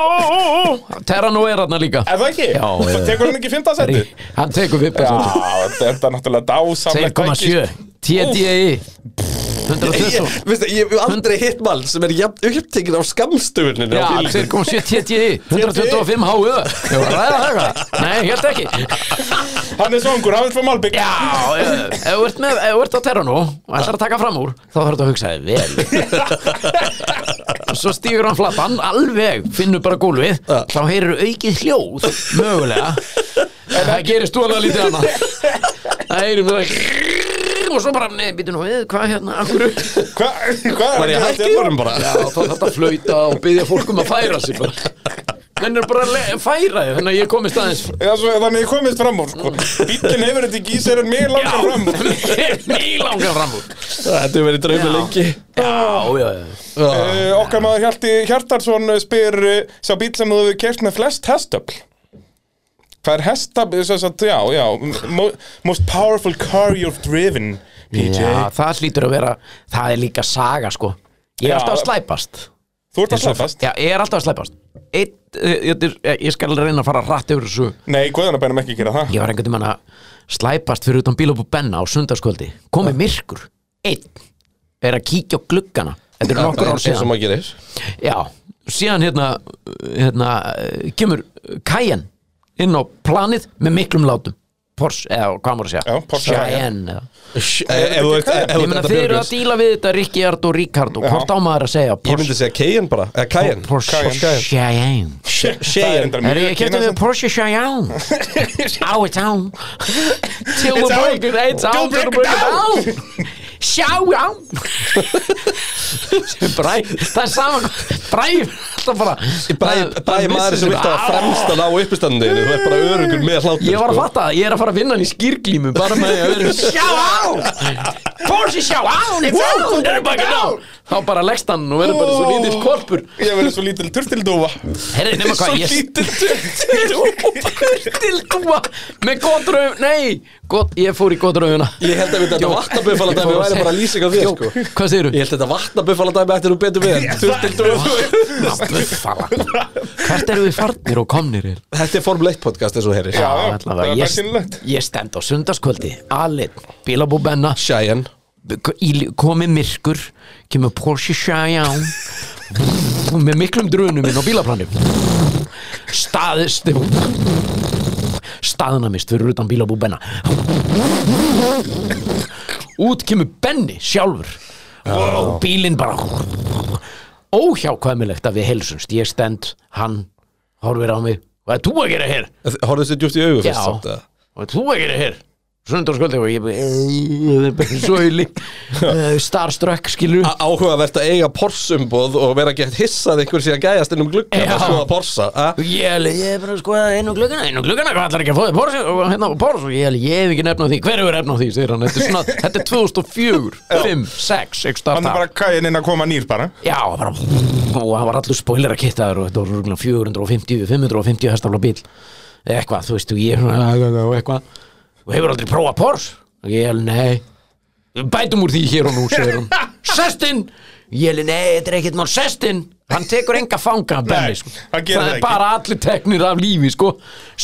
Speaker 1: Terranó er hann líka
Speaker 2: Er það ekki?
Speaker 1: Já,
Speaker 2: Svo
Speaker 1: já.
Speaker 2: tekur hann ekki fintasetti?
Speaker 1: hann tekur við
Speaker 2: Já,
Speaker 1: persónu
Speaker 2: þetta er náttúrulega dásamlegt
Speaker 1: 2,7 TDI 120
Speaker 3: Ég- Veistu, ég hef aldrei hitt mann sem er jafn upptekinn af skamstöfuninu
Speaker 1: Já,
Speaker 3: á bílnum.
Speaker 1: 2,7 TDI 125 HU Ég var að ræða það eitthvað Nei, ég held ekki
Speaker 2: Hann er svongur, hann vil fá Malbygg
Speaker 1: Já, eh, ef þú ert, með, ef þú ert á terra nú og ætlar að taka fram úr þá þarf þetta að hugsa þig vel og svo stígur hann flatan alveg, finnur bara gólfið þá heyrir aukið hljóð mögulega en það gerist þú alveg lítið annað það heyrir bara og svo bara, nei, býtum nú við, hvað hérna, akkur
Speaker 2: Hvað hva
Speaker 3: Var ég hækkið í honum bara?
Speaker 1: Já, þá þarf þetta að flauta og byggja fólkum að færa sig bara Menn er bara að le- færa þig, þannig að ég komist aðeins
Speaker 2: Já, svo, þannig ég komist fram úr sko. Bíllinn hefur þetta ekki í sér en mér langar fram úr
Speaker 1: mjög langar fram úr
Speaker 3: Þetta hefur verið draumi lengi
Speaker 1: Já, já, já
Speaker 2: uh, Okkar maður Hjalti Hjartarsson spyr uh, Sá bíl sem þú hefur kert með flest hestöfl Hvað er hestöfl? Svo, svo, já, já mo- Most powerful car you've driven PJ
Speaker 1: Já, það hlýtur að vera, það er líka saga sko
Speaker 2: Já.
Speaker 1: Ég er alltaf að slæpast
Speaker 2: Þú ert að slappast
Speaker 1: Já, ég er alltaf að sleppast Eitt, eh, ég, ég- ég skal reyna að fara rætt yfir þessu
Speaker 2: Nei, guðan að bænum ekki gera það
Speaker 1: Ég var einhvern veginn að slæpast fyrir utan bílópu Benna á sundarskvöldi komið myrkur, einn er að kíkja á gluggana þetta er nokkur ár
Speaker 3: eins og
Speaker 1: síðan
Speaker 3: maður gerir
Speaker 1: Já, síðan hérna, hérna eh, kemur Kajan inn á planið með miklum látum Porsche, eða hvað maður að segja
Speaker 2: Já, Porsche
Speaker 1: Cayenne eða.
Speaker 3: Ef þú ert ef þú
Speaker 1: eh, Ég
Speaker 3: ert
Speaker 1: meina
Speaker 3: þetta
Speaker 1: þeir eru að
Speaker 3: björgvist
Speaker 1: díla við þetta Ríkjard og Ríkard og hvort á maður að segja
Speaker 3: Ég myndi
Speaker 1: Porsche,
Speaker 3: segja Cayenne bara Eða Cayenne
Speaker 1: Porsche,
Speaker 2: Cayenne.
Speaker 1: Cayenne
Speaker 2: Það er
Speaker 3: Cayenne
Speaker 2: endar
Speaker 1: Er ég
Speaker 2: mjög
Speaker 1: kæfti við
Speaker 2: kynasam.
Speaker 1: Porsche Cheyenne Á, it's on Till the
Speaker 2: on.
Speaker 1: break it, it's
Speaker 2: Till
Speaker 1: on Till the
Speaker 2: break
Speaker 1: break
Speaker 2: it
Speaker 1: it on Sjá, já Bræ, það er sama Bræ, það bara
Speaker 3: Bæði
Speaker 1: það-
Speaker 3: bæði
Speaker 1: það
Speaker 3: maður
Speaker 1: vissi
Speaker 3: sem
Speaker 1: sig
Speaker 3: vilt að
Speaker 1: bara, á.
Speaker 3: fremstan á uppistandinu Þú ert bara örugur með hlátur
Speaker 1: Ég var að
Speaker 3: sko.
Speaker 1: fatta, það, ég er að fara að vinna hann í skýrglímu bara með því að vera Sjá á! Porsche sjá á, it's on, it's break it on Þá bara leggst hann og verður bara svo lítill korpur
Speaker 2: Ég verði svo lítil turtildúfa
Speaker 1: Herri, nema
Speaker 2: Svo
Speaker 1: hvað, ég
Speaker 2: lítil turtildúfa
Speaker 1: Til dúa Með gotröf, nei got, Ég fór í gotröfuna
Speaker 3: Ég held að við þetta
Speaker 1: Jó.
Speaker 3: vatnabuffala dæmi
Speaker 1: Ég fór að
Speaker 3: væri
Speaker 1: segja-
Speaker 3: bara lýsing á þér
Speaker 1: Jó,
Speaker 3: sko
Speaker 1: Hvað segirðu?
Speaker 3: Ég held að þetta vatnabuffala dæmi ættir þú betur við Turtildúfa.
Speaker 1: Buffala Hvert eru við farnir og komnir er?
Speaker 3: Þetta er Formule 1 podcast eins og herir
Speaker 2: Já, já,
Speaker 1: allavega,
Speaker 2: það er
Speaker 1: ég-
Speaker 2: bensínlegt.
Speaker 1: Ég stend á sundarskvöldi Alinn, bílabú benna
Speaker 3: Cheyenne
Speaker 1: Komið myrkur Kemur Porsche Cheyenne Með miklum drunum inn á bílaplanum Staðist Staðnamist fyrir utan bílabú benna Út kemur Benni sjálfur Og bílinn bara Óhjákvæmilegt að við helsumst Ég stend, hann horfir á mig Hvað er þú að gera hér?
Speaker 3: Horfðu sér djúft í augu fyrst
Speaker 1: Já.
Speaker 3: samt að
Speaker 1: og þú ekki er hér sundarskvöldi og ég bara svo í lík starstruck skilur
Speaker 2: Ah.
Speaker 3: Á- Áhugavert að eiga porsumboð og vera gett hissað einhver síðan gæjast inn um gluggan
Speaker 1: Já.
Speaker 3: og skoða porsa a?
Speaker 1: Og ég er ég er bara að skoða inn á gluggana inn á gluggana, hvað ætlar ekki að fóðið Porsche og hérna og Porsche og ég er ég hef ekki nefn á því hver hefur nefn á því, segir hann þetta er, svona, þetta er 2004, 5, 6 ekki
Speaker 2: Hann
Speaker 1: starta
Speaker 2: er bara kæin inn að koma nýr bara
Speaker 1: Já, bara, og hann var allur spoiler að kittaður og þetta var rúglega 450, 550 hestafla bíl eða eitthvað, þú veist, og ég svona, og eitthvað, og hefur aldrei prófað Porsche og ég held, nei bætum úr því hér og nú, segir hann sestin, ég held, nei, þetta er ekkert mál sestin, hann tekur enga fanga
Speaker 2: Nei,
Speaker 1: Benni, sko.
Speaker 2: hann gerir það
Speaker 1: er
Speaker 2: ekki.
Speaker 1: bara allir teknir af lífi, sko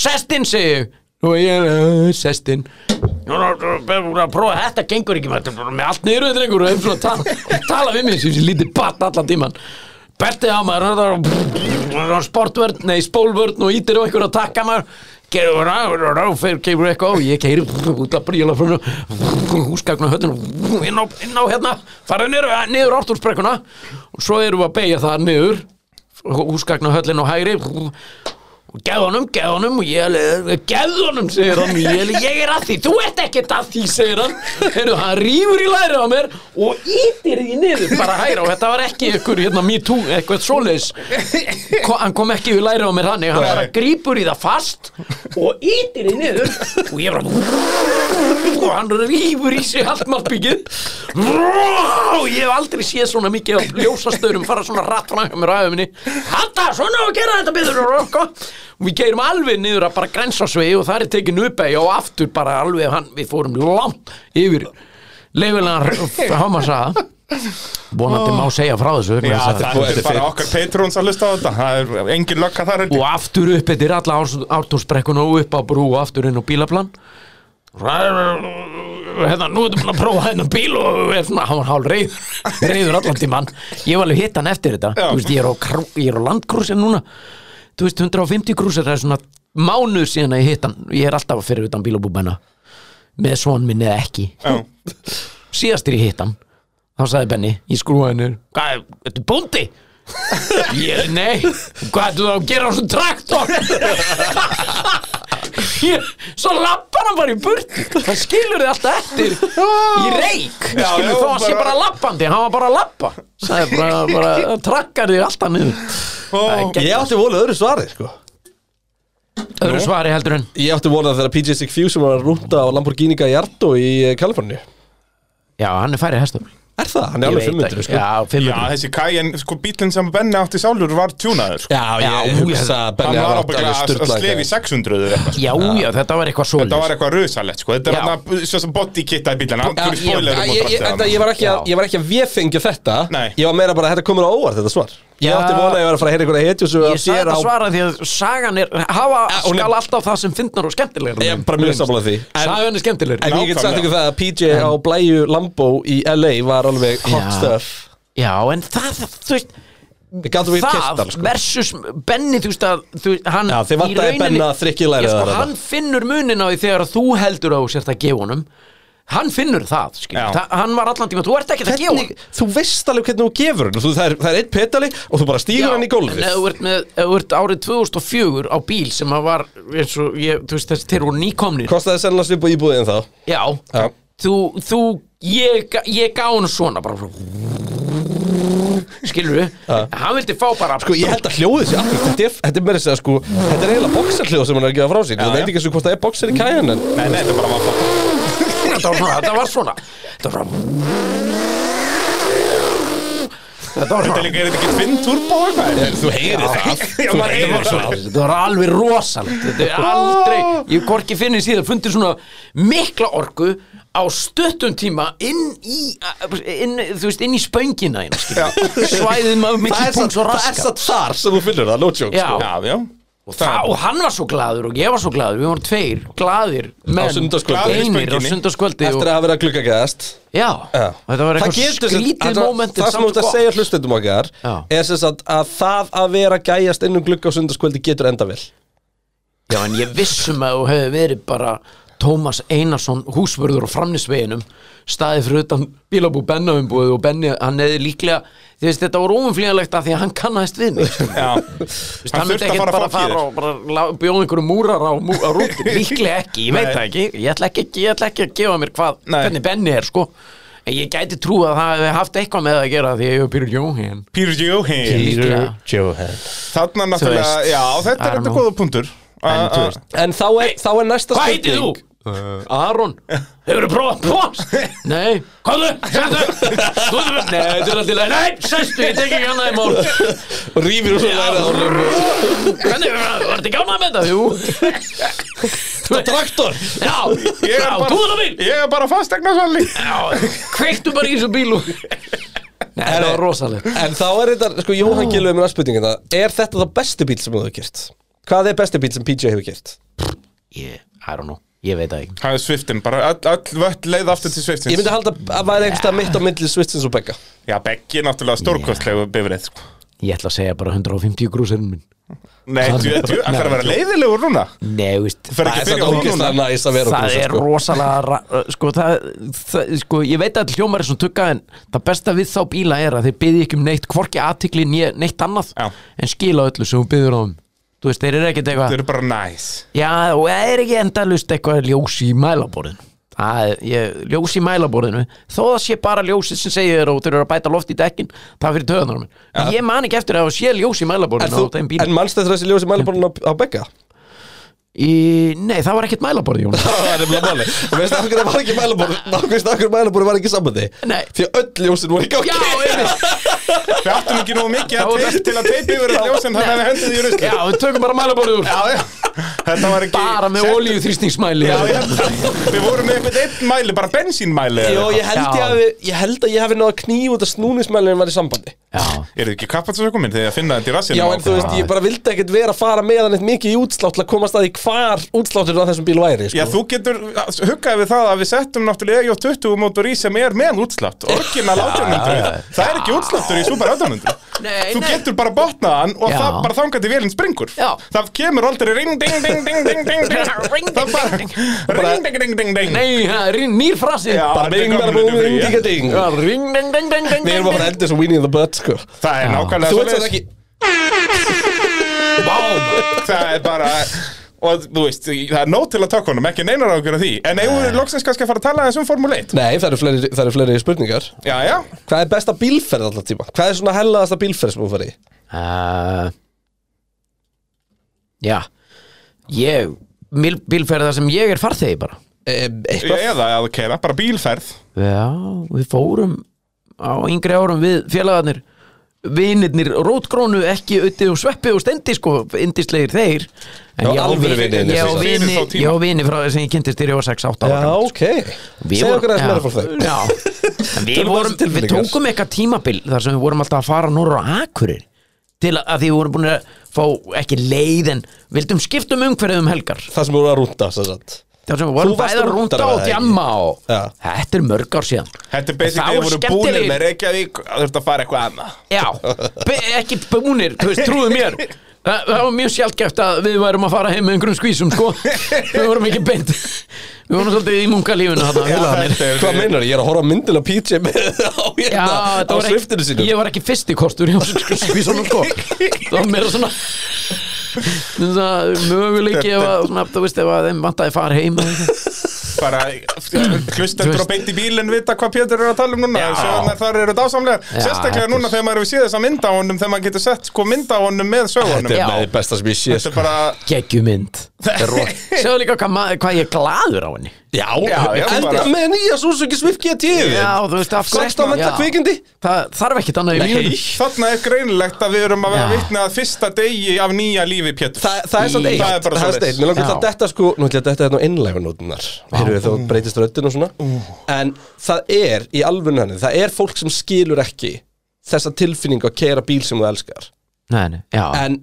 Speaker 1: sestin, segi ég og ég er, uh, sestin Nú, nú, nú, nú, prófa, þetta gengur ekki maður, þetta er bara með allt niður drengur og hefur að tala, tala við mig sem sem lítið batt allan tíman Bertið á maður, það er- það er sportvörn, nei spólvörn og ítir og einhver að taka maður Gerður að ráfer, kemur eitthvað og ég keiri út að bríla frá mér húsgagnu höllinu, inn á, inn á hérna, fara niður, niður áttúrsbrekkuna og svo erum við að beigja það niður, húsgagnu höllinu á hægri og geð honum, geð honum og ég alveg, geð honum, segir hann ég, alveg, ég er að því, þú ert ekkert að því, segir hann Heru, hann rýfur í læri á mér og ítir því niður bara hæra og þetta var ekki ykkur, hérna, me too, eitthvað svoleiðis Ko, hann kom ekki við læri á mér þannig, hann bara grípur í það fast og ítir því niður og ég bara og hann rýfur í sig allt malbyggið og ég hef aldrei séð svona mikið af ljósastörum fara svona rætt fram með ræðuminni Hata, svona á að gera þetta byggður og við geirum alveg niður að bara grensasvegi og það er tekin uppegi og aftur bara alveg hann, við fórum langt yfir leifilegan hámasaða vonandi má segja frá þessu vegna
Speaker 2: Já,
Speaker 1: þess
Speaker 2: það
Speaker 1: að-
Speaker 3: þetta
Speaker 2: er
Speaker 3: er
Speaker 2: bara
Speaker 3: fínt.
Speaker 2: okkar Patrons að hlusta á þetta Það er engin lögka þar heldur
Speaker 1: og aftur upp eftir alla ártórsbrekkun og upp á brú og aftur inn á bílaplan hérna, nú erum við að prófa hennan bíl og er svona, hann var hálf reyð reyður allan tímann, ég var alveg hitt hann eftir þetta
Speaker 2: Já.
Speaker 1: þú veist, ég er á, krú- ég er á landkrúsin núna þú veist, 150 krúsir það er svona mánuð síðan að ég hitt hann ég er alltaf að fyrir utan bílabúbæna með svon minn eða ekki síðast er ég hitt hann þá sagði Benni, ég skrúa hennur hvað, þetta er bóndi ég, nei, hvað ertu þá að gera á svo traktor ég, svo lappar hann bara í burt það skilur þið alltaf eftir í reik,
Speaker 2: Já,
Speaker 1: skilur
Speaker 2: já,
Speaker 1: þið þá að sé
Speaker 2: bara-
Speaker 1: bara lappandi, hann var bara að lappa sagði bara, bara trakkar þig alltaf niður
Speaker 2: Ó,
Speaker 1: Það er
Speaker 3: Ég átti volið öðru svari sko
Speaker 1: öðru svari heldur en
Speaker 3: Ég átti volið þegar PJ Sig Fusion var að rúnda á Lamborghini Gallardo í eh, Kaliforníu
Speaker 1: já, hann er færið hestum
Speaker 3: Er það? Hann er alveg 500 sko
Speaker 1: já,
Speaker 2: Já,
Speaker 1: 500
Speaker 2: þessi kæin, sko bílinn sem Benni átti sálur var tjúnaður sko.
Speaker 3: Já, ég
Speaker 1: Já,
Speaker 3: hugsa að
Speaker 2: Hann
Speaker 3: Benni
Speaker 2: var
Speaker 3: hafi
Speaker 2: ábygglega
Speaker 3: átt alveg
Speaker 2: að að
Speaker 3: sturlaðan
Speaker 2: slefi
Speaker 3: gæja.
Speaker 2: 600 eða eitthvað sko.
Speaker 1: já, já, þetta var eitthvað
Speaker 2: Þetta var
Speaker 1: svoleiðis
Speaker 2: eitthvað röðsalett, sko Þetta er
Speaker 1: Já.
Speaker 2: hann svo sem bodykitað bílinn Hann um
Speaker 3: Já,
Speaker 2: fyrir
Speaker 3: ég-
Speaker 2: spoilerum og
Speaker 3: ég- ég-
Speaker 2: drattið
Speaker 3: enda,
Speaker 2: hann
Speaker 3: Ég var ekki að-
Speaker 1: Já.
Speaker 3: ég var ekki að vefengja þetta
Speaker 2: Nei.
Speaker 3: Ég var meira bara að þetta komur á óvart þetta svar Ég
Speaker 1: Já.
Speaker 3: átti vonaði að vera að fara að heyra einhverja hetju sem
Speaker 1: Ég sagði þetta svara því að sagan er hafa
Speaker 3: hún er-
Speaker 1: skal alltaf það sem fyndnar og skemmtilegar
Speaker 3: Ég er bara mjög sammála því. En-
Speaker 1: Sagan er skemmtilegur
Speaker 3: En ég get sagt
Speaker 2: Nákvæmlega.
Speaker 3: ykkur það að PJ á blæju Lambo í LA var alveg
Speaker 1: Já.
Speaker 3: hot stuff
Speaker 1: Já, en það, þú veist
Speaker 3: Við gáttum við kert
Speaker 1: það
Speaker 3: hann sko
Speaker 1: versus Benny þú veist að þú, hann
Speaker 3: Já, þið vantaði Benna að þrykki lærið
Speaker 1: Já, sko,
Speaker 3: þarna.
Speaker 1: hann finnur munin á því þegar þú heldur á sért að gefa honum hann finnur það, skil,
Speaker 2: Já.
Speaker 1: Þa, hann var allan tíma þú ert ekkert að gefa
Speaker 3: Hvernig,
Speaker 1: honum
Speaker 3: þú veist alveg hvernig þú gefur hann Þú- Það er, það er eitt petali og þú bara
Speaker 1: Já,
Speaker 3: stígur hann í
Speaker 1: en
Speaker 3: gólfið
Speaker 1: ef þú ert, með, ef þú ert árið 2004 á bíl sem að var eins og ég, þú veist þessi þeir voru nýkomnir
Speaker 3: Kostaði sennilega svipa íbúðið en þá
Speaker 1: já,
Speaker 2: Já.
Speaker 1: þú, þú ég, ég gá hann svona bara skilur við hann vildi fá bara
Speaker 3: Sko ég held að hljóðið sé allir Þetta er, þetta er meira að segja sko Þetta er eiginlega boxarhljóð sem hann er að gefa frá sér Þú
Speaker 2: já.
Speaker 3: veit ekki eins og hvort það er boxar í kæjan en
Speaker 2: Nei, nei, þetta bara var bara
Speaker 1: þetta var svona, þetta var svona þetta var svona þetta var
Speaker 2: Þetta er
Speaker 1: svona
Speaker 2: líka, er þetta ekki tvinn turbo eitthvað?
Speaker 3: Þú heyrir það
Speaker 2: Já,
Speaker 3: Þú
Speaker 2: maður heyrir
Speaker 3: heyrir
Speaker 2: það.
Speaker 3: það
Speaker 1: Þetta var alveg rosalegt Þetta er aldrei, ég hvorki finnir síðan fundið svona mikla orku á stuttum tíma inn í inn, þú veist, inn í spöngina hérna, skilur. svæðið maður
Speaker 3: Það
Speaker 1: mikil
Speaker 3: er
Speaker 1: punkt
Speaker 3: satt-
Speaker 1: svo
Speaker 3: það er
Speaker 1: raska
Speaker 3: satt þar sem þú finnur það, no joke
Speaker 1: Já.
Speaker 3: sko.
Speaker 2: Já, já
Speaker 1: og, það, og hann var svo glaður og ég var svo glaður við vorum tveir glaðir menn
Speaker 3: sunnudagskvöldi.
Speaker 2: Glaðir í
Speaker 1: einir á
Speaker 2: spönginni.
Speaker 1: sundarskvöldi
Speaker 3: Eftir
Speaker 1: og,
Speaker 3: að hafa verið að glugga gæðast
Speaker 1: já,
Speaker 3: Já.
Speaker 1: þetta var
Speaker 3: Það
Speaker 1: eitthvað
Speaker 3: getur sem-
Speaker 1: skrítið
Speaker 3: það-
Speaker 1: mómentin
Speaker 3: Það sem þú ert að segja hlustendum okkar
Speaker 1: sko. Já.
Speaker 3: er sem sagt að það að vera að gæjast inn um glugga á sundarskvöldi getur enda vel
Speaker 1: Já, en ég vissum að þú hefði verið bara Tómas Einarsson, húsvörður á framnisveginum staðið fyrir utan bílabú Benna umbúið og Benni, hann hefði líklega þú veist, þetta var óumflýjanlegt af því að hann kannaðist við mig sko. Þú
Speaker 2: Já,
Speaker 1: veist,
Speaker 2: hann
Speaker 1: hann myndi
Speaker 2: þurfti að
Speaker 1: ekkert
Speaker 2: fara
Speaker 1: bara
Speaker 2: að
Speaker 1: að
Speaker 2: fá
Speaker 1: fara
Speaker 2: fyrir
Speaker 1: og bara lá- bjóða einhverjum múrar á, mú, á rúti líklega ekki, ég veit það ekki ég ætla ekki, ég ætla ekki að gefa mér hvað
Speaker 2: Nei.
Speaker 1: hvernig Benni er, sko en ég gæti trú að það hefði haft eitthvað með það að gera því að ég hef Pyrr Jóhén
Speaker 2: Peter Johan
Speaker 1: líklega,
Speaker 3: Johan
Speaker 2: Þarna náttúrulega,
Speaker 1: veist.
Speaker 2: já, þetta
Speaker 1: I
Speaker 2: er
Speaker 1: don't
Speaker 2: þetta
Speaker 1: know.
Speaker 2: góða punktur
Speaker 1: en
Speaker 2: A-
Speaker 1: þú
Speaker 2: a-
Speaker 1: veist
Speaker 3: En þá er, þá er næsta
Speaker 1: Hvað heitir þú? Uh, Aron Hefur þú prófað pons? Nei Komðu, sættu Skoðu Nei, þetta er alltaf Nei, sæstu, ég tek ekki annað í mál
Speaker 3: Og rýfir úr svo lærið á honum.
Speaker 1: Hvernig, var þetta ekki ánað með þetta? Jú Þú er
Speaker 3: Traktor
Speaker 1: Já,
Speaker 2: Ég
Speaker 1: já,
Speaker 2: er
Speaker 1: þú
Speaker 2: bara,
Speaker 1: er það mín
Speaker 2: ég er bara fastegna svolí
Speaker 1: Já, kveiktu bara í þessu bílu Nei, það var rosaleg
Speaker 3: En þá er þetta, sko, Jóhann Gilvið með spurningina Er þetta um það besti bíl sem þú hefur gert? Hvað er besti bíl sem PJ hefur gert?
Speaker 1: Ég, I don't know Ég veit það ekki
Speaker 2: Það er Swiftin, bara öll- öll völl leið aftur til Swiftins
Speaker 3: Ég myndi halda að væri einhverstað mitt á myndli Svitsins og Begga
Speaker 2: Já, Beggi er náttúrulega stórkostlegu bifrið sko.
Speaker 1: Ég ætla að segja bara 150 grúsirinn minn
Speaker 2: Nei, þú þú- það er að vera leiðilegur núna
Speaker 1: Nei, veist
Speaker 2: Þú fer
Speaker 3: Það
Speaker 2: ekki
Speaker 3: er
Speaker 2: að byrja
Speaker 3: þetta
Speaker 2: á því
Speaker 3: ógist
Speaker 2: núna
Speaker 3: að næs að vera á
Speaker 1: það
Speaker 3: grúsi,
Speaker 1: er
Speaker 3: sko.
Speaker 1: rosalega ra- sko, það, það, sko, ég veit að hljómar er svona tugga en það besta við þá bíla er að þeir byði ekki um neitt hvorki aðtikli né neitt annað
Speaker 2: Já.
Speaker 1: en skila öllu sem hún byður á þeim þú veist, þeir eru ekkert
Speaker 2: Þau
Speaker 1: eitthvað
Speaker 2: eru bara næs
Speaker 1: já, og það er ekki endalust eitthvað ljós í mælaborðinu Það er, ég, ljós í mælaborðinu þó það sé bara ljósið sem segir þér og þeir eru að bæta loft í dekkin, það er fyrir töðunar minn ja. ég man ekki eftir að það sé ljós í
Speaker 3: En,
Speaker 1: mælaborðinu á þeim
Speaker 3: þú,
Speaker 1: bíl
Speaker 3: en manst þetta þessi ljósi mælaborun á, á Begga?
Speaker 1: í, nei, það var ekkert mælaborð Jónas.
Speaker 3: Það er nefnilega máli Og veistu af hverju það var ekki mælaborun Nákvæmst af hverju mælaborun var ekki í sambandi
Speaker 1: Ah. Nei.
Speaker 3: Því að öll ljósin voru í gangi
Speaker 1: já, einmitt
Speaker 2: Við áttum ekki nú mikið að
Speaker 1: Það var-
Speaker 2: teip, til að teipi yfir að ljósin Þannig að við hendum því í rusli
Speaker 1: Já, við tökum bara mælaborðið úr
Speaker 2: já, já. Þetta var ekki
Speaker 1: Bara með
Speaker 2: Sett-
Speaker 1: olíuþrýstingsmæli
Speaker 2: Já, ég held að- Við vorum með eitthvað einn mæli, bara bensínmæli
Speaker 3: Jó, ég held ég
Speaker 1: Já.
Speaker 3: hafi, ég held að ég hafi náða kný út að snúningsmælinn var í sambandi
Speaker 1: Já.
Speaker 2: Er þið ekki kappatsökum minn þegar ég finna þetta í rassinu
Speaker 3: Já, en þú veist, ég bara vildi ekkert vera að fara með hann eitt mikið í útslátt til að komast að því hvar útsláttur á þessum bíl væri, sko.
Speaker 2: Já, þú getur huggað við það að við settum náttúrulega EJ20 mótor í sem er með útslátt Orginal 1800, það er ekki útsláttur í Super 800
Speaker 1: Nei,
Speaker 2: Þú
Speaker 1: nei.
Speaker 2: getur bara botnað hann og
Speaker 1: Já.
Speaker 2: það bara þangað til vélinn springur
Speaker 1: Já.
Speaker 2: Það kemur aldrei ring, ding, ding, ding, ding, ding, ding
Speaker 1: Ring, ding,
Speaker 2: Það bara-
Speaker 1: ding,
Speaker 2: Ring, ding, ding, ding, ding
Speaker 1: Nei, það er rín- nýr frasi
Speaker 2: Já.
Speaker 3: bara bing, bara búm, bing, digga, ding.
Speaker 1: Já, Ring, ding, ding, ding, ding
Speaker 3: Við erum að fara eldur svo Winnie in the Butt, sko.
Speaker 2: Það er nákvæmlega
Speaker 3: Þú veist
Speaker 2: svoleiðis.
Speaker 3: þetta ekki,
Speaker 2: það er bara og þú veist, það er nót til að taka honum ekki neinar ágjör af því, en eigum við loksins kannski að fara að tala þessum Formule 1
Speaker 3: nei, það eru fleiri, það eru fleiri spurningar.
Speaker 2: já, já,
Speaker 3: Hvað er besta bílferð alltaf tíma? Hvað er svona hellaðasta bílferð sem þú farið í?
Speaker 1: Uh, Já Ég, mil- bílferð þar sem ég er farþegi bara
Speaker 3: E, eitthvað?
Speaker 2: eða að keira, bara bílferð
Speaker 1: Já, við fórum á yngri árum við félagarnir vinirnir rótgrónu ekki auðvitað og sveppi og stendi sko indislegir þeir en
Speaker 3: Já,
Speaker 1: ég á
Speaker 3: alvöru
Speaker 1: vini-
Speaker 3: vinirnir,
Speaker 1: ég á
Speaker 3: sem sagt.
Speaker 1: vini
Speaker 2: Fyrir þá tíma.
Speaker 1: ég á vini frá þess að ég kynntist þér í 6-8 ára
Speaker 3: Já, ok.
Speaker 1: sko. Við
Speaker 3: Segð
Speaker 1: vorum-
Speaker 3: okkur aðeins
Speaker 1: já.
Speaker 3: meira frá þau.
Speaker 1: Já, En við,
Speaker 3: Tölum aðeins um
Speaker 1: vorum, við
Speaker 3: tilfinningar.
Speaker 1: tókum eitthvað tímabil þar sem við vorum alltaf að fara norður á Akurir til að, að því við vorum búin að fá ekki leið en vildum skiptum umhverfið um helgar
Speaker 3: Það sem voru að rúnda, sem sagt
Speaker 1: þar sem við vorum
Speaker 3: Þú varst
Speaker 1: bæða
Speaker 3: rúntari,
Speaker 1: rúnda
Speaker 3: var
Speaker 1: og
Speaker 3: það ekki?
Speaker 1: djamma og
Speaker 3: Já.
Speaker 1: þetta er mörg ár síðan
Speaker 2: Þetta er
Speaker 1: Þá
Speaker 2: basically að voru
Speaker 1: skemmtilegir-
Speaker 2: búinir með Reykjavík að þurft að fara eitthvað annað
Speaker 1: Já, be- ekki búnir, þú veist, trúðu mér Þa, Það var mjög sjálfgeft að við værum að fara heim með einhverjum skvísum, sko Við vorum ekki beint Við vorum svolítið í munkalífinu þarna félagarnir.
Speaker 2: þetta er-
Speaker 3: Hvað meinar, ég er að horfa á myndin á PJ með það á
Speaker 1: Já,
Speaker 3: hérna
Speaker 1: þetta
Speaker 3: á
Speaker 1: var
Speaker 3: sviftinu
Speaker 1: ekki,
Speaker 3: sínum
Speaker 1: ég var ekki fyrsti kostur hjá skvísunum, sko Það var meira svona svona möguleiki ef að, svona, þú veist, ef að þeim vantaði far heim eða eitthvað.
Speaker 2: bara
Speaker 1: Þú
Speaker 2: hlustendur
Speaker 1: veist-
Speaker 2: og beint í bílinn vita hvað Pétur er að tala um núna
Speaker 1: Já.
Speaker 2: sögurnar þar eru dásamlegar
Speaker 1: Já,
Speaker 2: sérstaklega
Speaker 1: þetta
Speaker 2: núna
Speaker 1: er-
Speaker 2: þegar maður hefur séð þessa mynd á honum þegar maður getur sett sko mynd á honum með sögunum
Speaker 3: Þetta
Speaker 1: Já.
Speaker 3: er með því besta sem ég sé
Speaker 2: þetta
Speaker 3: sko.
Speaker 2: er bara
Speaker 1: Geggjumynd Segðu líka hvað, ma- hvað ég er glaður á henni
Speaker 3: Já,
Speaker 2: Já, já,
Speaker 3: enda
Speaker 2: bara-
Speaker 3: með nýja Suzuki Swift GT
Speaker 1: Já, þú veist, af hverju
Speaker 3: 16
Speaker 1: Já.
Speaker 3: vendla kvikindi
Speaker 1: Það þarf ekkit annað í lífinu
Speaker 2: þarna er greinilegt að við erum að vera
Speaker 1: Já.
Speaker 2: vitna að fyrsta degi af nýja lífi Pétur
Speaker 3: Þa, það er samt
Speaker 1: Í-
Speaker 3: eitt,
Speaker 2: Það er bara
Speaker 3: það er
Speaker 2: svoleiðis.
Speaker 3: eitt Mér langar til
Speaker 1: Mm. Já.
Speaker 3: að detta sko, nú ætla ég að detta þetta á innlægunótunar Heyrðu þá breytist röddin og svona
Speaker 2: Uh.
Speaker 3: En það er, í alvöru henni, það er fólk sem skilur ekki Þessa tilfinningu að kera bíl sem þú elskar
Speaker 1: Nei, nei, já
Speaker 3: En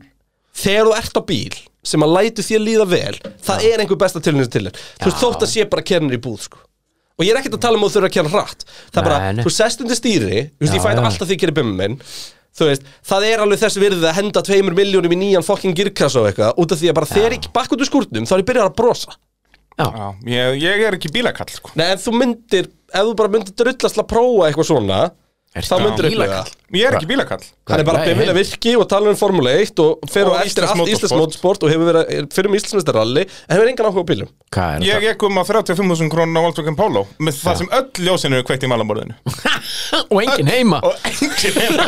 Speaker 3: þegar þú ert á bíl sem að lætu þér líða vel Það er einhver besta tilfinningu til þér Þú veist,
Speaker 1: Já.
Speaker 3: þótt að sé bara kernir í búð sko Og ég er ekkert að tala um að þú þurfa að kera hratt Það er bara,
Speaker 1: Nei, nei.
Speaker 3: þú sest undir stýri Þú veist,
Speaker 1: Já,
Speaker 3: ég fæði
Speaker 1: já.
Speaker 3: alltaf því að gera bimmi minn Þú veist, það er alveg þess virðið að henda tveimur miljónum í nýjan fokkin girkassa og eitthvað Út af því að bara þegar ég bakk út úr skúrnum Þá er ég byrjar að brosa
Speaker 1: Já,
Speaker 2: Já, ég, ég er ekki bílakall sko.
Speaker 3: Nei, en þú myndir, ef þú bara myndir drullast til að prófa eitthvað svona Þá
Speaker 1: Ertu
Speaker 3: myndir
Speaker 1: bílakall?
Speaker 3: eitthvað
Speaker 2: ég er ekki bílakall
Speaker 3: Hann er bara
Speaker 1: Nei,
Speaker 3: að byrja
Speaker 1: heim.
Speaker 3: virki og tala um Formule 1 Og
Speaker 2: Og
Speaker 3: fer og eftir
Speaker 2: Íslands
Speaker 3: allt Íslands mótsport Og hefur verið er fyrir um Íslandsmeistaralli En hefur engan áhuga á bílum
Speaker 1: hvað er
Speaker 2: ég ekki um að 35.000 krónun á Volkswagen Polo með það sem öll ljósin eru kveikt í malamborðinu
Speaker 1: þetta? Og enginn heima
Speaker 2: og engin heima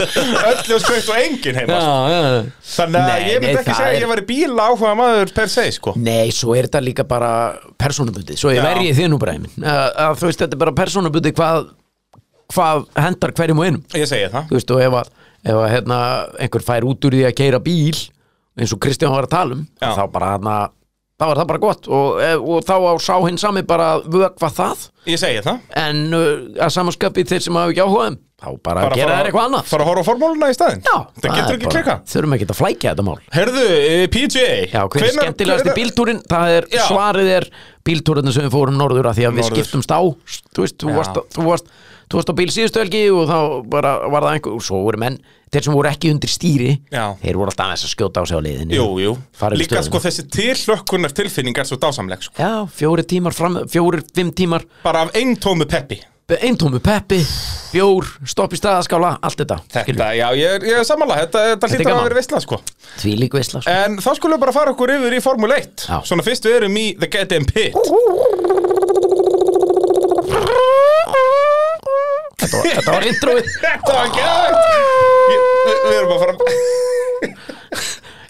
Speaker 2: öll ljós kveikt og engin heima
Speaker 1: Já, já
Speaker 2: Þannig að
Speaker 1: Nei,
Speaker 2: ég myndi
Speaker 1: nei,
Speaker 2: ekki
Speaker 1: það
Speaker 2: segja að
Speaker 1: er-
Speaker 2: ég var í bíla áhuga maður per se, sko.
Speaker 1: Nei, svo er þetta líka bara persónubundið Svo ég
Speaker 2: Já.
Speaker 1: verjið þið nú bara einminn að, að þú veist, þetta er bara persónubundið hvað, hvað hendar hverjum og einum
Speaker 2: Ég segi það.
Speaker 1: Þú veist, og ef að, ef að hérna, einhver fær út úr því að keira bíl eins og Kristján var að tala um
Speaker 2: Já.
Speaker 1: þá bara hana, þá er það bara gott og, ef- og þá á sá hinn sami bara að vökva það
Speaker 2: Ég segi það.
Speaker 1: en uh, að samanskapi þeir sem hafa ekki áhugaðum þá bara,
Speaker 2: Bara
Speaker 1: gera
Speaker 2: fara-
Speaker 1: þær eitthvað annað
Speaker 2: Fara að horfa á formúluna í staðinn.
Speaker 1: Já,
Speaker 2: Það getur
Speaker 1: er
Speaker 2: ekki
Speaker 1: bara-
Speaker 2: klikka.
Speaker 1: Þurfum ekki að flækja þetta mál
Speaker 2: Herðu, eh, PJ.
Speaker 1: Já, hver er
Speaker 2: hvenær-
Speaker 1: skemmtilegasti
Speaker 2: hvenær-
Speaker 1: bíltúrin? Það er,
Speaker 2: Já.
Speaker 1: svarið er bíltúrinna sem við fórum norður að því að við
Speaker 2: Norður.
Speaker 1: skiptumst á þú veist, þú
Speaker 2: Já.
Speaker 1: varst, þú varst þú varst á bíl síðustu helgi og þá bara var það einhver, og svo voru menn, þeir sem voru ekki undir stýri,
Speaker 2: Já.
Speaker 1: þeir voru alltaf aðeins að skjóta á sig á liðinu
Speaker 2: Jú, jú.
Speaker 1: Fara upp
Speaker 2: Líka
Speaker 1: stöðuna.
Speaker 2: sko þessi tilhlökkunar tilfinning er svo dásamleg, sko.
Speaker 1: Já, fjóri tímar fram, fjóri, fimm tímar
Speaker 2: Bara af einn tómu peppi.
Speaker 1: eintómu peppi, bjór, stopp í staðaskála allt þetta, skilur,
Speaker 2: Þetta, já, ég er, ég er sammála. Þetta, þetta
Speaker 1: er
Speaker 2: hlýtur að
Speaker 1: gaman.
Speaker 2: vera veistla, sko.
Speaker 1: því lík veisla sko.
Speaker 2: En þá skulum við bara fara okkur yfir í Formule 1.
Speaker 1: Já.
Speaker 2: Svona fyrst við erum í The Goddamn Pit.
Speaker 1: þetta, var- þetta var introið
Speaker 2: Þetta var gæt! Við við erum að fara...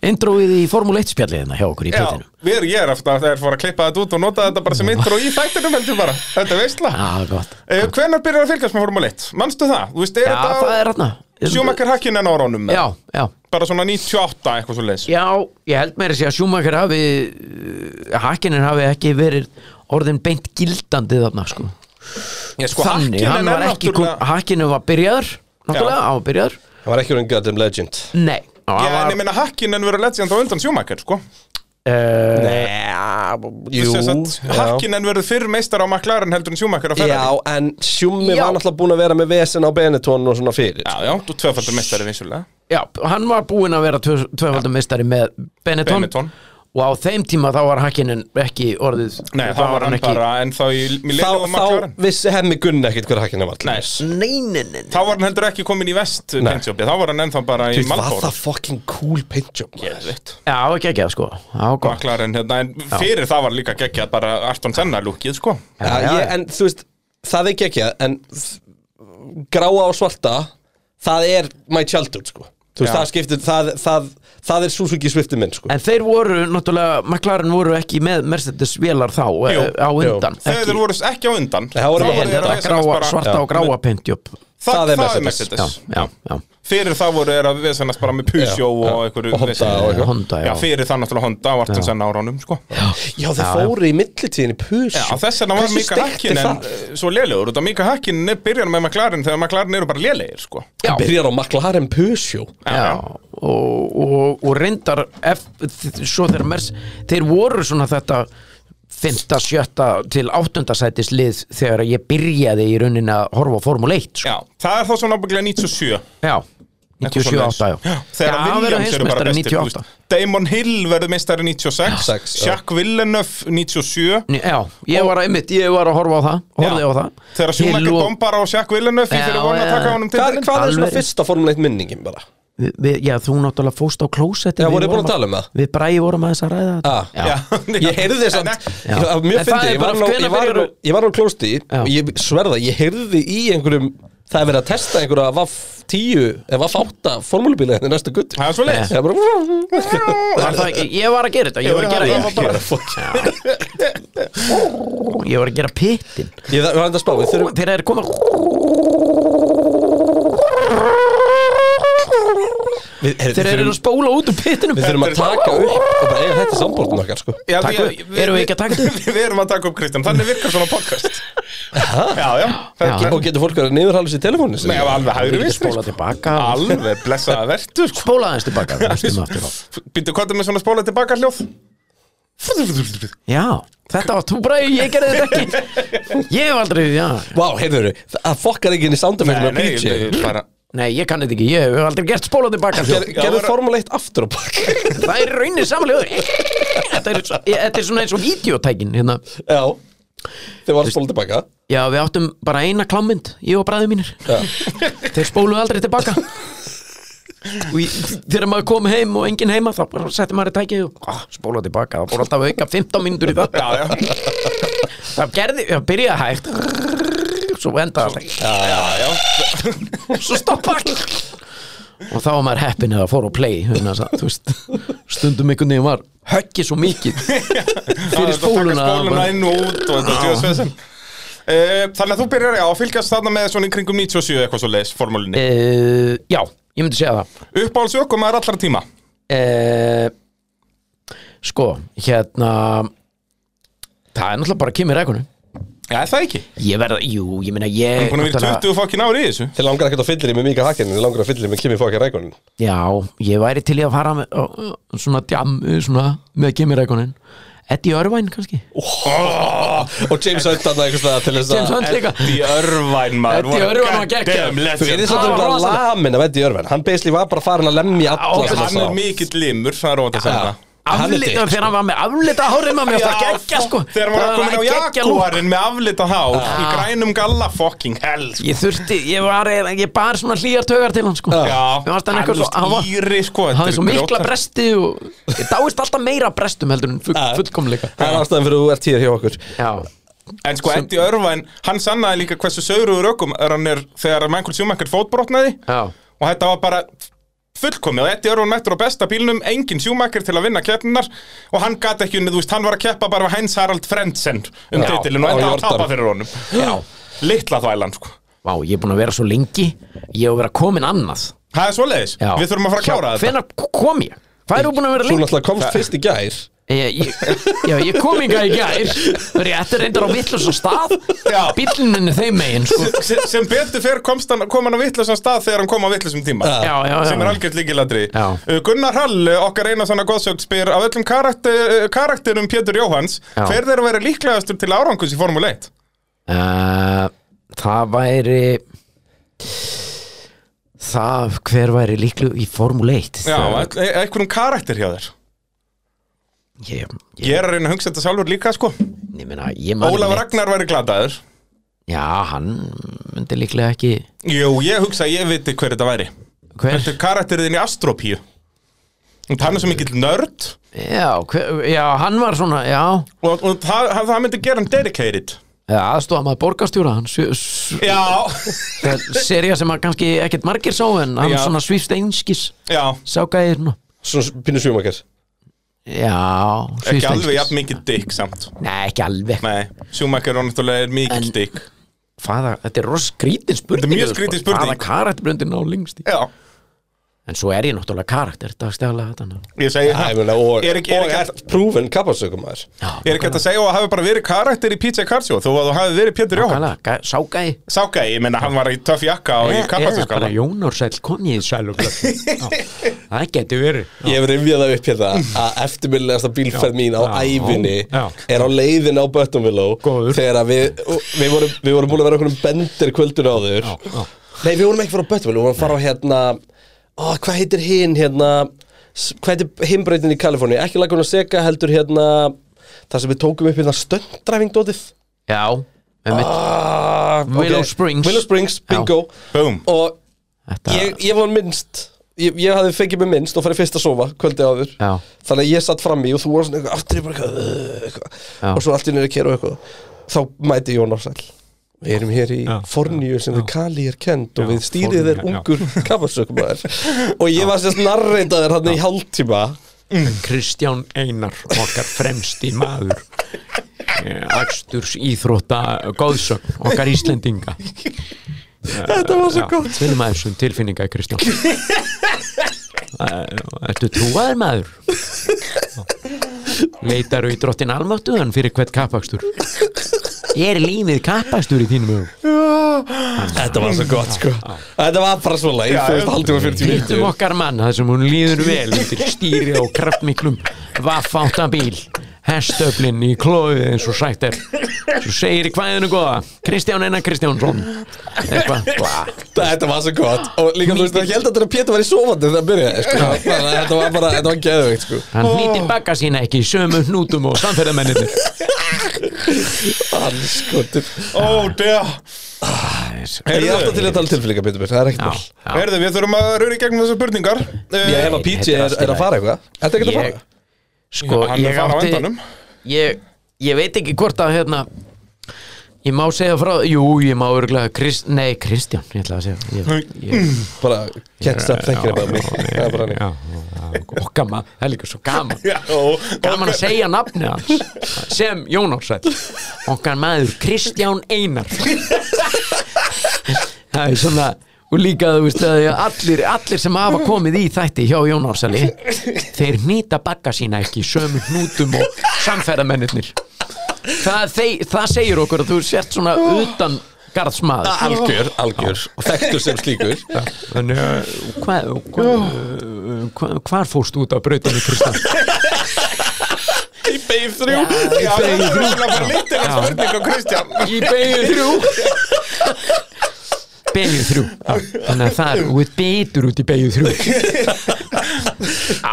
Speaker 1: introið í Formule 1 spjallið hérna hjá okkur í
Speaker 2: Já,
Speaker 1: pittinum
Speaker 2: við erum, ég er aftur að það er fór að klippa þetta út og nota þetta bara sem intro í þættinum heldur bara Þetta er veistla
Speaker 1: Já, það er gott
Speaker 2: uh, Hvenær byrjar að fylgjast með Formule 1? Manstu það? Þú veist, er
Speaker 1: Já, það er
Speaker 2: þetta
Speaker 1: hérna
Speaker 2: sjúmakar hakkinn en áraunum
Speaker 1: Já, já
Speaker 2: Bara svona 98 eitthvað svo leis
Speaker 1: Já, ég held meira að segja að Schumacher hafi uh, Hakkinin hafi ekki verið orðin beint gildandi þarna sko.
Speaker 2: sko,
Speaker 1: Þannig,
Speaker 2: Hakkinen
Speaker 1: hann
Speaker 2: er
Speaker 1: var ekki
Speaker 2: náttúrulega-
Speaker 1: kom- Hakkinin var byrjaður Náttúrulega,
Speaker 2: Já.
Speaker 1: hann var byrjaður
Speaker 3: Það var ekki um Goddamn Legend
Speaker 1: Nei, hann
Speaker 2: Já, en
Speaker 1: var
Speaker 2: ég meina hakkinn en verður legend á undan sjúmakar, sko
Speaker 1: eh, Nei,
Speaker 3: Jú, já
Speaker 2: Hakkinn en verður fyrr meistar á McLaren heldur en sjúmakar á
Speaker 3: Já,
Speaker 2: Ferrari
Speaker 3: en Sjúmi
Speaker 1: Já.
Speaker 3: var náttúrulega búin að vera með vesen á Benetton og svona fyrir
Speaker 2: Já, já, þú tvöfaldur meistari vissulega
Speaker 1: já, hann var búinn að vera tvöfaldum mistari með Benetton,
Speaker 2: Benetton.
Speaker 1: Og á þeim tíma þá var Hakkinin ekki orðið
Speaker 2: Nei, þá var hann bara ennþá í Millennium
Speaker 3: Þá,
Speaker 2: og McLaren
Speaker 3: þá vissi hemmi Gunn ekkit hver hakkinni var til
Speaker 2: Nei,
Speaker 3: dæmis.
Speaker 1: Nei, nei, nei, nei.
Speaker 2: þá var hann heldur ekki komin í vest Pentjópi, þá var hann ennþá bara í
Speaker 3: Þú veist, var
Speaker 2: Malbór
Speaker 3: það fucking cool paintjob maður?
Speaker 1: Já, ekki ekki, sko Já, gott
Speaker 2: McLaren hérna, en fyrir það var líka geggjað bara Arton Senna lúkið, sko
Speaker 3: Já, ég, en þú veist, það er geggjað en þ- gráa og svarta það er my childhood sko. þú
Speaker 2: Já.
Speaker 3: veist, það skiptir, það, það, það er Suzuki Swifti minn sko.
Speaker 1: En þeir voru, náttúrulega, McLaren voru ekki með Mercedes vélar þá
Speaker 2: Jú,
Speaker 1: jú, á undan
Speaker 2: þegar þeir voru ekki á undan
Speaker 3: Það voru
Speaker 2: þá
Speaker 3: bara-
Speaker 2: voru
Speaker 1: Nei,
Speaker 2: þeir að
Speaker 1: þetta
Speaker 2: vesenast
Speaker 1: gráa,
Speaker 2: bara-
Speaker 1: svarta
Speaker 3: Já.
Speaker 1: og gráa pentjöp
Speaker 2: það,
Speaker 3: það
Speaker 2: það
Speaker 3: er
Speaker 2: er
Speaker 3: Mercedes.
Speaker 2: Mercedes
Speaker 1: Já, já, já
Speaker 2: fyrir það voru þeir að vesenast bara með Peugeot
Speaker 3: Já, já.
Speaker 2: og einhverju
Speaker 3: Og Honda
Speaker 2: veseni.
Speaker 3: og
Speaker 1: eitthvað. Honda, já.
Speaker 2: já, fyrir það náttúrulega Honda og Arton Senna á ránum, sko
Speaker 3: já, þeir fóru í millitíðin í pus
Speaker 2: Já, þess vegna var Mika Hakkinen svo lélegur út af Mika Hakkinen er byrjan með McLaren þegar McLaren eru bara lélegir, sko
Speaker 1: Já,
Speaker 3: byrjar á McLaren Pusjó
Speaker 1: já, og, og, og reyndar ef, svo þeir, mers, þeir voru svona þetta fymta, sjötta til áttunda sætis lið þegar ég byrjaði í rauninni að horfa á Formule 1 sko.
Speaker 2: Já, það er þá svona ábygglega 97
Speaker 1: já,
Speaker 2: eitthvað
Speaker 1: 97, 8 já,
Speaker 2: svoleiðis. Þegar
Speaker 1: hann verður
Speaker 2: Williams eru bara
Speaker 1: heimsmeistari
Speaker 2: bestir þú
Speaker 1: 98
Speaker 2: veist. Damon Hill verður meistari 96
Speaker 3: Já, sex, já.
Speaker 2: Jacques Villeneuve 97
Speaker 1: Ný- Já, ég var, einmitt, ég var að horfa á það
Speaker 2: Já.
Speaker 1: Horfði á það
Speaker 2: Þegar Schumacher
Speaker 1: Hill og-
Speaker 2: bombar á Jacques Villeneuve Því
Speaker 1: Já,
Speaker 2: fyrir vona að
Speaker 1: já.
Speaker 2: taka honum til
Speaker 3: Hvað, hvað er svona
Speaker 1: Alveg.
Speaker 3: fyrsta Formule 1 minningin bara?
Speaker 1: Við- við- Já, þú náttúrulega fóst á klósetti
Speaker 3: Já,
Speaker 1: við
Speaker 3: voruð þið búin
Speaker 1: vorum
Speaker 3: að tala um það?
Speaker 1: Við bræði vorum aðeins að ræða þetta
Speaker 3: Ah,
Speaker 1: Já.
Speaker 3: Ég heyrði samt
Speaker 1: Já.
Speaker 3: ég- Mjög
Speaker 1: En það
Speaker 3: fyndi,
Speaker 1: er
Speaker 3: ég var
Speaker 1: bara,
Speaker 3: nú-
Speaker 1: hvenær
Speaker 3: ég var
Speaker 1: byrjar
Speaker 3: nú-
Speaker 1: þú-
Speaker 3: ég var nú klósti
Speaker 1: Já.
Speaker 3: og ég sverða, ég heyrði í einhverjum það er verið að testa einhverja Vaff 10 eða Vaff 8 formúlubíla hérna í næsta gutt
Speaker 2: Það er svo leiðis
Speaker 3: Það er bara
Speaker 1: Var það ekki, ég var að gera þetta Ég var að gera,
Speaker 2: það var bara
Speaker 1: ég var að gera pittin
Speaker 3: Ég það- var enda að spá, við þurfum
Speaker 1: Þegar þeir koma
Speaker 3: við- heyrðu,
Speaker 1: Þeir eru að spóla út úr pittinum
Speaker 3: Við þurfum að taka upp og bara eiga þetta sambóltum okkar sko
Speaker 2: Já,
Speaker 1: Takk
Speaker 2: því-
Speaker 1: upp. Erum við ekki að taka þetta
Speaker 2: Við erum að taka upp Kristján, þannig virkar svona podcast Já, já,
Speaker 1: Já.
Speaker 2: ferðlega
Speaker 3: Og getur fólk verið niðurhallis í telefónu
Speaker 2: Nei,
Speaker 3: sinni?
Speaker 2: alveg
Speaker 1: Við
Speaker 2: hægri
Speaker 1: getum
Speaker 2: vinstri
Speaker 1: spólað
Speaker 2: sko.
Speaker 1: tilbaka
Speaker 2: Alveg blessaða vertu sko.
Speaker 1: Spóla aðeins tilbaka við hlustum aftur á.
Speaker 2: Býttu, hvað er með svona spóla tilbaka hljóð?
Speaker 1: Já, þetta var þú bræði, ég gerði þetta ekki Ég hef aldrei, já
Speaker 3: Vá, heyrðu, það fokkar ekki inn í soundeffektum að
Speaker 2: nei,
Speaker 3: BJ
Speaker 2: bara
Speaker 1: Nei, ég kann þetta ekki, ég hef aldrei gert spóla tilbaka hljóð.
Speaker 2: Já,
Speaker 3: Gerðu
Speaker 2: bara-
Speaker 3: Formule 1 aftur á bak
Speaker 1: Það er í rauninni samanljóður þetta, er svo- ég- þetta er svona eins og videotækin hérna.
Speaker 3: Já, þið var að spóla tilbaka
Speaker 1: Já, við áttum bara eina klámynd Ég og bræði mínir Þeir spóluðu aldrei tilbaka Og ég, þegar maður kom heim og enginn heima þá bara setti maður í tækið og ah, spóla tilbaka, það búið alltaf að auka 15 mínútur í það
Speaker 2: Já, já,
Speaker 1: það gerði, það byrjaði hægt svo endaði alltaf
Speaker 2: já, já
Speaker 1: svo stoppa og þá var maður heppin eða fór og play hérna, sa- þú veist, stundum einhvern veginn var höggið svo mikið
Speaker 2: spóluna
Speaker 1: fyrir spóluna
Speaker 2: Spóluna
Speaker 1: bara-
Speaker 2: inn og út og þetta er svesen Eh, Þannig að þú byrjar já, að fylgjast þarna með svona í kringum 97 eitthvað svo leis formúlinni
Speaker 1: uh, já, ég myndi segja það
Speaker 2: Uppáhaldsjökum er allra tíma
Speaker 1: uh, sko, hérna það er náttúrulega bara Kimi Rækunu
Speaker 2: Já, er það ekki
Speaker 1: ég verða, jú, ég meina ég
Speaker 2: Hún er verið
Speaker 1: náttúrulega-
Speaker 2: 20 fokkin ári í þessu
Speaker 3: Þið langar ekkert að fyllir í með Mika Hakkinen, þið langar að fyllir í með Kimi Fokker Rækonin.
Speaker 1: já, ég væri til í að fara með, á, á, svona djam, svona með Kimi Rækunin Eddie Irvine kannski
Speaker 2: Oh,
Speaker 3: Og James Hunt hann eitthvað staðar til þess
Speaker 1: James Hunt
Speaker 3: að...
Speaker 1: líka
Speaker 2: Því örvæn maður
Speaker 1: Eddie Irvine var
Speaker 2: God
Speaker 1: geggjaður.
Speaker 2: damn
Speaker 3: Þú er
Speaker 2: legend.
Speaker 3: þess að
Speaker 1: Það var
Speaker 3: það var
Speaker 1: rosalegt.
Speaker 3: lamin af Eddie Irvin. Hann beisli var bara farin að lemja alla
Speaker 2: Já,
Speaker 3: sem
Speaker 2: Ah, Hann er
Speaker 3: það sá.
Speaker 2: mikill limur, það er óvænt að segja
Speaker 3: Já.
Speaker 2: það
Speaker 3: Hann er
Speaker 1: Aflita,
Speaker 3: dick,
Speaker 1: þegar hann var með aflita hárið maður mjög að geggja sko
Speaker 2: Þegar maður var
Speaker 1: Það
Speaker 2: komin á
Speaker 1: geggjað Ah. lúk.
Speaker 2: Jaguarinn með aflita hár Í grænum galla, fucking hell sko.
Speaker 1: Ég þurfti, ég var, eiginlega- ég bar svona hlýjar taugar til hann sko Mér
Speaker 3: Já.
Speaker 1: fannst hann eitthvað svo- hann var-
Speaker 2: stýri sko
Speaker 1: Það
Speaker 2: þetta
Speaker 1: er
Speaker 2: er
Speaker 1: svo mikla
Speaker 2: grjótart.
Speaker 1: bresti og ég dáist alltaf meira að brestum heldur en full,
Speaker 3: Já.
Speaker 1: fullkomleika
Speaker 3: Það er ástæðan fyrir að þú ert hér hjá okkur.
Speaker 1: Já,
Speaker 2: En sko Eddie Irvine, hann sannaði líka hversu sauruður ökum er hann er þegar Michael Schumacher fótbrotnaði
Speaker 1: já,
Speaker 2: og þetta var bara fullkomið og Eddie Irvine mættur á besta bílnum engin Schumacher til að vinna keppninar og hann gat ekki unnið, þú veist, hann var að keppa bara við Heinz Harald Frentzen um
Speaker 1: Já,
Speaker 2: titilin og
Speaker 3: á
Speaker 2: þetta var að
Speaker 3: Jordan.
Speaker 2: tapa fyrir honum
Speaker 1: já
Speaker 2: Litla þvælan, sko
Speaker 1: Vá, ég er búin að vera svo lengi Ég hef verið að komin annað
Speaker 2: Það er svoleiðis,
Speaker 1: já.
Speaker 2: við þurfum að fara að klára
Speaker 1: Já,
Speaker 2: þetta
Speaker 1: Hvenær kom ég? Hvað er þú búin að vera
Speaker 3: Þú
Speaker 1: lengi?
Speaker 3: náttúrulega komst fyrst í gær.
Speaker 1: Ég, ég, já, ég kom inga í gær Það er ég ætti reyndar á vittlust á stað
Speaker 2: Já.
Speaker 1: Bíllinn er þeim megin sko.
Speaker 2: sem, sem betur fyrr komst hann, kom hann á vittlusum stað þegar hann kom á vittlusum tíma
Speaker 1: Já, já, já
Speaker 2: sem er algjört líkilatri
Speaker 1: Já.
Speaker 2: Gunnar Hall, uh, okkar eina svona góðsögn spyr af öllum karakter, uh, karakterum Pétur Jóhanns
Speaker 1: Já.
Speaker 2: hver þeirra verið líklegastur til árangus í Formule 1?
Speaker 1: Uh, það væri Það, hver væri líklu í Formule 1
Speaker 2: Já,
Speaker 1: Það-
Speaker 2: e- e- einhverjum karakter hjá þér
Speaker 1: ég, ég,
Speaker 2: Ég er að reyna að hugsa þetta sjálfur líka sko
Speaker 1: ég meina, ég man
Speaker 2: Ólaf
Speaker 1: ekki neitt.
Speaker 2: Ragnar verið glataður
Speaker 1: Já, hann myndi líklega ekki
Speaker 2: Jú, ég hugsa að ég viti hver þetta væri
Speaker 1: Hver?
Speaker 2: Þetta er karakterinn í Astropíu Hann er svo mikill nörd
Speaker 1: Já, hver, já, hann var svona, já
Speaker 2: og, og það, það það myndi gera hann dedicated
Speaker 1: aðstofa maður borgarstjóra hann sjö- s-
Speaker 2: Já,
Speaker 1: það er sería sem að kannski ekkert margir sá en hann
Speaker 2: Já.
Speaker 1: svona svífst einskis
Speaker 2: já
Speaker 1: sá gæðir nú
Speaker 3: Svona pínu sjumakar.
Speaker 1: já,
Speaker 2: Ekki
Speaker 1: svífst
Speaker 2: alveg
Speaker 1: einskis
Speaker 2: jafn mikið dick samt
Speaker 1: nei, ekki alveg
Speaker 2: Nei, Schumacher er náttúrulega er mikill
Speaker 1: En-
Speaker 2: dick
Speaker 1: Hvaða, þetta er rosa skrítin spurning
Speaker 2: Þetta er mjög skrítin spurning.
Speaker 1: hvaða karatbröndin á lengst í
Speaker 2: Já
Speaker 1: en svo er ég náttúrulega karakter dagstæðlega þetta
Speaker 2: Ég segi
Speaker 3: Já, ég meina, og,
Speaker 2: Er ekki- er
Speaker 3: og
Speaker 2: ekki-
Speaker 3: ert prúfin kapasökum maður
Speaker 2: Ég er ekki hægt að segja að það hafi bara verið karakter í PJ Karsjó Þú að þú hafi verið Pétur Jóhann
Speaker 1: Nákvæmlega, ságæði
Speaker 2: Sáka, ég menna hann var í töff jakka og í
Speaker 1: Eða bara
Speaker 2: kappasinskala
Speaker 1: Jónarsæll kom ég í sæl og blöð Það geti verið
Speaker 3: Ég hef rifjað það upp hérna að eftirmyndlegasta bílferð mín á
Speaker 1: Já.
Speaker 3: ævinni
Speaker 1: Já.
Speaker 3: er á leiðin á Böttumvilló
Speaker 1: Góður.
Speaker 3: þegar að við, við, vorum, við vorum búin að vera okkur um bendir kvöldun áður
Speaker 1: Já, já.
Speaker 3: Nei, við vorum ekki fara á Böttumvilló, við vorum að fara á hérna ó, hvað heitir hinn hérna s- hvað heitir hinbreytin í Kaliforni ekki lagun að seka heldur hérna það sem við tókum upp hérna stöndræfingdótið
Speaker 1: Já, einmitt,
Speaker 3: ah,
Speaker 1: Willow
Speaker 3: ok.
Speaker 1: Springs.
Speaker 3: Willow Springs,
Speaker 1: Já.
Speaker 3: bingo
Speaker 2: Boom.
Speaker 3: og
Speaker 1: þetta
Speaker 3: ég, ég var minnst ég, ég hafði fengið mig minnst og farið fyrst að sofa kvöldi áður
Speaker 1: Já.
Speaker 3: þannig að ég satt fram í og þú var svona eitthvað aftur í bara eitthvað, uh,
Speaker 1: Já.
Speaker 3: eitthvað og svo allt í nýri kera og eitthvað þá mæti Jón Ársæl við erum hér í fornýju sem við Kali er kend og við stýrið er ungur kafarsökumæður og ég var sérst narreitaður hann í hálftíma
Speaker 1: um Kristján Einar okkar fremsti maður Aksturs íþrótta góðsögn okkar Íslendinga
Speaker 3: þetta var svo
Speaker 1: Já,
Speaker 3: gott
Speaker 1: Finnum að þessum tilfinninga Kristján Æ, Ertu trúaður maður? Leitaru í drottin almáttuðan fyrir hvert kappakstur Ég er límið kappakstur í þínum hugum
Speaker 3: þetta var svo gott sko þetta var bara svona í fyrst hálftíma 40
Speaker 1: Hittum
Speaker 3: mínútur
Speaker 1: okkar mann þar sem hún líður vel undir stýri og kraftmiklum vaffáta bíl hestöflinn í klóðið eins og sagt er svo segir í kvæðinu góða Kristján Einar Kristjánsson eitthvað bla.
Speaker 3: þetta var svo gott og líka þú veist ég held að þetta Pétur var í sofandi þegar það byrjaði sko. Þannig að þetta var bara þetta var geðveikt sko
Speaker 1: hann hnýtir bakka sína ekki í sömu hnútum og samferðamennir
Speaker 3: Allskotir
Speaker 2: Ó, dea
Speaker 3: Sko, Ég er alltaf
Speaker 2: Heyrðu,
Speaker 3: til að tala um tilfinningar, Pétur mér, það er ekkert mál
Speaker 2: heyrðu, við þurfum að röra í gegnum þessar spurningar
Speaker 3: Ég
Speaker 2: Eh,
Speaker 3: hef að
Speaker 1: Þetta er
Speaker 3: PJ er,
Speaker 1: allt í
Speaker 3: er að fara eitthvað Þetta er ekkert að
Speaker 1: Ég-
Speaker 3: fara
Speaker 1: sko,
Speaker 2: Hann er
Speaker 1: ég
Speaker 2: að fara á
Speaker 1: átti
Speaker 2: endanum.
Speaker 1: ég, ég veit ekki hvort að hérna ég má segja frá jú, ég má örgulega Krist, nei, Kristján, ég ætla að segja ég, ég,
Speaker 3: Bara can't stop thinking about me Það er bara
Speaker 1: já,
Speaker 3: hann
Speaker 1: já, og gaman, það er líka svo gaman
Speaker 2: Já, og-
Speaker 1: gaman að segja nafni hans sem Jón Ársæll okkar maður Kristján Einar það er svona og líka þú veist að allir, allir sem hafa komið í þætti hjá Jón Ársæli þeir nýta bakka sína ekki í sömu hnútum og samferðamennirnir það, þeir, það segir okkur að þú sért svona utan garðsmaður
Speaker 3: Algjör, algjör Og þekktur sem slíkur
Speaker 1: Þannig að hvað, hvað, hvað, hvar fórst út af brautinu Kristján?
Speaker 3: Í beif þrjú
Speaker 2: Já,
Speaker 1: Ég
Speaker 2: þetta
Speaker 1: segi
Speaker 2: er
Speaker 1: þrjú.
Speaker 2: alveg bara lítilega
Speaker 1: Já.
Speaker 2: spurning á Kristján
Speaker 1: í beigju þrjú beigju þrjú Já, þannig að það er út bitur út í beigju þrjú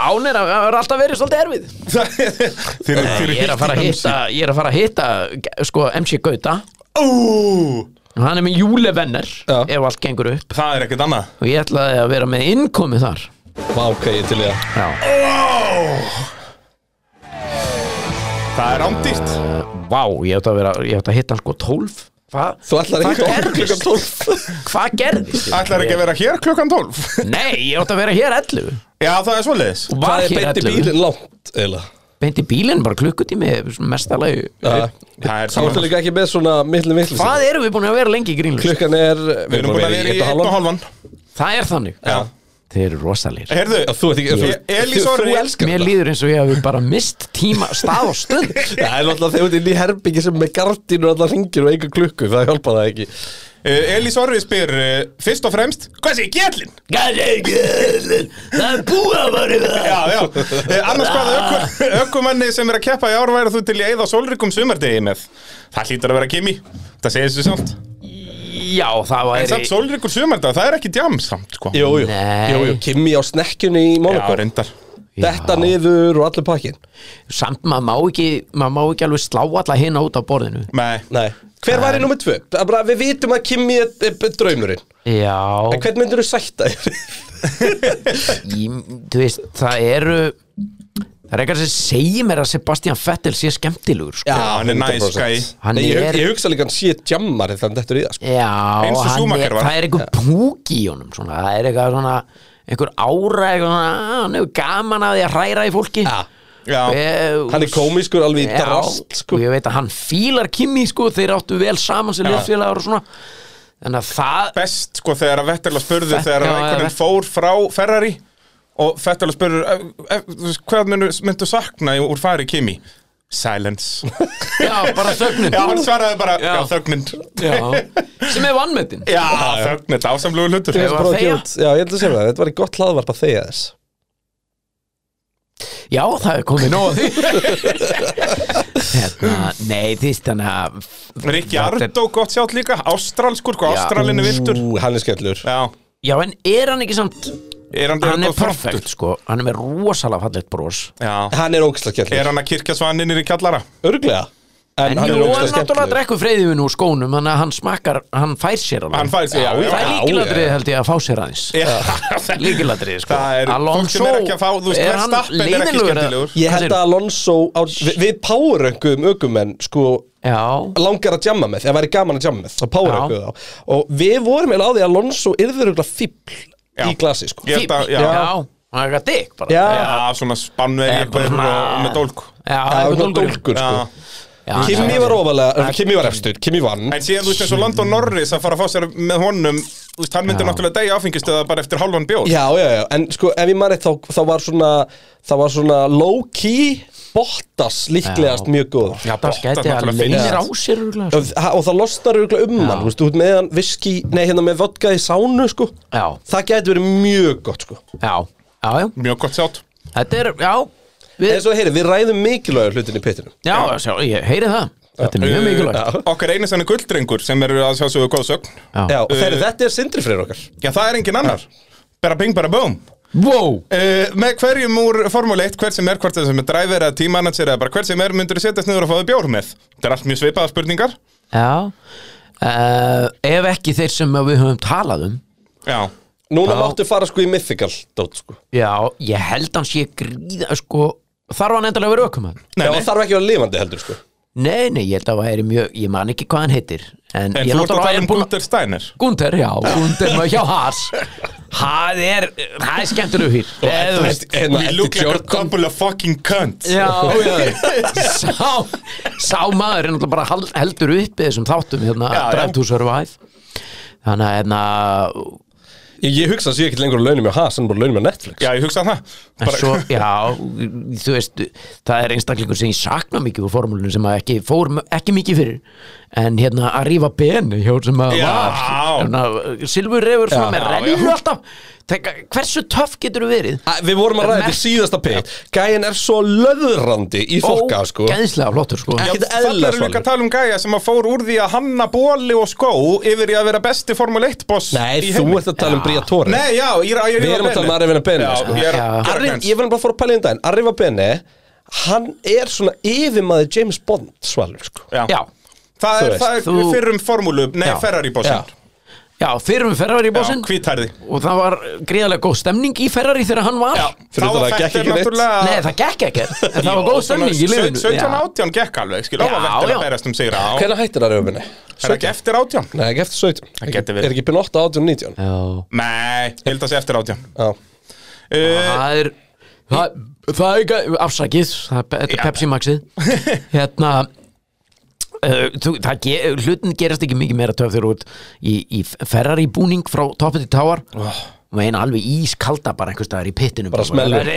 Speaker 1: án er að það er alltaf verið svolítið erfið
Speaker 2: Þeir eru
Speaker 1: ég er að fara að hitta ég er að fara að hitta sko MC Gauta hann er með júlevenner
Speaker 3: Já.
Speaker 1: ef allt gengur upp
Speaker 2: Það er ekkert annað
Speaker 1: og ég ætlaði að vera með innkomi þar
Speaker 3: Vá, ok, ég til ég að
Speaker 1: já.
Speaker 2: Það er ándýrt
Speaker 1: vá, ég ætla að, vera, ég ætla að hitta hann sko 12 hvað
Speaker 3: Þú ætlar
Speaker 1: Hvað
Speaker 3: ekki að
Speaker 1: gerðist?
Speaker 3: klukkan 12
Speaker 1: hvað gerðist?
Speaker 2: Ætlar ekki að vera hér klukkan 12
Speaker 1: nei, ég ætla að vera hér 11
Speaker 2: Já, það er svoleiðis
Speaker 1: og
Speaker 3: Hvað
Speaker 1: var
Speaker 3: er
Speaker 1: hér
Speaker 3: beint í
Speaker 1: 11
Speaker 3: bílinn langt, eiginlega
Speaker 1: beint í bílinn bara klukkutími mestalagi
Speaker 3: Já.
Speaker 2: Það er
Speaker 3: Þá ertu
Speaker 2: saman
Speaker 3: líka ekki með svona millin villis
Speaker 1: Hvað erum við búin að vera lengi í grínlust?
Speaker 3: Klukkan er
Speaker 2: Við erum búin að vera í
Speaker 3: einn og
Speaker 2: einn og
Speaker 3: hálfan.
Speaker 2: halvan
Speaker 1: Það er þannig
Speaker 2: Já.
Speaker 1: Þeir eru rosalegir
Speaker 2: Heyrðu,
Speaker 3: Já, Þú ert ekki
Speaker 2: Ég-
Speaker 3: þú-
Speaker 2: Elís
Speaker 3: þú-
Speaker 2: Orri-
Speaker 3: Þú elskar
Speaker 1: Mér
Speaker 3: þetta
Speaker 1: líður eins og ég hafi bara mist tíma, stað og stund
Speaker 3: Það er náttúrulega þegar þú ert inn í herbyggi sem með gardinu og allar ringir og eiga klukku, það hjálpa það ekki
Speaker 2: eh, Elís Orri spyr eh, Fyrst og fremst, hvað sé gællin?
Speaker 1: Það er búið að vera við það
Speaker 2: Já, já Eh, Annars hvaða öku, ökumanni sem er að keppa í ár væri þú til í eða sólrikum sumardegi með? Það hlýtur að vera Kimi Það segir þessu samt
Speaker 1: Já, það
Speaker 2: En samt
Speaker 1: væri
Speaker 2: sólrikur sumardag, það er ekki djam samt sko
Speaker 3: Jú, jú,
Speaker 1: Nei.
Speaker 3: jú, jú. Kimi á snekkjunni í
Speaker 2: Já,
Speaker 3: Monaco
Speaker 2: reyndar
Speaker 3: Detta niður og allir pakkin
Speaker 1: Samt maður má ekki maður má ekki alveg slá alla hinna út á borðinu
Speaker 2: Nei,
Speaker 3: Nei Hver væri nummið tvö? Það er Bara, við vitum að Kimi er, er, er draumurinn
Speaker 1: Já
Speaker 3: En hvern myndir þú sætta þér?
Speaker 1: ég, Þú veist, það eru Það er eitthvað sem segir mér að Sebastian Vettel sé skemmtilegur sko.
Speaker 2: hann er næs, gæi.
Speaker 1: Hann
Speaker 3: Nei, ég,
Speaker 1: er-
Speaker 3: ég hugsa líka að hann sé jammari þannig að þetta er í það sko.
Speaker 1: Já,
Speaker 2: Eins og
Speaker 1: hann
Speaker 2: Schumacher
Speaker 1: er,
Speaker 2: var.
Speaker 1: það er einhver púk í honum svona. það er eitthvað svona einhver ára, eitthvað svona, "Ah, hann hefur gaman að því að hræra í fólki
Speaker 3: Já.
Speaker 2: já
Speaker 1: Eh,
Speaker 3: Hann er komískur alveg í
Speaker 1: Já,
Speaker 3: drast sko.
Speaker 1: og ég veit að hann fílar Kimi sko, þeir áttu vel saman sem liðfélagar og svona Þannig að það
Speaker 2: best sko þegar að Vettel að spurðu
Speaker 1: Fe-
Speaker 2: þegar
Speaker 1: já,
Speaker 2: að
Speaker 1: já,
Speaker 2: einhvern
Speaker 1: Vettel-
Speaker 2: fór frá Ferrari og Vettel að spurðu "Ef- ef- þú veist, hvað myndu, myndu sakna í- úr fari Kimi? Silence
Speaker 1: Já, bara þögnin
Speaker 2: Já, hann svaraði bara, já,
Speaker 1: Já.
Speaker 2: þögnin
Speaker 1: Já. sem er vannmetinn
Speaker 2: Já, þögnin, ásamlegu hlutur
Speaker 1: Ég var að þegja.
Speaker 3: kjút Já, ég held að segja það, þetta var í gott hlaðvarp að þegja þess
Speaker 1: Já, það er komið nóg að því hérna, Nei, því þannig að
Speaker 2: Rikki Ardó gott sjátt líka, ástralskur, hvað
Speaker 1: Já.
Speaker 2: ástralin er virtur
Speaker 3: Ú, hann er skellur
Speaker 2: Já,
Speaker 1: Já, en er hann ekki samt
Speaker 2: er hann,
Speaker 1: Hann er
Speaker 2: góð frontur?
Speaker 1: perfekt, sko Hann er með rosalega fallegt bros
Speaker 2: Já,
Speaker 3: Hann er ógislega skellur
Speaker 2: er hann að kirkja svaninir í kjallara?
Speaker 3: Örglega En,
Speaker 1: En
Speaker 3: hann
Speaker 1: jú,
Speaker 3: er
Speaker 1: hann
Speaker 3: ógislega
Speaker 1: náttúrulega
Speaker 3: skellur
Speaker 1: drekkur freyðinu úr skónum Þannig að hann smakkar, hann fær sér alveg
Speaker 2: Hann fær sér, já,
Speaker 1: Það er
Speaker 3: já,
Speaker 1: líkilatrið
Speaker 3: já.
Speaker 1: held ég að fá sér aðeins
Speaker 2: já
Speaker 1: Líkilatrið, sko
Speaker 2: Það er fólk sem er ekki að fá, þú veist,
Speaker 1: er
Speaker 2: hver
Speaker 1: hann
Speaker 2: stappin er ekki
Speaker 1: leiðinlegur að-
Speaker 2: skemmtilegur
Speaker 3: Ég held að Alonso á, vi, Við poweröngum ökumenn sko
Speaker 1: Já,
Speaker 3: langar að jamma með, eða væri gaman að jamma með þá poweröngum þá og við vorum eða á því að Alonso yrður örugglega
Speaker 2: Já.
Speaker 3: fíbl í glasi sko
Speaker 2: Ég held að,
Speaker 1: fíbl,
Speaker 2: já,
Speaker 1: já Hann er ekki að digg bara
Speaker 3: Já.
Speaker 2: Já, svona spannvegi
Speaker 1: Eh,
Speaker 2: eitthvað
Speaker 1: bara- Sko.
Speaker 2: og með dólku
Speaker 1: Já,
Speaker 3: Það
Speaker 1: eitthvað
Speaker 3: var svona
Speaker 1: dólgurinn.
Speaker 3: dólkur
Speaker 2: Já.
Speaker 3: sko
Speaker 1: Já, hann
Speaker 3: Kimi
Speaker 1: sagði-
Speaker 3: var ofalega, Kimi var efstur, Kimi vann
Speaker 2: En síðan þú veist eins og Landon Norris að fara að fá sér með honum Þú veist, hann myndi
Speaker 1: Já.
Speaker 2: náttúrulega degi áfengistöða bara eftir hálfan bjóð
Speaker 3: Já, já, já, en sko ef ég maður eitt þá, þá var svona það var svona low-key Bottas líklegast
Speaker 1: Já,
Speaker 3: mjög góður
Speaker 1: Já,
Speaker 2: Bottas
Speaker 1: Bottas gæti að
Speaker 2: náttúrulega
Speaker 1: leysir á
Speaker 3: finnst.
Speaker 1: sér örugglega, sko.
Speaker 3: Ha- og það losnar auðvitað um hann, þú veist, út með hann viski, nei hérna með vodka í sánu sko
Speaker 1: Já,
Speaker 3: það gæti verið mjög gott sko
Speaker 1: já, já, já
Speaker 2: Mjög gott sjátt
Speaker 1: Þetta er, já við,
Speaker 3: en svo heyri, við ræðum mikilvægur hlutin í pittinum
Speaker 1: Já, sjá, ég heyri það Þetta er mjög mikilvægt
Speaker 2: Uh, Okkar einu senni gulddrengur sem er að sjá svo góð sögn
Speaker 1: Já,
Speaker 3: Já, og
Speaker 2: Uh,
Speaker 3: þeirri, þetta er sindri fyrir okkar
Speaker 2: Já, það er engin annar Bara bing, bara boom
Speaker 1: Wow
Speaker 2: uh, Með hverjum úr Formule 1, hver sem er, hvort sem er driver eða tímanager eða bara hver sem er myndur setjast niður og fáðu bjór með Þetta er allt mjög svipaða spurningar
Speaker 1: Já uh, Ef ekki þeir sem að við höfum talað um
Speaker 2: Já,
Speaker 3: Núna
Speaker 1: Já.
Speaker 3: máttu fara sko í mythical dót sko
Speaker 1: Já, ég held hans ég gríða sko, Þarf hann endalega að vera ökum hann?
Speaker 2: Nei,
Speaker 3: Já,
Speaker 2: nei.
Speaker 3: og þarf ekki að vera lifandi heldur sko
Speaker 1: Nei, nei, ég held að það er mjög Ég man ekki hvað hann heitir En,
Speaker 2: en þú
Speaker 1: ég
Speaker 2: ert að
Speaker 1: náttúrulega
Speaker 2: tala
Speaker 1: er
Speaker 2: um
Speaker 1: búinn að-
Speaker 2: Gunther Steiner
Speaker 1: Gunther, já, Gunther maður hjá Haas Það er, það er skemmtilegu hýr Eh, Eða, þú veist
Speaker 3: Hérna,
Speaker 2: We
Speaker 3: Eddie
Speaker 2: look like a
Speaker 3: Jordan.
Speaker 2: couple of fucking cunts
Speaker 1: Já, já Sá, sá maður er náttúrulega bara hal- heldur uppi þessum þáttum hérna,
Speaker 2: Já, já.
Speaker 1: Drive to Survive Þannig að hérna
Speaker 3: Ég, ég hugsa að sé ekki lengur á launum hjá Haas en bara launum hjá Netflix
Speaker 2: Já, ég hugsa það
Speaker 1: En
Speaker 2: Bara-
Speaker 1: svo, já, þú veist Það er einstaklingur sem ég sakna mikið úr formúlunum sem að ekki fór m- ekki mikið fyrir En hérna að rífa beni hjá sem að
Speaker 2: Já.
Speaker 1: var hérna, Silfur refur fram
Speaker 2: Já,
Speaker 1: með
Speaker 2: já.
Speaker 1: rennur alltaf Teka, Hversu töff getur þú verið?
Speaker 3: Æ, Við vorum að ræða þetta í síðasta pitt Gæin er svo löðrandi í þokka sko
Speaker 1: Ógeðslega flottur sko
Speaker 3: Ekkert
Speaker 2: Já, þarna
Speaker 3: eðlilega
Speaker 2: erum við ekki
Speaker 3: svalur.
Speaker 2: að tala um gæja sem að fór úr því að hanna bóli og skó yfir í að vera besti Formule 1 boss
Speaker 3: Nei,
Speaker 2: í
Speaker 3: þú
Speaker 2: heimi.
Speaker 3: ert að tala um Bría Tóri
Speaker 2: Nei, já, ég er
Speaker 3: Við erum að tala um Arrivina Bene, sko.
Speaker 2: Já, ég er
Speaker 1: Já.
Speaker 2: að
Speaker 3: Arri,
Speaker 2: gera
Speaker 3: Ég var bara að fóra að pæla í um daginn Arriva Bene, hann er svona yfirmaður James Bond svalur sko
Speaker 2: græns.
Speaker 1: Já,
Speaker 2: Það
Speaker 3: Þú
Speaker 2: er,
Speaker 3: veist,
Speaker 2: það er
Speaker 1: þú-
Speaker 2: fyrrum formúlu Nei,
Speaker 1: Já.
Speaker 2: Ferrari
Speaker 3: Já.
Speaker 2: bossin
Speaker 1: já fyrrum Ferrari bósinn
Speaker 2: Hvítærði
Speaker 1: og það var gríðarlega góð stemning í Ferrari þegar hann var
Speaker 2: Já,
Speaker 3: Fyrir
Speaker 2: þá
Speaker 3: utan
Speaker 2: var
Speaker 3: það gekk
Speaker 2: Fettir
Speaker 3: ekki neitt.
Speaker 2: náttúrulega
Speaker 1: Nei, það gekk ekkert, en það var góð stemning í liðinu
Speaker 2: 17
Speaker 1: Já.
Speaker 2: 18 gekk alveg, skil, áfa
Speaker 1: Já,
Speaker 2: vettur
Speaker 1: já.
Speaker 2: að berast um sigra á
Speaker 3: Hvernig hættir Arriva Bene?
Speaker 2: Er ekki eftir 18?
Speaker 3: Nei, ekki eftir 17
Speaker 2: Það geti verið.
Speaker 3: Er ekki byrjun 8, 18, 19
Speaker 1: Já,
Speaker 2: Nei, ég held að sé eftir 18
Speaker 3: Já.
Speaker 2: uh,
Speaker 1: það er það, það er ekki, afsakið það er pe- þetta er
Speaker 2: Já.
Speaker 1: Pepsi Maxið hérna Uh, þú, það ge, hlutin gerast ekki mikið meira töf þegar þú ert í, í Ferrari búning frá toppið til táar oh. og eina alveg ískalda bara einhvers staðar í pittinum
Speaker 3: Bara smellur.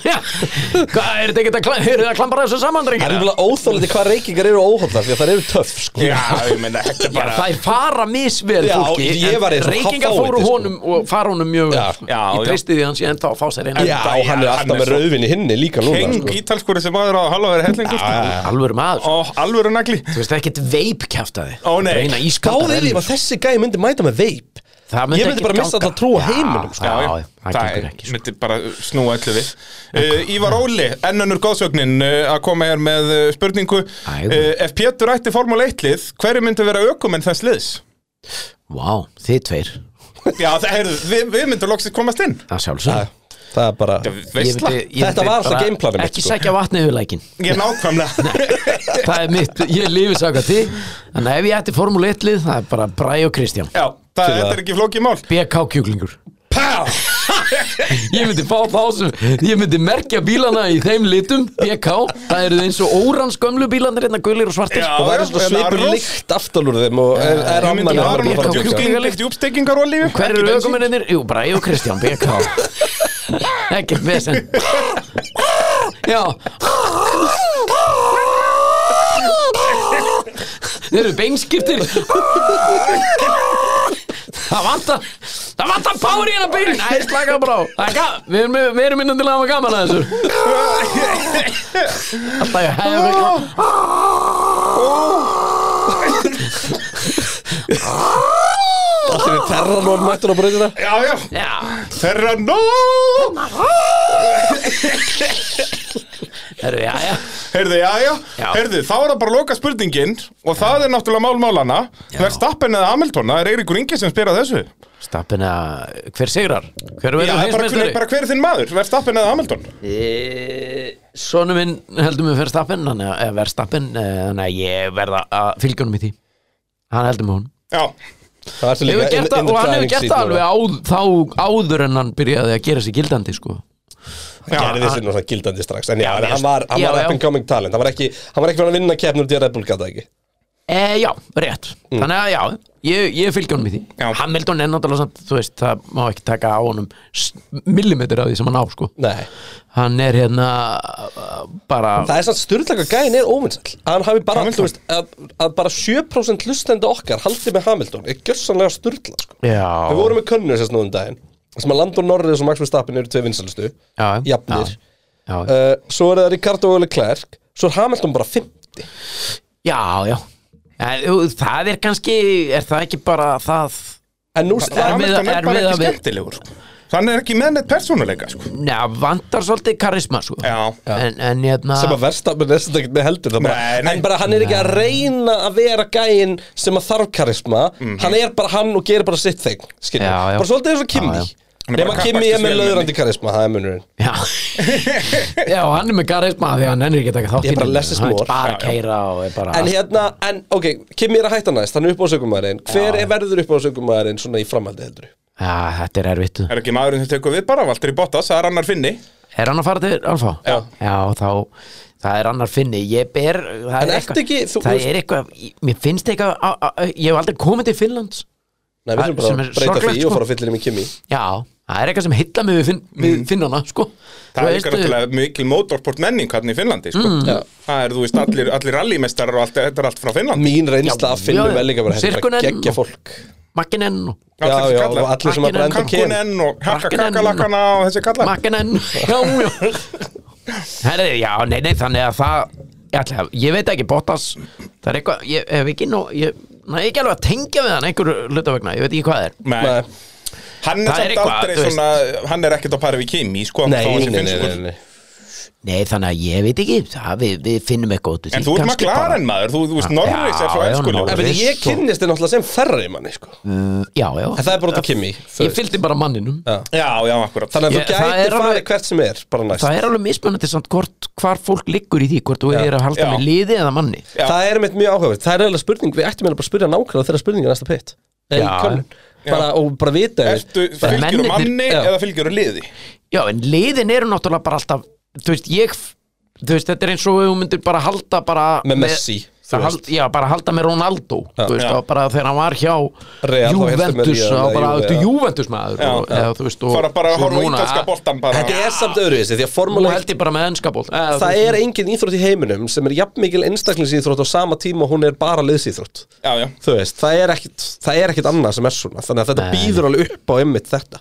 Speaker 1: Já, hvað er þetta ekki að klam, er það klambara þessu
Speaker 3: Það er
Speaker 1: samandringar
Speaker 3: nefnilega óþólandi hvað reykingar eru óhóllar því að það eru töff sko
Speaker 2: Já, ég meina, þetta er
Speaker 1: Já,
Speaker 2: bara
Speaker 1: þær fara misvel
Speaker 3: Já,
Speaker 1: fólki
Speaker 3: ég var eins og
Speaker 1: Reykingar
Speaker 3: fáið,
Speaker 1: fóru
Speaker 3: sko.
Speaker 1: honum og fara honum mjög
Speaker 3: Já,
Speaker 1: vel.
Speaker 2: já,
Speaker 1: Ég
Speaker 2: já.
Speaker 1: treysti því hans ég enda að fá sér eina
Speaker 3: Já, og hann
Speaker 2: já,
Speaker 3: er
Speaker 2: hann er
Speaker 3: alltaf með
Speaker 2: svo-
Speaker 3: rauðvin í hinni líka núna
Speaker 2: Heng
Speaker 3: sko.
Speaker 2: ítalskúri sem maður á halvaður hellingur sko.
Speaker 1: Alvöru maður sko.
Speaker 2: Og alvöru nagli
Speaker 1: Þú veist ekkert veip kæftaði
Speaker 2: Ó, nei.
Speaker 1: Reina ískalda
Speaker 3: Gáðið ef að þessi gæi myndi mæta með veip
Speaker 1: Það
Speaker 3: Ég myndi
Speaker 1: ekki
Speaker 3: bara missa
Speaker 1: ganga.
Speaker 3: alla trú á
Speaker 1: Já,
Speaker 3: heiminum, sko.
Speaker 1: Já,
Speaker 2: Já,
Speaker 1: já, það gengur
Speaker 2: er-
Speaker 1: ekki sko.
Speaker 2: myndi bara snúa öllu við uh, Ívar Óli, ennunur góðsögnin uh, að koma hér með uh, spurningu uh, Ef Pétur ætti Formule 1 lið hverju myndi vera aukumenn þess liðs?
Speaker 1: Vá, þið tveir
Speaker 2: Já, það heyrðu, við, við myndum loksist komast inn
Speaker 1: Það sjálfsög
Speaker 3: Það er bara
Speaker 2: Veistla,
Speaker 3: Þetta var alltaf gameplanið mitt,
Speaker 1: Ekki
Speaker 3: sko.
Speaker 1: sækja vatni yfir lækin
Speaker 2: ég er nákvæmlega
Speaker 1: Það er mitt, ég lifi saka því Þannig að ef ég ætti formúli 1 lið Það er bara Bræ og Kristján
Speaker 2: Já, það,
Speaker 3: Fyrir
Speaker 2: þetta
Speaker 3: það.
Speaker 2: er ekki flókið mál
Speaker 1: BK kjúklingur
Speaker 2: Pá!
Speaker 1: Ég myndi fá þá sem Ég myndi merkja bílana í þeim litum BK, það eru eins og órans gömlu bílanir hérna gulir og svartir
Speaker 2: Já,
Speaker 3: og væri svona
Speaker 2: en
Speaker 3: svipur
Speaker 2: Arnór-
Speaker 3: líkt aftalur þeim og er, er
Speaker 2: Ég myndi að
Speaker 3: amman
Speaker 1: Arnór
Speaker 2: Aron
Speaker 1: bara
Speaker 2: fór
Speaker 1: að djóka.
Speaker 2: djúpstekingalikt í uppstekkingarolíu
Speaker 1: Hver eru aukumennir? Jú, bara ég og Kristján BK Ekkert vesen Já Þeir eru beinskiptir Það vantar Það vantar power í hérna bíl Nei, slaka bara á Það er gaman Við erum, við erum innan til að hafa gaman að þessu Alltaf ég hef
Speaker 3: Allir við terranor mættur á breytina
Speaker 2: Já, já,
Speaker 1: Já
Speaker 2: þeirra nó
Speaker 1: Herru, já, já
Speaker 2: Heyrðu, já, já,
Speaker 1: Já.
Speaker 2: heyrðu, þá er það bara að loka spurningin Og það er náttúrulega málmálana Verstappen eða Hamilton, það er Eiríkur Ingi sem spyr að þessu Já,
Speaker 1: Stappin að Hver sigrar? Hver verður
Speaker 2: bara hver,
Speaker 1: heimsmeistari?
Speaker 2: bara hver er þinn maður, Verstappen eða Hamilton
Speaker 1: E, Sónu minn heldur mig Verstappen hann er- eh, Verstappen, eh, þannig að ég verða að fylgja honum í því hann heldur mig hún
Speaker 2: Já,
Speaker 3: Það er svo
Speaker 1: hefur
Speaker 3: líka in-
Speaker 1: gert
Speaker 3: in
Speaker 1: það
Speaker 3: the
Speaker 1: og hann hefur
Speaker 3: driving
Speaker 1: gert
Speaker 3: seat
Speaker 1: það alveg
Speaker 3: núna.
Speaker 1: áð, þá áður en hann byrjaði að gera sig gildandi sko
Speaker 2: já,
Speaker 3: Gerði þessi nú svona gildandi strax En já,
Speaker 1: Já,
Speaker 3: hann var, hann
Speaker 1: já,
Speaker 3: var
Speaker 1: já.
Speaker 3: up and coming talent Hann var ekki, hann var ekki verið að vinna keppnur Því að Red Bull gata ekki
Speaker 1: e, já, rétt,
Speaker 3: Mm.
Speaker 1: þannig að já ég, ég fylgja honum í því,
Speaker 2: Já.
Speaker 1: Hamilton er náttúrulega samt, þú veist, það má ekki taka á honum millimetri af því sem hann á sko
Speaker 3: Nei
Speaker 1: hann er hérna eh, bara
Speaker 3: Það er svona styrlega gæðin er óvinnsall Að hann hafi bara, þú veist að, að bara 7% lustenda okkar haldi með Hamilton Er gjörsanlega styrla sko.
Speaker 1: já,
Speaker 3: Við vorum með könnu þess núðum um daginn þar sem að Landon Norris og Max Verstappen eru tvei vinsalustu
Speaker 1: Já, já.
Speaker 3: Jafnir
Speaker 1: já, já.
Speaker 3: uh, Svo er það Ricardo og Leclerc Svo er Hamilton bara 50
Speaker 1: Já, já En, jú, Það er kannski, er það ekki bara það
Speaker 3: En nú
Speaker 1: Það er
Speaker 3: það,
Speaker 1: miða-
Speaker 2: Hamilton er
Speaker 1: er
Speaker 2: bara
Speaker 1: miða
Speaker 2: ekki
Speaker 1: við-
Speaker 2: skemmtilegur sko. Hann er ekki með neitt persónuleika sko.
Speaker 1: Já, vantar svolítið karisma sko.
Speaker 2: Já.
Speaker 1: En, en hérna
Speaker 3: sem að Verstappen er sem þetta ekki með heldur það bara,
Speaker 2: Nei, nei.
Speaker 3: en bara hann er ekki að reyna að vera gæinn sem að þarf karisma hann er bara hann og gerir bara sitt þing skilur,
Speaker 1: Mhm. Já, já.
Speaker 3: bara svolítið eins og
Speaker 1: Já,
Speaker 3: Kimi
Speaker 1: já.
Speaker 2: Hann er
Speaker 3: nema
Speaker 2: bara
Speaker 3: Kimi er
Speaker 2: kappakstursvélmenni.
Speaker 3: með löðrandi karisma það er munurinn
Speaker 1: Já. já, hann er með karisma því að hann er ekki að taka þátt
Speaker 3: Ég er
Speaker 1: í
Speaker 3: bara
Speaker 1: neinu.
Speaker 3: less is
Speaker 1: Hann er
Speaker 3: more.
Speaker 1: bara
Speaker 2: Já,
Speaker 1: að
Speaker 2: já.
Speaker 1: keira og er bara
Speaker 3: en hérna, en ok, Kimi er að hætta næst hann er upp á sögumæðurinn, hver er verður upp á sögumæðurinn svona í framhaldi heldur
Speaker 1: Já, þetta er erfitt
Speaker 2: Er ekki maðurinn sem tekur við bara, Valtteri Bottas, það er annar finni
Speaker 1: Er hann að fara til Alfa?
Speaker 3: Já.
Speaker 1: Já, þá, það er annar finni Ég ber, það
Speaker 3: En
Speaker 1: er
Speaker 3: ertu ekki- þú-
Speaker 1: Það
Speaker 3: þú-
Speaker 1: er eitthvað, mér finnst eitthvað á- á- á- Ég hef aldrei komið til Finnlands
Speaker 3: Nei, við
Speaker 1: Það-
Speaker 3: þurfum bara
Speaker 1: sem
Speaker 3: að
Speaker 1: er
Speaker 3: breyta
Speaker 1: sorglegt,
Speaker 3: því
Speaker 1: sko.
Speaker 3: og fara að fylla í með Kimi
Speaker 1: Já, það er eitthvað sem hitla mig við, finn,
Speaker 3: Mm.
Speaker 1: við finnana sko.
Speaker 2: Það er líka náttúrulega mikil motorsport menning hann í Finnlandi sko.
Speaker 1: Mm.
Speaker 3: Já.
Speaker 2: Það er, þú veist, allir, allir rallymestarar og allt, þetta er allt frá Finnlandi
Speaker 3: mín reynsla að
Speaker 1: já,
Speaker 3: finnum
Speaker 1: já.
Speaker 3: vel líka bara þetta er bara
Speaker 1: Sirkunen
Speaker 3: geggja
Speaker 1: og-
Speaker 3: fólk
Speaker 1: Makkinenn og
Speaker 3: já,
Speaker 2: Allir
Speaker 3: já,
Speaker 2: kallar.
Speaker 3: og allir sem að
Speaker 1: Hakkinen,
Speaker 3: brenda um Kimi
Speaker 2: Kankunen og Hakka
Speaker 1: Hakkinen.
Speaker 2: Kakalakkana og þessi kallar
Speaker 1: Makkinenn Já, já Herri, já, nei, nei, þannig að það ég, ætla, að- ég veit ekki, Bottas Það er eitthvað, ég hef ekki nú ég, Næ, ekki alveg að tengja við hann einhverju hluta vegna Ég veit ekki hvað það er
Speaker 2: Nei.
Speaker 3: Nei.
Speaker 2: Hann er
Speaker 1: Það er
Speaker 2: samt
Speaker 1: eitthvað,
Speaker 2: aldrei
Speaker 1: þú veist.
Speaker 2: svona Hann er ekkert á pari við Kimi sko,
Speaker 3: Nei,
Speaker 2: þó hann sé
Speaker 3: nei, nei,
Speaker 2: finnskur.
Speaker 3: nei, nei.
Speaker 1: Nei, þannig að ég veit ekki það, við, við finnum eitthvað út úr
Speaker 2: En
Speaker 1: því,
Speaker 2: þú ert
Speaker 1: kannski bara- Ah,
Speaker 2: McLaren maður, þú, þú veist,
Speaker 1: Já,
Speaker 2: Norris er svo
Speaker 1: já,
Speaker 2: elskulegur
Speaker 1: Norris.
Speaker 3: En veit, ég
Speaker 1: Svo-
Speaker 3: kynnist þér náttúrulega sem ferri manni sko.
Speaker 1: Já, já
Speaker 3: En það er bara út af Kimi þú
Speaker 1: Mm. Ég
Speaker 3: veist.
Speaker 1: fylgdi bara manninum
Speaker 3: Já.
Speaker 2: Já, já, akkurat
Speaker 3: Þannig að
Speaker 1: Ég- það
Speaker 3: þú
Speaker 1: er
Speaker 3: gætir
Speaker 1: alveg-
Speaker 3: farið hvert sem er bara næst
Speaker 1: Það er alveg mismunandi samt hvort, hvar fólk liggur í því Hvort þú er að halda
Speaker 2: já.
Speaker 1: með liði eða manni
Speaker 2: Já.
Speaker 3: Það er mitt mjög áhugavert Það er eiginlega spurning, við ættum eiginlega bara að spyrja nákvæmlega þeirra spurningar næsta pitt Eða í
Speaker 1: Já.
Speaker 3: könnun bara, Og bara vita
Speaker 2: Ertu,
Speaker 3: yfir.
Speaker 1: Bara
Speaker 2: fylgjur
Speaker 1: mennirnir-
Speaker 2: manni
Speaker 3: Já.
Speaker 2: eða fylgjur liði
Speaker 1: Já, en liðin eru náttúrulega bara alltaf Þú veist, ég Þú veist, þetta er eins og við myndir bara halda bara
Speaker 3: Með Messi, þú
Speaker 1: með, hald,
Speaker 3: veist.
Speaker 1: Já, bara halda með Ronaldo Þú veist,
Speaker 2: Já.
Speaker 1: þá bara þegar hann var hjá
Speaker 3: Real, þá helstu með
Speaker 1: Juventus Þá
Speaker 3: Real eða
Speaker 1: bara,
Speaker 3: Juve
Speaker 1: þú
Speaker 3: eða-
Speaker 1: Juventus maður
Speaker 2: Já,
Speaker 1: og, eða, þú veist, og,
Speaker 2: Fara bara
Speaker 1: svo
Speaker 2: að horfa á
Speaker 1: núna-
Speaker 2: ítalska boltan bara
Speaker 3: Þetta er samt öðruvísi Því að
Speaker 1: Nú
Speaker 3: formúla
Speaker 1: held ég bara með ennska bolt
Speaker 3: Það er engin íþrótt í heiminum sem er jafn mikil einstaklingsíþrótt á sama tíma og hún er bara liðsíþrótt
Speaker 2: Já, já
Speaker 3: Þú veist, það er ekkit, það er ekkit annað sem er svona Þannig að þetta
Speaker 1: Nei.
Speaker 3: býður alveg upp á ymmit þetta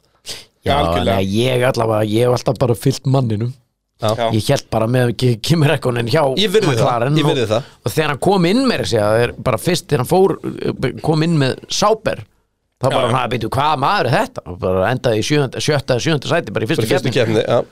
Speaker 1: Já,
Speaker 2: algjörlega.
Speaker 1: nei, ég allavega, ég hef alltaf bara fyllt manninum
Speaker 2: Já.
Speaker 1: Ég held bara með Kimi Rækkonen hjá
Speaker 3: Ég virði það,
Speaker 1: McLaren
Speaker 3: ég virði það.
Speaker 1: og, og þegar hann kom inn með þessi er bara fyrst þegar hann fór, eh, kom inn með Sáber þá bara hann að byrja hvað maður er þetta og bara endaði í sjöunda, sjötta eða sjöunda sæti bara í fyrstu
Speaker 3: Bara í fyrstu
Speaker 1: keppni Sko,
Speaker 3: kefni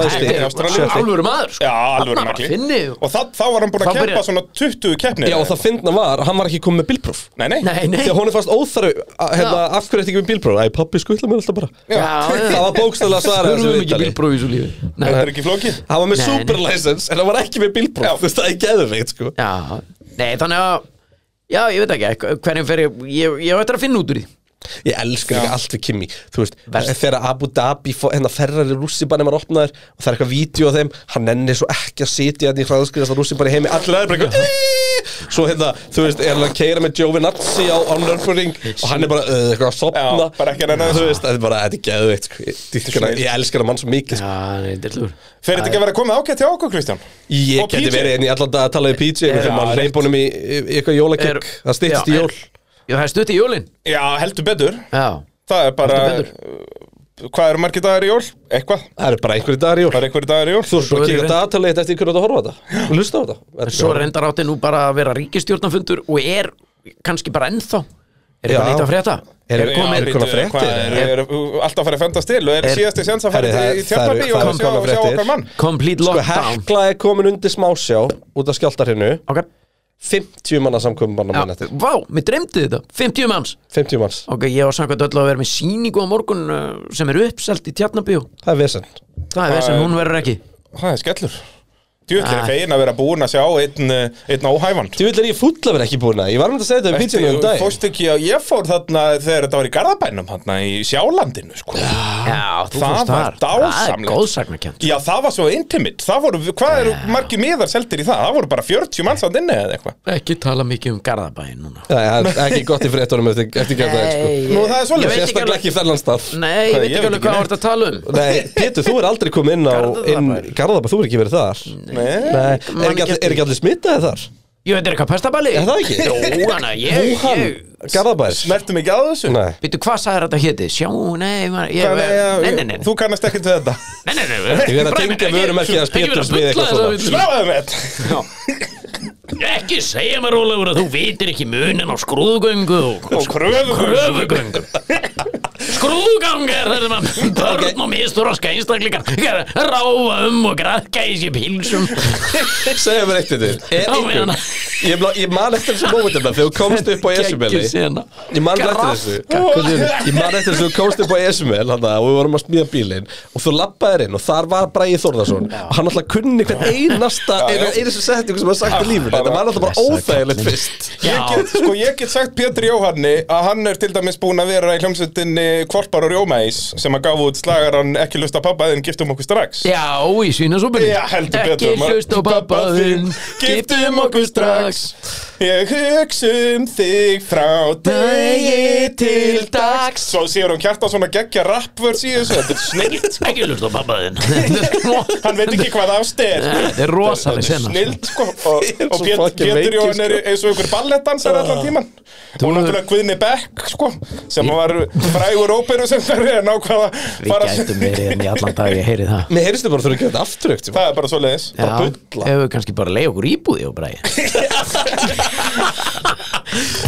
Speaker 2: Skoraði stig í Ástralíu.
Speaker 1: alvöru maður sko.
Speaker 2: Já, alveg
Speaker 1: Hann var bara finni og-
Speaker 2: Og það, þá var hann búin
Speaker 1: Þá
Speaker 2: að keppa
Speaker 1: byrjar-
Speaker 2: svona 20 keppnir
Speaker 3: Já og það fyndna var, að hann var ekki komið með bílpróf
Speaker 2: Nei, nei,
Speaker 1: Nei, nei
Speaker 3: Því að hún er fast óþarf hérna, Af hverju ertu ekki með bílpróf? Æ, pappi skutla mér alltaf bara
Speaker 1: Já, já.
Speaker 3: Það var bókstæðlega svarað
Speaker 1: Þurfum
Speaker 3: þessu
Speaker 1: ekki
Speaker 3: viðtali.
Speaker 1: bílpróf í svo lífi Nei.
Speaker 2: þetta er ekki flókið
Speaker 3: Hann var með
Speaker 1: Nei, nei.
Speaker 3: superlicense en hann var ekki með
Speaker 2: Já.
Speaker 3: bílpróf Þú veist það er geðveikt sko
Speaker 1: Já, nei, þannig að Já, ég veit ekki, hverjum fer ég Ég, ég á eftir að finna út úr því
Speaker 3: Ég elska líka allt við Kimi Þú veist, eh,
Speaker 1: Verst.
Speaker 3: þegar Abu Dhabi fó- hérna ferrar í rússibanni var opnaður og það er eitthvað vídeo af þeim, hann nennir svo ekki að sitja hérna þannig hraðskriðast að rússibanni heimi allir aðeins bara eitthvað Svo hérna, þú veist, er hann að keira með Giovinazzi á, á Nürburgring og hann er bara uh, eitthvað að sopna
Speaker 2: Já, bara ekki að nenna þessu.
Speaker 3: Þú veist, þetta er bara, þetta er geðveikt sko. Ég- ég elska- Ég elskar að mann svo mikið sko.
Speaker 1: Já, hann er dillur
Speaker 2: Fer þetta ekki að vera komið ágætt hjá okkur, Kristján?
Speaker 3: Ég
Speaker 2: Og
Speaker 3: geti
Speaker 2: PJ.
Speaker 3: verið enn í allan dag að tala við PJ
Speaker 1: Já,
Speaker 3: Við þurfum að
Speaker 2: rétt.
Speaker 3: reypa honum í, í, í eitthvað
Speaker 1: Er-
Speaker 3: jólakekk Það styttist í
Speaker 1: Já,
Speaker 3: jól
Speaker 1: er- Já, það er stutt í jólin
Speaker 2: Já, heldur betur
Speaker 1: Já,
Speaker 2: Það er bara
Speaker 1: Heldur
Speaker 2: uh, Hvað eru margir dagar í jól? Eitthvað
Speaker 3: Það er bara einhverju dagar í jól
Speaker 2: Það eru einhverjir dagar í jól
Speaker 3: Þú ert bara
Speaker 1: Svo
Speaker 3: að
Speaker 1: er
Speaker 3: kíka
Speaker 1: ég-
Speaker 3: datalegið eftir hvernig þú ert að horfa á þetta og hlusta á þetta Þetta er
Speaker 1: svo
Speaker 3: bara-
Speaker 1: reyndar átti nú bara að vera ríkistjórnafundur og er kannski bara ennþá Er
Speaker 3: Já.
Speaker 1: eitthvað neitt að frétta?
Speaker 3: Er-
Speaker 1: Er komið
Speaker 3: Já, einhverjar fréttir?
Speaker 2: Hvað er, er, er alltaf að fara að fendast til og er,
Speaker 1: Er-
Speaker 2: síðasti sens að fara
Speaker 3: Herri, það-
Speaker 2: til í Tjarnabí
Speaker 3: það
Speaker 2: og
Speaker 3: eru
Speaker 2: sjá,
Speaker 3: komnar
Speaker 2: sjá
Speaker 3: fréttir.
Speaker 2: okkar mann
Speaker 1: Complete
Speaker 3: Sko
Speaker 1: lockdown
Speaker 3: Hekla er komin undir smásjá út af skjáltarhinu
Speaker 1: Ok,
Speaker 3: 50 manna samkomum banna mann
Speaker 1: já,
Speaker 3: eftir
Speaker 1: vá, mér dreymdi þetta 50 manns
Speaker 3: 50 manns,
Speaker 1: Ok, ég var samkvæmt öll að vera með síningu á morgun uh, sem er uppselt í Tjarnabíu
Speaker 3: það er vesen
Speaker 1: Það er þess að hún verður ekki
Speaker 2: Það er skellur Djúvill
Speaker 1: Ah.
Speaker 2: er fegin að vera búin að sjá einn, eh, einn óhæfan
Speaker 3: Þú vil er ég fúll að vera ekki búin að Ég var með að segja þetta um pítsinu um dag
Speaker 2: Fórst ekki að ég fór þarna þegar þetta var í Garðabænum þarna í Sjálandinu sko.
Speaker 1: Já,
Speaker 2: það
Speaker 1: þú fórst
Speaker 2: var
Speaker 1: þar Það er
Speaker 2: dásamlegt.
Speaker 1: góðsagnakjönd
Speaker 2: Já, það var svo intimate Það voru, hvað eru margir miðar seldir í það? Það voru bara 40 manns að inni eða eitthvað
Speaker 1: Ekki tala mikið um Garðabæin núna
Speaker 3: Nei, það er ekki gott í fréttunum eftir, eftir gæmdæðin
Speaker 2: Nú, það er
Speaker 1: Ég
Speaker 2: svolítið
Speaker 1: veit ekki
Speaker 3: sko. Sérstaklega
Speaker 1: alveg-
Speaker 3: ekki þærlandstaf
Speaker 1: Nei, ég
Speaker 2: Hvað,
Speaker 1: veit
Speaker 2: ég veit
Speaker 1: ekki alveg
Speaker 2: ekki
Speaker 1: hvað
Speaker 2: neitt.
Speaker 1: varst að tala um
Speaker 3: Nei, Pétur, þú er aldrei komið inn á inn,
Speaker 1: Garðabær.
Speaker 3: Garðabæ, þú er ekki verið þar
Speaker 2: Nei.
Speaker 3: Nei, er ekki, allir- er ekki allir smitaði þar?
Speaker 1: Ég veit er eitthvað pestabali
Speaker 3: Er það ekki?
Speaker 1: Jó, hana, ég,
Speaker 3: Wuhan,
Speaker 1: ég
Speaker 3: Garðabær
Speaker 2: Snertum ekki að þessu
Speaker 3: Nei,
Speaker 1: Býtu, hvað sagði þetta héti? Sjá, nei, maður, ég,
Speaker 2: Hvað, eh,
Speaker 1: nei, nei, nei,
Speaker 2: Þú kannast ekkert við þetta
Speaker 1: nei, nei, nei,
Speaker 3: Ég er að tengja vörumerkið hans Péturs við eitthvað svona.
Speaker 2: Sláðum þetta
Speaker 1: Ekki segja mér, Ólafur, að þú vitir ekki munin á skrúðgöngu og
Speaker 2: Og kröfugöngu.
Speaker 1: kröfugöngu. Skrúðganga er þar sem að börn og misturarska einstaklingar ráfa um og græðka í sér pilsum
Speaker 3: segja mér eitt þetta Er
Speaker 1: á meðan
Speaker 3: einhver Ég, bla, ég man eftir þessu mómentum þegar þú komst upp á Esumeli
Speaker 1: sena
Speaker 3: Ég man eftir þessu Ég man eftir þessu þú komst upp á Esumel hana, og við vorum að smíða bílinn og þú lappaðir inn og þar var Bræði Þórðarsson og hann alltaf kunni hvern einasta einu einasta setningu sem hann sagt í lífinu þetta var alltaf bara óþægilegt fyrst
Speaker 2: Ég
Speaker 1: Já,
Speaker 2: get, sko, ég get sagt Pétur Jóhanni að hann er til dæmis búin að vera í hljómsveitinni Kvolpar og Rjómaís sem að gaf út slagaran ekki lusta pappaðin giftum okkur strax
Speaker 1: já, í svínasúpunni
Speaker 2: Já, heldur betur
Speaker 1: Ekki
Speaker 2: maður.
Speaker 1: hlust á pappa þinn Giftum okkur strax
Speaker 2: Ég hugsa um þig frá degi til dags Svo séur hún kjarta svona geggja rappvörs í þessu Þetta er snilt
Speaker 1: Ekki hlust á pappa þinn Þetta
Speaker 2: Hann veit ekki hvað ást er
Speaker 1: er
Speaker 2: Þetta
Speaker 1: rosaleg
Speaker 2: er
Speaker 1: sena
Speaker 2: snilt sko Og,
Speaker 3: Ég er
Speaker 2: og
Speaker 3: svo
Speaker 2: Pét,
Speaker 3: fucking
Speaker 2: Pétur
Speaker 3: veikur,
Speaker 2: Jóhann er
Speaker 3: sko.
Speaker 2: eins og ykkur
Speaker 1: Ah.
Speaker 2: ballettdansar allan tíman Og náttúrulega Guðni Beck sko Sem var frægur óperu sem þar er nákvæða
Speaker 1: Við gætum verið enn í allan dag, ég heyri það
Speaker 3: Mér heyrstu bara þú eru ekki þetta aftur ekkert
Speaker 2: Það er bara svo leiðis
Speaker 1: Já,
Speaker 3: Bara bulla.
Speaker 1: hefur við kannski bara leið okkur íbúði og bræði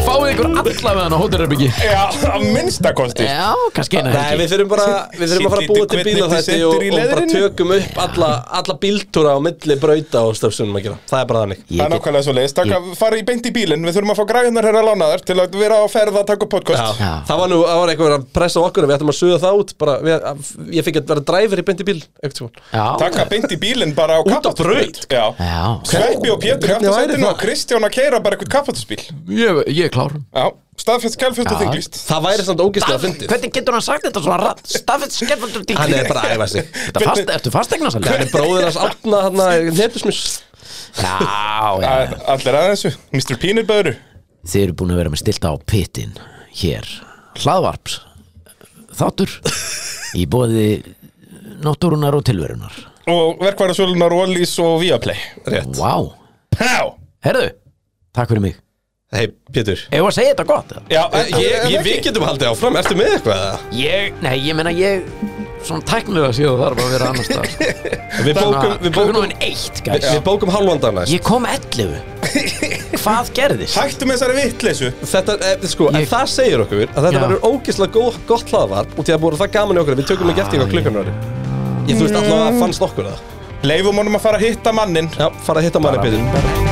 Speaker 1: Fáið ykkur allavega á hótelherbyggi
Speaker 2: Já, að minnstakosti
Speaker 1: Já, kannski eina
Speaker 3: Nei,
Speaker 1: helgi
Speaker 3: við þurfum bara, við þurfum að fara að búa til bíla þetta og, og bara tökum upp alla, alla bíltúra á milli brauta og stöfsunum að gera Það er bara þannig
Speaker 2: Það er
Speaker 1: Ég get-
Speaker 2: nákvæmlega svo leiðist, taka, fara í beint í bílinn, við þurfum að fá græðunar hérna lánaðar til að vera á ferð að taka upp podcast.
Speaker 3: Já. Það var nú, það var eitthvað að pressa á okkur við ættum að suða það út bara, við, að- ég fikk að vera driver í bendi bíl eitthvað.
Speaker 1: Já,
Speaker 2: Taka beint í bílinn bara á kappatusbíl. Já.
Speaker 1: já
Speaker 2: Sveppi og Pétur í
Speaker 3: Hvernig væri
Speaker 2: aftasætinu
Speaker 3: það?
Speaker 2: og Kristján að keira bara eitthvað kappatusbíl.
Speaker 1: Ég, ég er klár
Speaker 2: Já, staðfest, kælfest og
Speaker 1: Já.
Speaker 2: þinglist.
Speaker 3: Það væri samt ógislega að fyndið
Speaker 1: Hvernig getur hann sagt þetta svona rætt? Staffið skefaldur dýr
Speaker 3: Hann er bara að æfa sig
Speaker 1: Þetta fast, ertu fastegna svolítið?
Speaker 3: Hann er bróðir hans átna hann nefnismus
Speaker 1: Já, já, já
Speaker 2: Allir aðeins, Mr. Peanut Böðru.
Speaker 1: Þið eru búin að vera með stilta á pittin hér Hlaðvarps Þáttur Í bóði náttúrunar og tilverunar
Speaker 2: Og verkvarðarsölunar Wallys og Viaplay.
Speaker 1: Vá,
Speaker 3: Rétt
Speaker 2: Pá!
Speaker 1: herðu, takk fyrir mig
Speaker 3: Hei, Pétur
Speaker 1: Ef að segja þetta gott eða?
Speaker 2: Já,
Speaker 3: Ég, ég, við getum haldið áfram, ertu með eitthvað? eða?
Speaker 1: Ég, nei, ég meina ég Svona tæknilega séu það þarf að vera annars staðar.
Speaker 3: Við bókum,
Speaker 1: Svona,
Speaker 3: við
Speaker 1: Klukkan
Speaker 3: bókum,
Speaker 1: orðin eitt,
Speaker 3: við,
Speaker 1: gæs
Speaker 3: við bókum hálfandar næst
Speaker 1: Ég kom 11 Hvað gerðist?
Speaker 2: Hættum þessari vittleysu.
Speaker 3: Þetta, eh, sko, en
Speaker 1: Ég-
Speaker 3: það segir okkur að þetta
Speaker 1: Já.
Speaker 3: verður ógeðslega góð, gott hlaðvarp og því að búið það gaman í okkur að við tökum ekki eftir eitthvað klukkan verður Ég þú veist allavega fannst okkur það
Speaker 2: Leifum honum að fara að hitta mannin.
Speaker 3: Já, fara að hitta manni Pétur